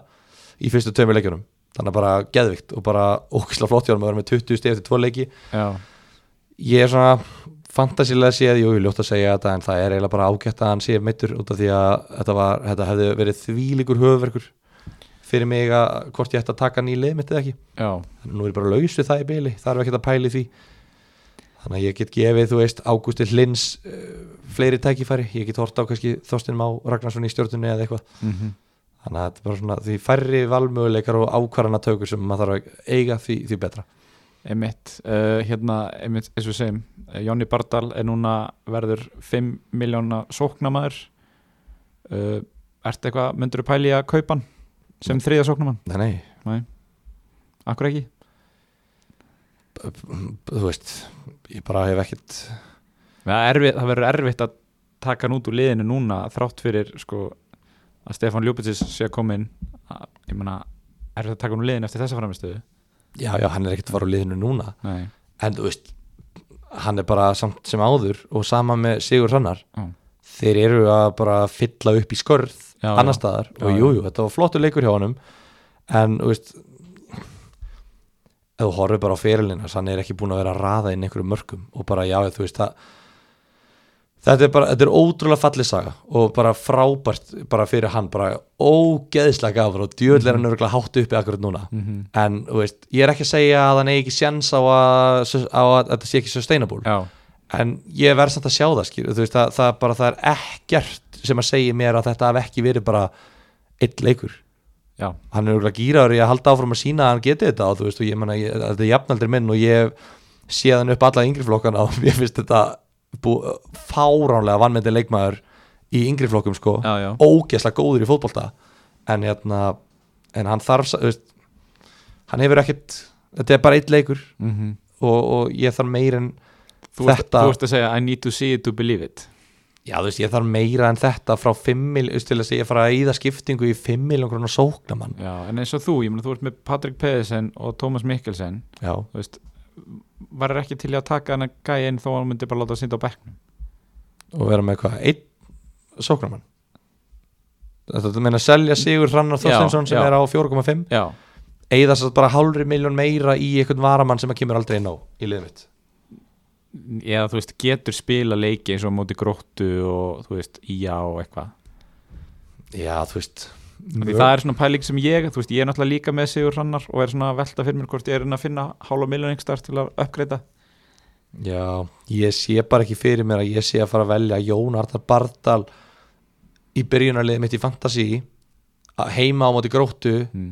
Speaker 2: í fyrstu tveimur leikjunum þannig að bara geðvikt og bara ókislega flott hjá hann að vera með 20 stið eftir tvo leiki
Speaker 1: Já,
Speaker 2: ég er svona fantasilega séð, jú, ég ljótt að segja þetta en það er eiginlega bara ágætt að hann sé meittur út af því að þetta, var, þetta hefði verið þvílíkur höfverkur fyrir mig að hvort ég ætti að taka nýlið mitt eða ekki
Speaker 1: já,
Speaker 2: Þannig að nú er ég bara laus við það í byli, þarf ekkert að pæli því þannig að ég get gefið, þú veist, Ágústi Hlins uh, fleiri tækifæri, ég get hort á kannski Þorstin Má Ragnarsson í stjórnunni eða eitthvað
Speaker 1: mhm.
Speaker 2: þannig að þetta er bara svona, því færri valmöguleikar og ákvarðanatökur sem maður þarf að eiga því, því betra
Speaker 1: einmitt uh, hérna, einmitt, eins og við segjum eh, Jónni Bardal er núna verður 5 miljóna sóknamaður uh, ertu eitthvað, myndur þú pæli að kaupa hann sem þriðja sóknamann,
Speaker 2: Nei, nei,
Speaker 1: akkur ekki?
Speaker 2: þú veist ég bara hef ekkert
Speaker 1: Það, er erfitt, það verður erfitt að taka hann út úr liðinu núna þrátt fyrir sko, að Stefán Ljúbitsis sé að koma inn að, ég meina, erfitt að taka hann úr liðinu eftir þessa framistöðu
Speaker 2: já, já, hann er ekkert að fara úr liðinu núna
Speaker 1: Nei,
Speaker 2: en þú veist, hann er bara samt sem áður og sama með Sigur Sannar
Speaker 1: Já.
Speaker 2: þeir eru að bara fylla upp í skörð
Speaker 1: já,
Speaker 2: annar staðar
Speaker 1: Já,
Speaker 2: og
Speaker 1: já.
Speaker 2: jújú, jú, þetta var flottur leikur hjá honum en þú veist ef þú horfir bara á fyrirlina hann er ekki búin að vera að raða inn einhverjum mörkum og bara já, þú veist það þetta er bara, þetta er ótrúlega fallið saga og bara frábært bara fyrir hann, bara ógeðslega gafur og djöðlega er hann örgulega hátt uppi akkurat núna
Speaker 1: já. Mhm.
Speaker 2: en þú veist, ég er ekki að segja að hann eigi ekki sjens á að, á að þetta sé ekki sustainable
Speaker 1: já,
Speaker 2: en ég verð samt að sjá það skýr, veist, það, það, bara, það er ekkert sem að segja mér að þetta hef ekki verið bara eitt leikur
Speaker 1: já,
Speaker 2: hann er auðvitað gýraður í að halda áfram að sína að hann geti þetta og þú veist og ég menna þetta er jafnaldri minn og ég sé hann upp alla yngri flokkana og ég finnst þetta bú, fáránlega vannmyndi leikmaður í yngri flokkum sko
Speaker 1: já, já.
Speaker 2: ógeðslega góður í fótbolta en, hérna, en hann þarf sa- þú veist, hann hefur ekkert þetta er bara eitt leikur
Speaker 1: mm -hmm.
Speaker 2: og, og ég þarf meira en
Speaker 1: þú, ert-
Speaker 2: Þetta-
Speaker 1: þú ert að segja I need to see it to believe it
Speaker 2: já þú veist ég þarf meira en þetta frá 5 mil, til að segja fara að íða skiptingu í 5 miljón krónar sóknamann
Speaker 1: Já, en eins og þú, ég meina þú ert með Patrik Pedersen og Tómas Mikkelsen
Speaker 2: já,
Speaker 1: þú veist, var ekki til í að taka hann að gæja inn þó að hann myndi bara láta að synda á bekknum
Speaker 2: og vera með hvað, einn sóknamann þetta þú meina að selja Sigur Hrannar
Speaker 1: Já,
Speaker 2: Þorsteinsson sem
Speaker 1: já.
Speaker 2: er á 4,5
Speaker 1: Já,
Speaker 2: eða þess að bara hálfri miljón meira í einhvern varamann sem að kemur aldrei inn á í liðið mitt
Speaker 1: eða þú veist, getur spila leiki eins og á móti gróttu og þú veist, já og eitthvað
Speaker 2: já þú veist
Speaker 1: Af Því það er svona pæling sem ég, þú veist, ég er náttúrulega líka með Sigur Hrannar og er svona að velta fyrir mér hvort ég er að reyna að finna hálfa miljoningstar til að uppgreita
Speaker 2: já, ég sé bara ekki fyrir mér að ég sé að fara að velja Jón Arnar Bardal í byrjunarliðið mitt í Fantasí heima á móti gróttu
Speaker 1: mm.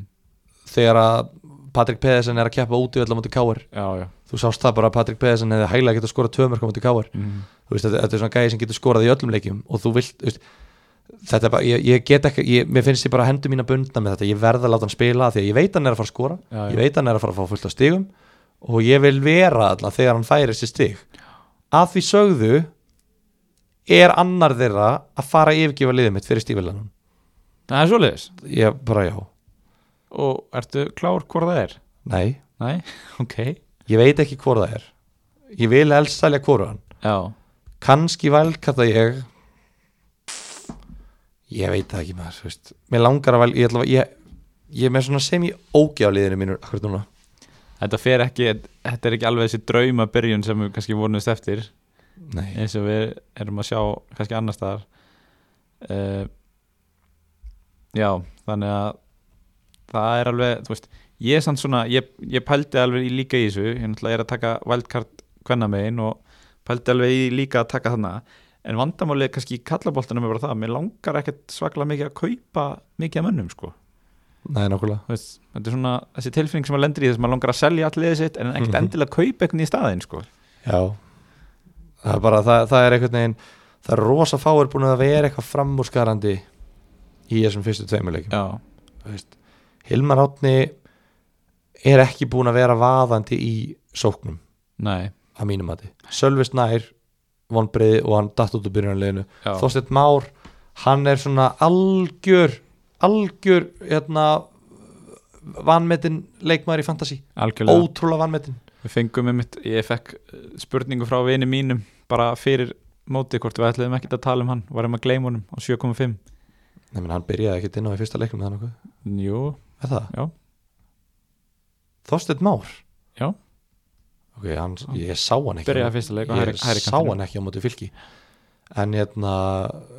Speaker 2: þegar að Patrik Pedersen er að keppa út í öll á móti Káar
Speaker 1: Já, já
Speaker 2: þú sást það bara að Patrik Pedersen hefði hæglega getað skorað tvö mörg á móti Káar
Speaker 1: mm.
Speaker 2: þú veist, þetta, þetta er svona gæði sem getur skorað í öllum leikjum og þú vilt, þú veist þetta er bara, ég, ég get ekki, ég, mér finnst ég bara hendur mín að bundna með þetta, ég verð að láta hann spila af því að ég veit hann er að fara að skora,
Speaker 1: Já, já.
Speaker 2: ég veit hann er að fara að fá fullt af stigum og ég vil vera alltaf þegar hann færi þessi stig að því sögðu er annar þeirra að fara að yfirgefa liðið mitt fyrir stífilanum
Speaker 1: Það er svoleiðis
Speaker 2: ég bara já,
Speaker 1: Og ertu klár hvort það er?
Speaker 2: nei,
Speaker 1: Nei, ok
Speaker 2: ég veit ekki hvor það er ég vil helst salja hvoru hann
Speaker 1: Já,
Speaker 2: kannski valkata ég ég veit það ekki maður þú veist. mér langar að vel ég, ætla, að- ég, ég er með svona sem ég ógja á liðinu mínu akkur núna
Speaker 1: þetta fer ekki Þetta er ekki alveg þessi draumabyrjun sem við kannski vonumst eftir
Speaker 2: Nei.
Speaker 1: eins og við erum að sjá kannski annar staðar uh, já, þannig að það er alveg, þú veist ég er samt svona, ég, ég pældi alveg í líka í þessu, ég náttúrulega er að taka wildcard kvennamegin og pældi alveg í líka að taka þarna en vandamálið kannski í kallaboltanum er bara það mér langar ekkert svaklega mikið að kaupa mikið af mönnum sko
Speaker 2: Nei, nákvæmlega
Speaker 1: Þú veist, þetta er svona þessi tilfinning sem maður lendir í þess að maður langar að selja allir liðið sitt en ekkert
Speaker 2: Mhm.
Speaker 1: endilega kaupa eitthvað í staðinn sko
Speaker 2: Já. það er bara, það, það er einhvern veginn það er rosa fáir búin að vera eitthvað framúrskarandi í þessum fyrstu tveimuleikum
Speaker 1: já,
Speaker 2: Hilmar Átni er ekki búin að vera vaðandi í sóknum
Speaker 1: nei,
Speaker 2: að mínum mati Sölvist nær vonbreiði og hann datt út úr byrjunarleginu
Speaker 1: já,
Speaker 2: Þorsteinn Már hann er svona algjör algjör hérna vanmetin leikmaður í fantasy
Speaker 1: algjörlega
Speaker 2: ótrúlega vanmetin
Speaker 1: Við fengum einmitt, ég fekk eh, spurningu frá vini mínum bara fyrir mótið hvort við ætluðum ekkert að tala um hann, varum að gleyma honum á 7.5
Speaker 2: Nei, menn, hann byrjaði ekkert inn á í fyrsta leiknum með hann okkur
Speaker 1: Jú,
Speaker 2: er það?
Speaker 1: Já.
Speaker 2: Þorsteinn Már?
Speaker 1: Já.
Speaker 2: ok, hann, ég sá hann ekki
Speaker 1: byrjaði fyrsta leik og
Speaker 2: ég sá hann ekki á móti fylki en hérna,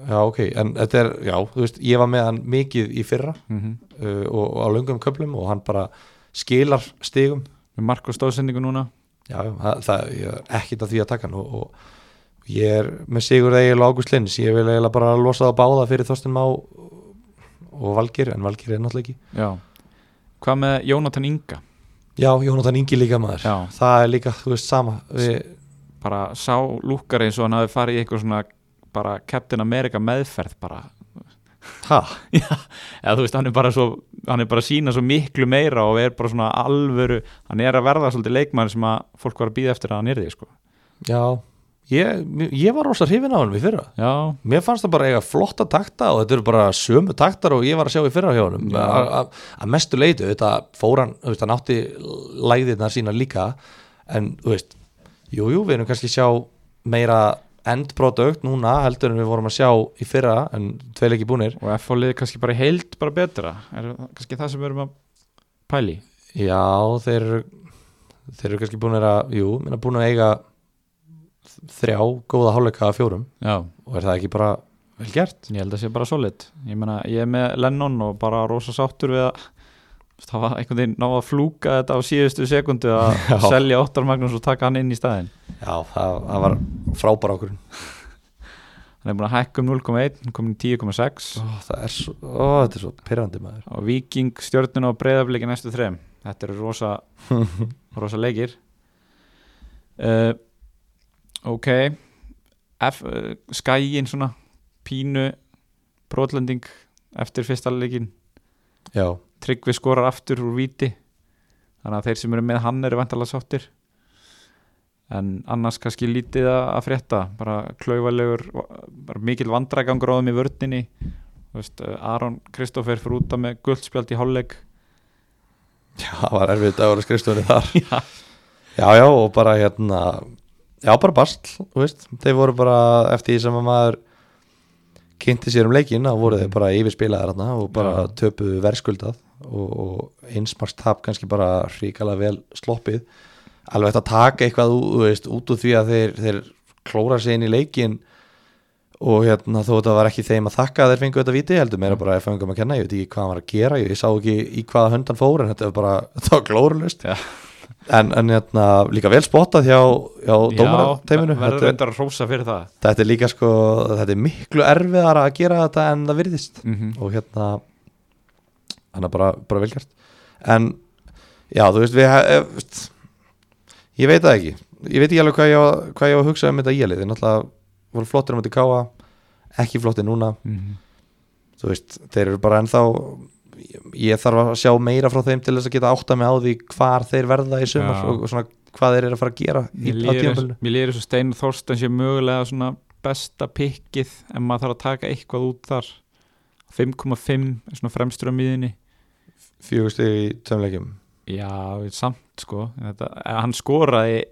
Speaker 2: já ok en þetta er, já, þú veist, ég var með hann mikið í fyrra
Speaker 1: mm -hmm.
Speaker 2: uh, og, og á löngum köflum og hann bara skilar stigum
Speaker 1: Með Marko stóðsendingu núna
Speaker 2: Já, já, það, það ég er ekkit að því að taka hann og, og ég er með Sigurð Egil og Ágúst Lins, ég vil eiginlega bara losa það á báða fyrir Þorsten Má og Valgir, en Valgir er náttúrulega ekki
Speaker 1: Já Hvað með Jónatan Inga?
Speaker 2: Já, Jónatan Ingi líka maður
Speaker 1: Já.
Speaker 2: það er líka, þú veist, sama við,
Speaker 1: Bara sá lúkar eins og hann hafi farið í eitthvað svona bara Captain America meðferð bara
Speaker 2: ha,
Speaker 1: eða þú veist, hann er bara svo hann er bara að sína svo miklu meira og er bara svona alvöru, hann er að verða svolítið leikmann sem að fólk var að býða eftir að hann er því sko.
Speaker 2: Já, ég, ég var rosa hrifin á hann við fyrra
Speaker 1: Já,
Speaker 2: Mér fannst það bara eiga flotta takta og þetta eru bara sömu taktar og ég var að sjá í fyrra hjá honum
Speaker 1: Já.
Speaker 2: A- a- að mestu leitu, þetta fór hann þú veist, hann átti læðirna sína líka en þú veist jú, jú, við erum kannski að sjá meira endprodukt núna heldur en við vorum að sjá í fyrra en tveil ekki búnir
Speaker 1: og F.O. liði kannski bara í heild bara betra, er það kannski það sem við erum að pæli
Speaker 2: já, þeir eru- þeir eru kannski búnir að, jú, minna búin að eiga þrjá góða hálfleika af fjórum
Speaker 1: Já,
Speaker 2: og er það ekki bara vel gert?
Speaker 1: ég held að sé bara solid ég meina, ég er með Lennon og bara rosa sáttur við að það var einhvern veginn náða að flúka þetta á síðustu sekundu að
Speaker 2: Já.
Speaker 1: selja Óttar Magnús og taka hann inn í staðinn
Speaker 2: Já, það, það var frábæra okkur
Speaker 1: hann er búin að hækka um 0,1, hann kom í 10,6
Speaker 2: Ó, það er svo, ó, þetta er svo pyrrandi maður
Speaker 1: og Viking stjórnuna og breyðafliki næstu þrem þetta eru rosa rosa leikir uh, ok F, uh, skæin svona pínu brotlending eftir fyrsta leikin
Speaker 2: já,
Speaker 1: Tryggvi skorar aftur úr víti þannig að þeir sem eru með hann eru vantalega sáttir en annars kannski lítið að að frétta bara klaufalegur bara mikil vandragangur á þeim í vördninni Þú veist, eh, Aron Kristófer fyrir út af með guldspjald í hálfleik
Speaker 2: já, það var erfið dagur að skrifstofunni þar já, já, og bara hérna já, bara basl, þú veist þeir voru bara eftir því sem að maður kynnti sér um leikin þá voru þeir bara yfirspilaðar hérna og bara
Speaker 1: Mhm. Já.
Speaker 2: töpuðu verðskuldað og, og einsmars tap kannski bara ríkala vel sloppið alveg hægt að taka eitthvað ú- þú veist, út úr því að þeir, þeir klóra sig inn í leikin og hérna þó þetta var ekki þeim að þakka að þeir fengu þetta viti heldur meira bara að fengum að kenna, ég veit ekki hvað hann var að gera ég, ég sá ekki í hvaða höndan fór en þetta var bara, þetta var glórulust
Speaker 1: Já.
Speaker 2: en, en hérna líka vel spottað hjá, hjá dómarateiminu
Speaker 1: verður
Speaker 2: þetta,
Speaker 1: reyndar að rósa fyrir það
Speaker 2: þetta er líka sko, þetta er miklu erfiðara að gera þetta en það virðist
Speaker 1: mm -hmm.
Speaker 2: og hérna hann er bara, bara velgjart en já, þú veist við hef, veist, ég veit það ekki ég veit ekki alveg hvað ég, á- hvað ég var að hugsa um þetta íalið, þeir náttúrulega voru flottir um þetta káa, ekki flottir núna
Speaker 1: Mhm.
Speaker 2: þú veist, þeir eru bara ennþá ég, ég þarf að sjá meira frá þeim til þess að geta átta mig á því hvar þeir verða í sumar
Speaker 1: Já.
Speaker 2: og, og svona hvað þeir eru að fara að gera í,
Speaker 1: Mér
Speaker 2: á
Speaker 1: líður eins-
Speaker 2: tímabilinu
Speaker 1: mér líður eins og Stein Þorsten sé mögulega svona besta pikkið en maður þarf að taka eitthvað út þar 5,5 er svona fremstur á miðinni
Speaker 2: fjögur stig í tömleikjum
Speaker 1: Já, samt sko þetta, eh, hann skoraði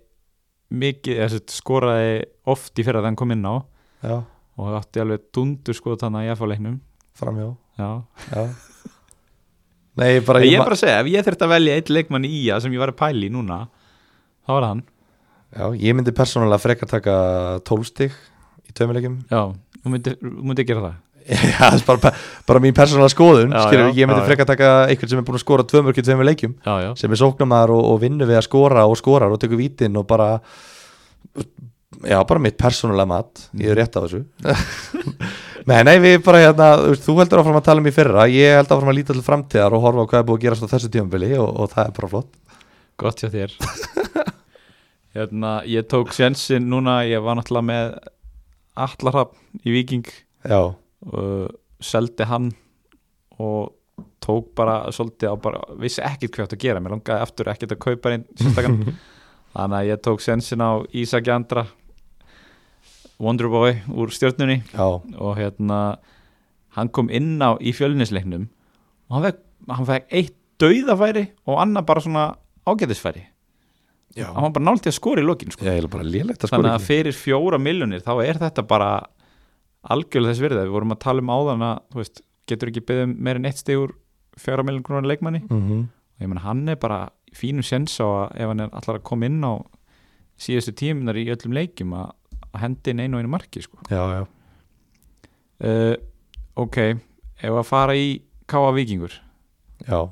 Speaker 1: mikið, eða, sem sagt, skoraði oft í fyrir að hann kom inn á
Speaker 2: já,
Speaker 1: og átti alveg dundur sko þannig að ég fá leiknum
Speaker 2: framjá
Speaker 1: Já.
Speaker 2: já. nei, bara
Speaker 1: Ég
Speaker 2: ma-
Speaker 1: er bara að segja, ef ég þurfti að velja eitt leikmann í að sem ég var að pæla í núna þá var það hann
Speaker 2: Já, ég myndi persónulega frekar taka 12 stig í tveimilegjum
Speaker 1: Já, þú myndir, þú myndir gera það
Speaker 2: Já, það er bara, bara mín persónulega skoðun
Speaker 1: Já,
Speaker 2: skilur,
Speaker 1: já,
Speaker 2: ég myndi
Speaker 1: já, já.
Speaker 2: frekar taka einhvern sem er búin að skora tveimörk í tveimilegjum
Speaker 1: Já, já
Speaker 2: sem er sóknamaður og, og vinnu við að skora og skorar og tekur vítin og bara já, bara mitt persónulega mat ég
Speaker 1: Mhm.
Speaker 2: er rétt á þessu Nei, nei, við bara hérna, þú veist, þú heldur áfram að tala um í fyrra, ég held áfram að líta til framtíðar og horfa á hvað er búið að gerast á þessu tímabili og, og það er bara flott
Speaker 1: Gott hjá þér Hérna, ég tók sjensin núna ég var náttúrulega með Allarhafn í Viking
Speaker 2: Já,
Speaker 1: og uh, seldi hann og tók bara svolítið á bara, vissi ekkert hvað ég átti að gera mér langaði aftur ekkert að kaupa einn sérstakann þannig að ég tók sjensin á Ísaki Andra Wonderboy úr stjörnunni
Speaker 2: já,
Speaker 1: og hérna hann kom inn á í fjölinisleiknum og hann fekk, hann fekk eitt dauðafæri og annað bara svona ágætisfæri
Speaker 2: já
Speaker 1: hann var bara nált í að skora í lokin sko.
Speaker 2: Ég er bara lélegt að skora
Speaker 1: þannig að fyrir fjóra miljonir þá er þetta bara algjörlega þess virðið við vorum að tala um áðan að þú veist, getur ekki beðið um meir en eitt stig úr fjóra miljón krónar leikmanni
Speaker 2: mm -hmm.
Speaker 1: og ég menn hann er bara í fínum sjens á að ef hann er allar að koma inn á síðustu tíminar í öllum leikjum að, að hendi inn einu og einu marki sko.
Speaker 2: Já, já
Speaker 1: uh, ok, ef að fara í Káa Víkingur
Speaker 2: Já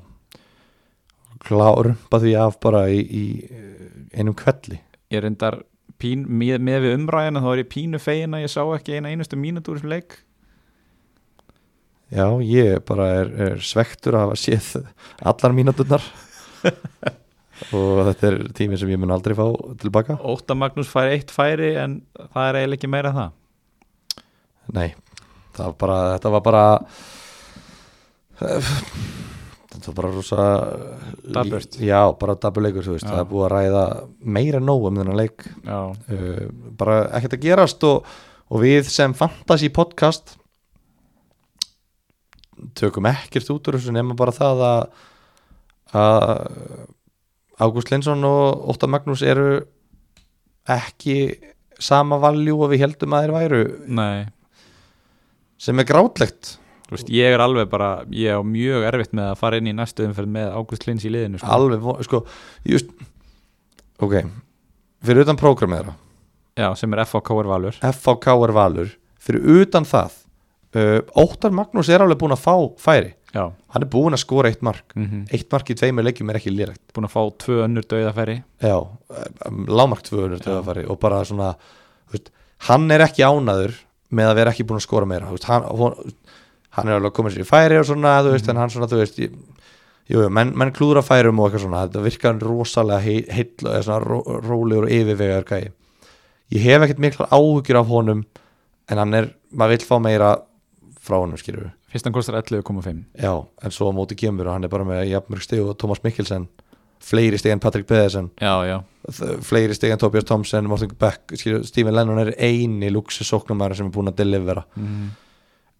Speaker 2: Klár, bara því af bara í, í eh, einum kvelli
Speaker 1: ég reyndar pín, með, með við umræðina þá er ég pínu fegin að ég sá ekki eina einustu mínútur í þessum leik
Speaker 2: Já, ég bara er, er svektur að hafa séð allar mínúturnar og þetta er tími sem ég mun aldrei fá tilbaka
Speaker 1: Óta Magnús fær eitt færi en það er eiginlega ekki meira en það
Speaker 2: Nei, það var bara, þetta var bara þetta var bara rosa
Speaker 1: Dapurt.
Speaker 2: Já, bara daburleikur, þú veist,
Speaker 1: Já.
Speaker 2: það er búið að ræða meira en nóg um þennan leik
Speaker 1: Já,
Speaker 2: uh, bara ekkert að gerast og, og við sem fantasy podcast tökum ekkert út úr þessu nema bara það að að Ágúst Linsson og Óttar Magnús eru ekki sama valjú og við heldum að þeir væru
Speaker 1: nei
Speaker 2: sem er grátlegt
Speaker 1: Þú veist, ég er alveg bara, ég er mjög erfitt með að fara inn í næstu umferð með Ágúst Lins í liðinu sko.
Speaker 2: alveg, von- sko, just ok, fyrir utan prógramið þeirra
Speaker 1: Já, sem er FHK er valur
Speaker 2: FHK er valur fyrir utan það uh, Óttar Magnús er alveg búin að fá færi
Speaker 1: Já,
Speaker 2: hann er búin að skora eitt mark
Speaker 1: mm
Speaker 2: eitt mark í tveimur leikjum er ekki lýrægt
Speaker 1: búin að fá tvö önnur dauðafæri
Speaker 2: já, um, lámark 200 töðafæri og bara svona þú veist, hann er ekki ánaður með að vera ekki búin að skora meira þú veist, hann, hún, hann er alveg að koma sér í færi og svona, þú veist, en hann svona, þú veist ég, jú, jú, menn, menn klúðra færum og eitthvað svona þetta virkar hann rosalega heill heil, eða svona ró, rólegur og yfirvegar gæi ég hef ekkert miklar áhyggjur af honum en hann er, maður vill fá meira frá honum, skilur við
Speaker 1: fyrst hann kostar 11,5
Speaker 2: Já, en svo á móti kemur og hann er bara með jafnmörg stig og Thomas Mikkelsen fleiri stig en Patrick Pedersen
Speaker 1: já, já,
Speaker 2: þ- fleiri stig en Tobias Thompson, Morten Beck skilur, Stephen Lennon er eini luxusóknumæður sem er búin að delivera
Speaker 1: mm.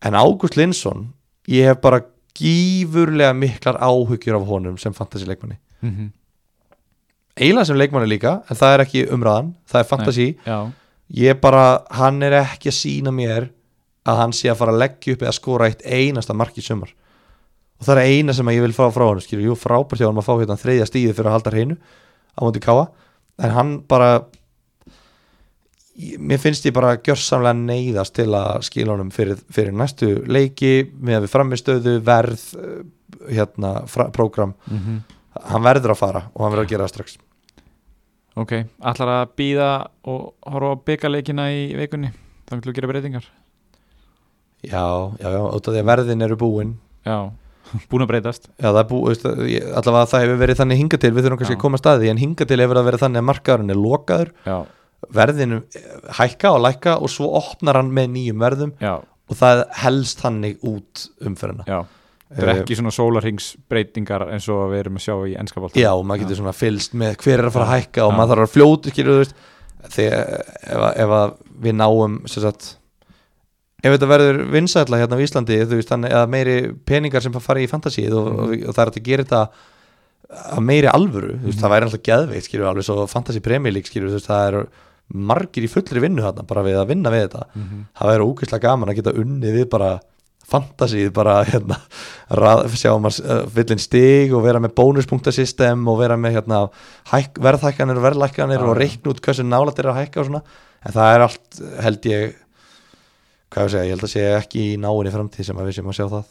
Speaker 2: en Ágúst Linsson, ég hef bara gífurlega miklar áhugjur af honum sem fantasy leikmanni
Speaker 1: Mhm.
Speaker 2: eiginlega sem leikmanni líka, en það er ekki umræðan það er fantasy,
Speaker 1: já,
Speaker 2: ég bara hann er ekki að sína mér að hann sé að fara að leggja upp eða skora eitt einasta mark í sumar og það er eina sem að ég vil fá frá hann skilur, jú frábært hjá hann að fá hérna þriðja stíði fyrir að halda hreinu á móti káa en hann bara ég- mér finnst ég bara gjörsamlega neyðast til að skila honum fyrir, fyrir næstu leiki með við framistöðu, verð eh, hérna, fra, prógram
Speaker 1: mhm
Speaker 2: hann verður að fara og hann verður að gera það strax
Speaker 1: Ok, ætlar að býða og horfa á byggarleikina í vikunni þá ætlum við að gera breytingar
Speaker 2: já, já, já, út af því að verðin eru búin
Speaker 1: Já, búin að breytast
Speaker 2: Já, það er bú, veist, ég- allavega það hefur verið þannig hinga til, við þurfum kannski
Speaker 1: Já.
Speaker 2: að koma að staði en hinga til hefur það verið þannig að markaðurinn er lokaður
Speaker 1: Já,
Speaker 2: verðinu hækka og lækka og svo opnar hann með nýjum verðum
Speaker 1: já,
Speaker 2: og það helst þannig út umferðina
Speaker 1: já Það er ekki svona sólarhingsbreytingar eins og við erum að sjá í ennskapaltan
Speaker 2: Já, og maður getur svona fylst með hver er að fara að hækka og
Speaker 1: Já.
Speaker 2: maður þarf að fljóta, skilur þú veist þegar, ef, að- ef að við náum sem sagt, ef þetta verður vinsætla hérna á Íslandi, þú veist þannig eða meiri peningar sem fara í fantasíð
Speaker 1: Mhm.
Speaker 2: og, og, og það er hægt að gera þetta að meiri alvöru, þú veist, það
Speaker 1: Mhm.
Speaker 2: væri alltaf geðveikt skilur, alveg svo fantasy premjölík skilur þú veist, það eru margir í fullri vinnu hérna bara við að vinna við þetta
Speaker 1: Mhm.
Speaker 2: það væri ógeðslega gaman að geta unnið við bara fantasíð bara hérna, rað, sjáum að uh, villin stig og vera með bónuspunktasystem og vera með hérna, hæk, verðhækkanir og verðlækkanir
Speaker 1: Já,
Speaker 2: og
Speaker 1: já.
Speaker 2: reikna út hversu nálætt er að hækka og svona en það er allt held ég hvað ég að segja, ég held að segja ekki í náinni framtíð sem að við séum að sjá það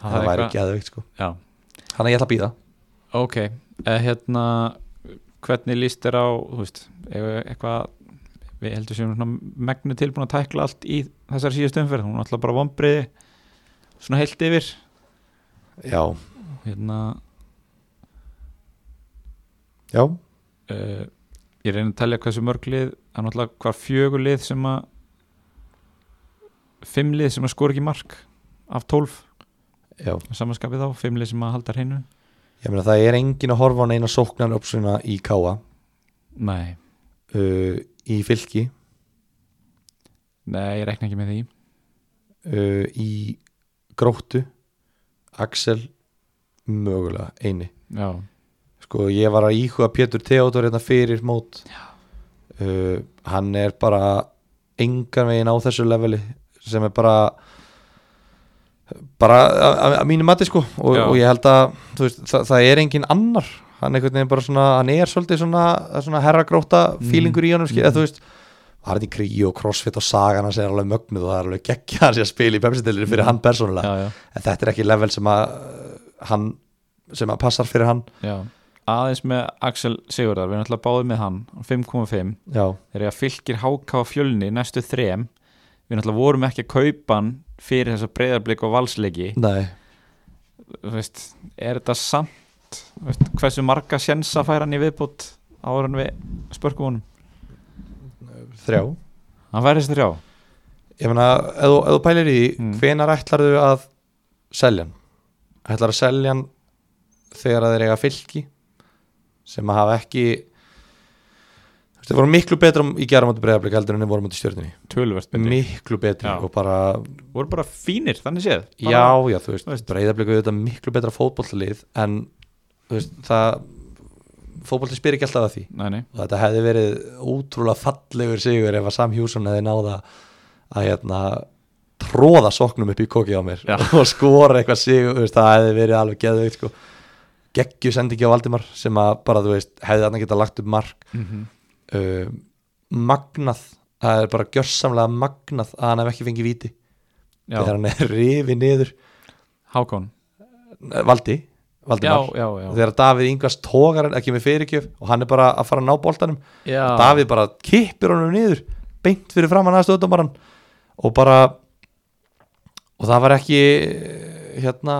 Speaker 2: það,
Speaker 1: er
Speaker 2: væri
Speaker 1: eitthvað-
Speaker 2: ekki aðeins sko
Speaker 1: Já,
Speaker 2: þannig að ég ætla að býða
Speaker 1: ok, eða hérna hvernig líst þér á, þú veist ef- eitthvað, við heldur séum svona megnu tilbúin að tækla allt í þessar síðust umferð, hún er alltaf bara vombriði svona heilt yfir
Speaker 2: já,
Speaker 1: hérna
Speaker 2: já,
Speaker 1: uh, ég reyna að telja hversu mörg lið það er náttúrulega hvað fjögur lið sem að fimm lið sem að skora ekki mark af tólf
Speaker 2: já
Speaker 1: samanskapið þá, fimm lið sem að halda hreinu
Speaker 2: ég meina það er engin að horfa á neina sóknar uppsvina í káa
Speaker 1: nei,
Speaker 2: uh, í fylki
Speaker 1: nei, ég rekna ekki með því
Speaker 2: uh, í gróttu Axel mögulega eini
Speaker 1: já,
Speaker 2: sko ég var að íhuga Pétur Theodor hérna fyrir mót uh, hann er bara engan veginn á þessu leveli sem er bara bara að- að- að mínu mati sko og,
Speaker 1: Já.
Speaker 2: og ég held að þú veist, það, það er engin annar hann, einhvern veginn bara svona, hann er svolítið svona, svona herragróta
Speaker 1: Mhm.
Speaker 2: fílingur í honum mm. eða,
Speaker 1: Mhm.
Speaker 2: þú veist hann er í kríu og crossfit og sagan hans er alveg mögnuð og það er alveg geggja hans að spila í pepsitilir fyrir
Speaker 1: Mhm.
Speaker 2: hann persónulega
Speaker 1: já, já,
Speaker 2: en þetta er ekki level sem að uh, hann sem að passar fyrir hann
Speaker 1: já aðeins með Axel Sigurðar, við erum alltaf báðið með hann 5.5,
Speaker 2: já,
Speaker 1: þegar ég fylgir HK og fjölni næstu þrem við náttúrulega vorum ekki að kaupa hann fyrir þessa breyðarblik og valsleiki
Speaker 2: nei,
Speaker 1: þú veist, er þetta samt Þú veist, hversu marga sjensa fær hann í viðbútt ára en við spörkum honum
Speaker 2: þrjá
Speaker 1: hann fær þessi þrjá
Speaker 2: ég meina, ef þú- ef þú pælir í mm.
Speaker 1: Mm.
Speaker 2: hvenar ætlarðu að selja hann ætlar að selja hann þegar að þeir eiga fylki sem að hafa ekki þú veist, þeir voru miklu betra í gera múti breyðarblik heldur en þeir voru múti stjörninni
Speaker 1: tölvöld
Speaker 2: Mm. miklu betri
Speaker 1: Já.
Speaker 2: og bara
Speaker 1: voru bara fínir, þannig séð bara,
Speaker 2: já, já, þú veist,
Speaker 1: þú veist.
Speaker 2: breyðarblik er þetta miklu betra fótbollalið en þú veist, það fótbolli spyr ekki alltaf að því
Speaker 1: nei, nei.
Speaker 2: og þetta hefði verið ótrúlega fallegur sigur ef að Sam Hjússon hefði náða að hérna tróða soknum upp í koki á mér
Speaker 1: Já.
Speaker 2: og skora eitthvað sigur þú veist, það hefði verið alveg geðveikt sko. geggju sendingi á Valdimar sem að bara þú veist hefði þarna geta lagt upp mark uh, magnað það er bara gjörsamlega magnað að hann hef ekki fengið víti þegar
Speaker 1: já,
Speaker 2: hann er rifið niður
Speaker 1: Hákon
Speaker 2: Eh, Valdi,
Speaker 1: já,
Speaker 2: Valdimar
Speaker 1: já, já,
Speaker 2: þegar Davíð yngvast tógar hann ekki með fyrirgjöf og hann er bara að fara að ná boltanum
Speaker 1: já.
Speaker 2: Davíð bara kippir honum niður beint fyrir framann aðstöðumarann og bara og það var ekki hérna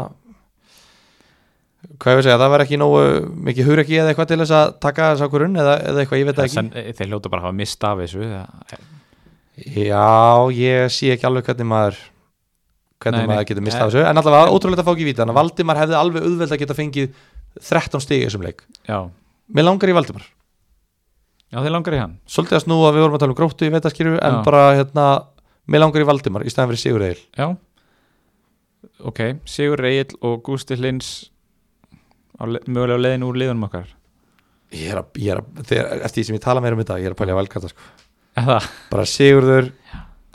Speaker 2: hvað ég vil segja, það var ekki nógu mikið hugrekki eða eitthvað til þess að taka þess að grunn eða, eða eitthvað, ég veit það
Speaker 1: Það
Speaker 2: ekki
Speaker 1: sen, þeir hljóta bara að hafa mist af þessu það-
Speaker 2: Já, ég sé ekki alveg hvernig maður hvernig
Speaker 1: Nei, nei.
Speaker 2: maður getur mistað
Speaker 1: Nei.
Speaker 2: af þessu en allavega það var ótrúlega að fá ekki víti þannig að Valdimar hefði alveg auðveld að geta fengið 13 stig í þessum leik
Speaker 1: já,
Speaker 2: Mér langar í Valdimar
Speaker 1: já þeir langar í hann
Speaker 2: Svolítið að snúa við vorum að tala um gróttu í vetaskýru en
Speaker 1: Já.
Speaker 2: bara hérna Mér langar í Valdimar í stæðan fyrir Sigur Egil
Speaker 1: já, ok Sigur Reyl og Gústi Hlins á le- mögulega á leiðin úr liðunum okkar
Speaker 2: Ég er að, ég er að þegar, eftir því sem ég tala meira um þetta ég er að pælja valkarta sko
Speaker 1: eða,
Speaker 2: Bara Sigurður,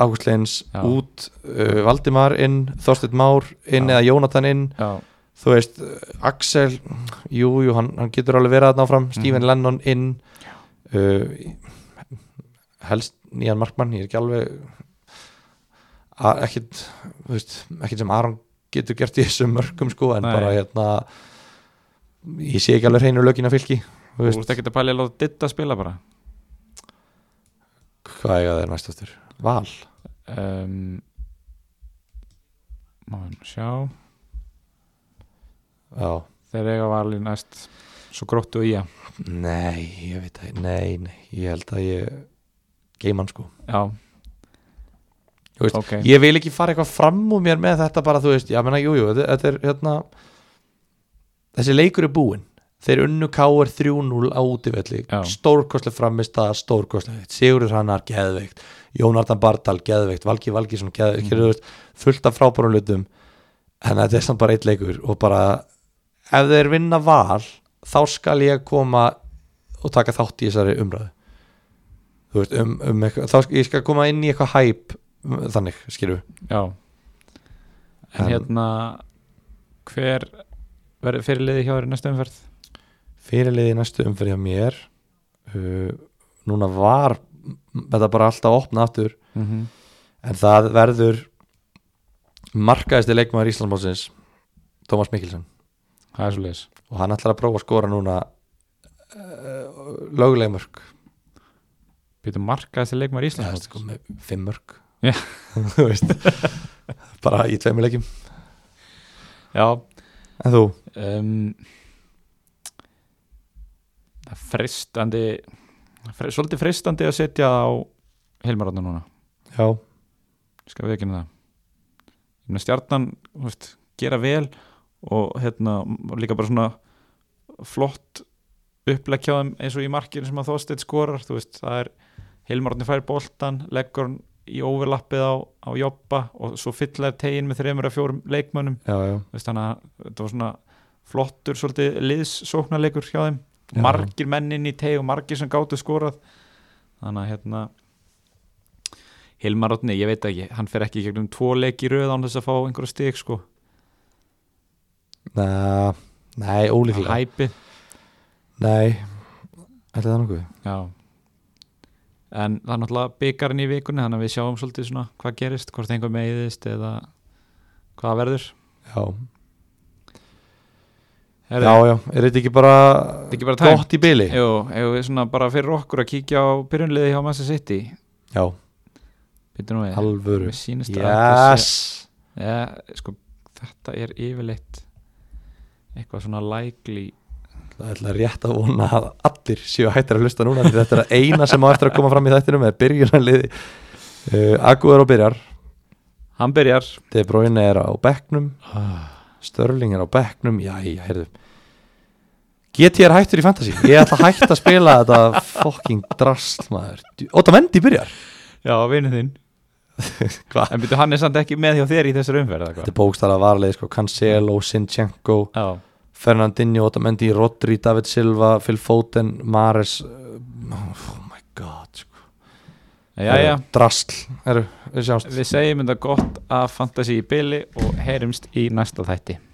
Speaker 2: Ágúst Leins
Speaker 1: Já.
Speaker 2: út, uh, Valdimar inn Þorsteinn Már inn
Speaker 1: Já.
Speaker 2: eða Jónatan inn
Speaker 1: já,
Speaker 2: þú veist, uh, Axel jú, jú, hann, hann getur alveg verið að áfram Stephen Lennon inn uh, helst nýjan markmann, ég er ekki alveg a- ekkit þú veist, ekkit sem Aron getur gert í þessum mörgum sko, en
Speaker 1: Nei.
Speaker 2: bara hérna ég sé ekki alveg hreinu lögin að fylki þú
Speaker 1: þú
Speaker 2: veist,
Speaker 1: veist ekki að pæli að láta ditta spila bara
Speaker 2: hvað eiga þeir næst aftur Val,
Speaker 1: um, má við nú sjá
Speaker 2: já,
Speaker 1: þeir eiga vali næst svo gróttu í að
Speaker 2: nei ég veit það, nei, nei, ég held að ég geimann sko
Speaker 1: já,
Speaker 2: Þú veist,
Speaker 1: ok
Speaker 2: ég vil ekki fara eitthvað fram úr mér með þetta bara þú veist, já menna, jújú, þetta, þetta er hérna þessi leikur er búinn þeir unnu K.R. 3-0 á útivelli
Speaker 1: Já.
Speaker 2: stórkostlega framist að stórkostlega Sigurður Hannar, geðveikt Jónardan Bardal, geðveikt, Valgi Valgísson geðveikt, mm. þú veist, fullt af frábærum hlutum en þetta er samt bara eitt leikur og bara, ef þeir vinna val, þá skal ég koma og taka þátt í þessari umræðu þú veist, um, um eitthvað, þá skal ég skal koma inn í eitthvað hæp þannig, skilju
Speaker 1: Já En
Speaker 2: En-
Speaker 1: hérna hver verður fyrirliði hjá þér í næstu umferð?
Speaker 2: fyrirliði í næstu umferð hjá mér uh, núna var m- þetta bara alltaf að opna aftur
Speaker 1: Mm -hmm.
Speaker 2: en það verður markaðisti leikmaður Íslandsmálsins Tómas Mikkelsen
Speaker 1: Það er svo leis
Speaker 2: og hann ætlar að prófa að skora núna uh, löguleg mörg
Speaker 1: Býtu markaðasti leikmaður
Speaker 2: ja,
Speaker 1: Íslands
Speaker 2: sko, með fimm mörg
Speaker 1: Já.
Speaker 2: Þú veist, bara í tveimur leikjum
Speaker 1: Já
Speaker 2: en þú,
Speaker 1: um, Það er freistandi fre, Svolítið freistandi að setja á Hilmarotna núna
Speaker 2: já,
Speaker 1: Ég Skal við ekki með það Ég meina stjarnan þú veist, gera vel og hérna og líka bara svona flott upplegg hjá þeim eins og í markinu sem að Þorsteinn skorar þú veist, það er Hilmarni fær boltan leggur hann í overlappið á, á jobba og svo fyllar tegin með þreymur að fjórum leikmönnum
Speaker 2: já, já
Speaker 1: Þú veist, þannig að þetta var svona flottur svolítið liðssóknarleikur hjá þeim
Speaker 2: Já.
Speaker 1: margir mennin í teg og margir sem gáttu skorað þannig að hérna Hilmar Otni, ég veit ekki, hann fer ekki í gegnum tvo leik í röð án þess að fá einhverja stig sko,
Speaker 2: Na, nei, ólíklega
Speaker 1: hæpi
Speaker 2: nei, ætli það nokkuð
Speaker 1: Já En það er náttúrulega byggarinn í vikunni þannig að við sjáum svolítið svona hvað gerist hvort einhver meiðist eða hvað verður
Speaker 2: já,
Speaker 1: Herri,
Speaker 2: já, já, er þetta ekki bara
Speaker 1: Þetta ekki bara tæm?
Speaker 2: gott í byli?
Speaker 1: Jú, ef við svona bara fyrir okkur að kíkja á byrjunliði hjá Massa City
Speaker 2: Já,
Speaker 1: Býttu nú við
Speaker 2: alvöru
Speaker 1: Mér sýnist að þetta
Speaker 2: Yes
Speaker 1: sé- ja, sko, Þetta er yfirleitt eitthvað svona likely
Speaker 2: Það ætla rétt að vona að allir séu hættir að hlusta núna því þetta er að eina sem á eftir að koma fram í þættinum er byrjunarliði uh, Aguður og byrjar
Speaker 1: Hann byrjar
Speaker 2: De Bruyne er á bekknum Ah. Störling er á bekknum Jæja, heyrðu GT er hættur í fantasy Ég ætla að hætta að spila þetta fucking drasl maður Óta Vendi byrjar
Speaker 1: Já, vinnu þinn
Speaker 2: Hvað?
Speaker 1: En býttu hann er samt ekki með hjá þér í þessar umferð eða
Speaker 2: Þetta
Speaker 1: hvað?
Speaker 2: er bókstæðlega varlega sko Cancelo, Sinchenko
Speaker 1: Já,
Speaker 2: Fernandinho, Otamendi, Rodri, David Silva Phil Foden, Mares oh my god sko.
Speaker 1: já, já
Speaker 2: drasl, eru, við sjáumst
Speaker 1: Við segjum þetta gott að fantasi í byli og heyrumst í næsta þætti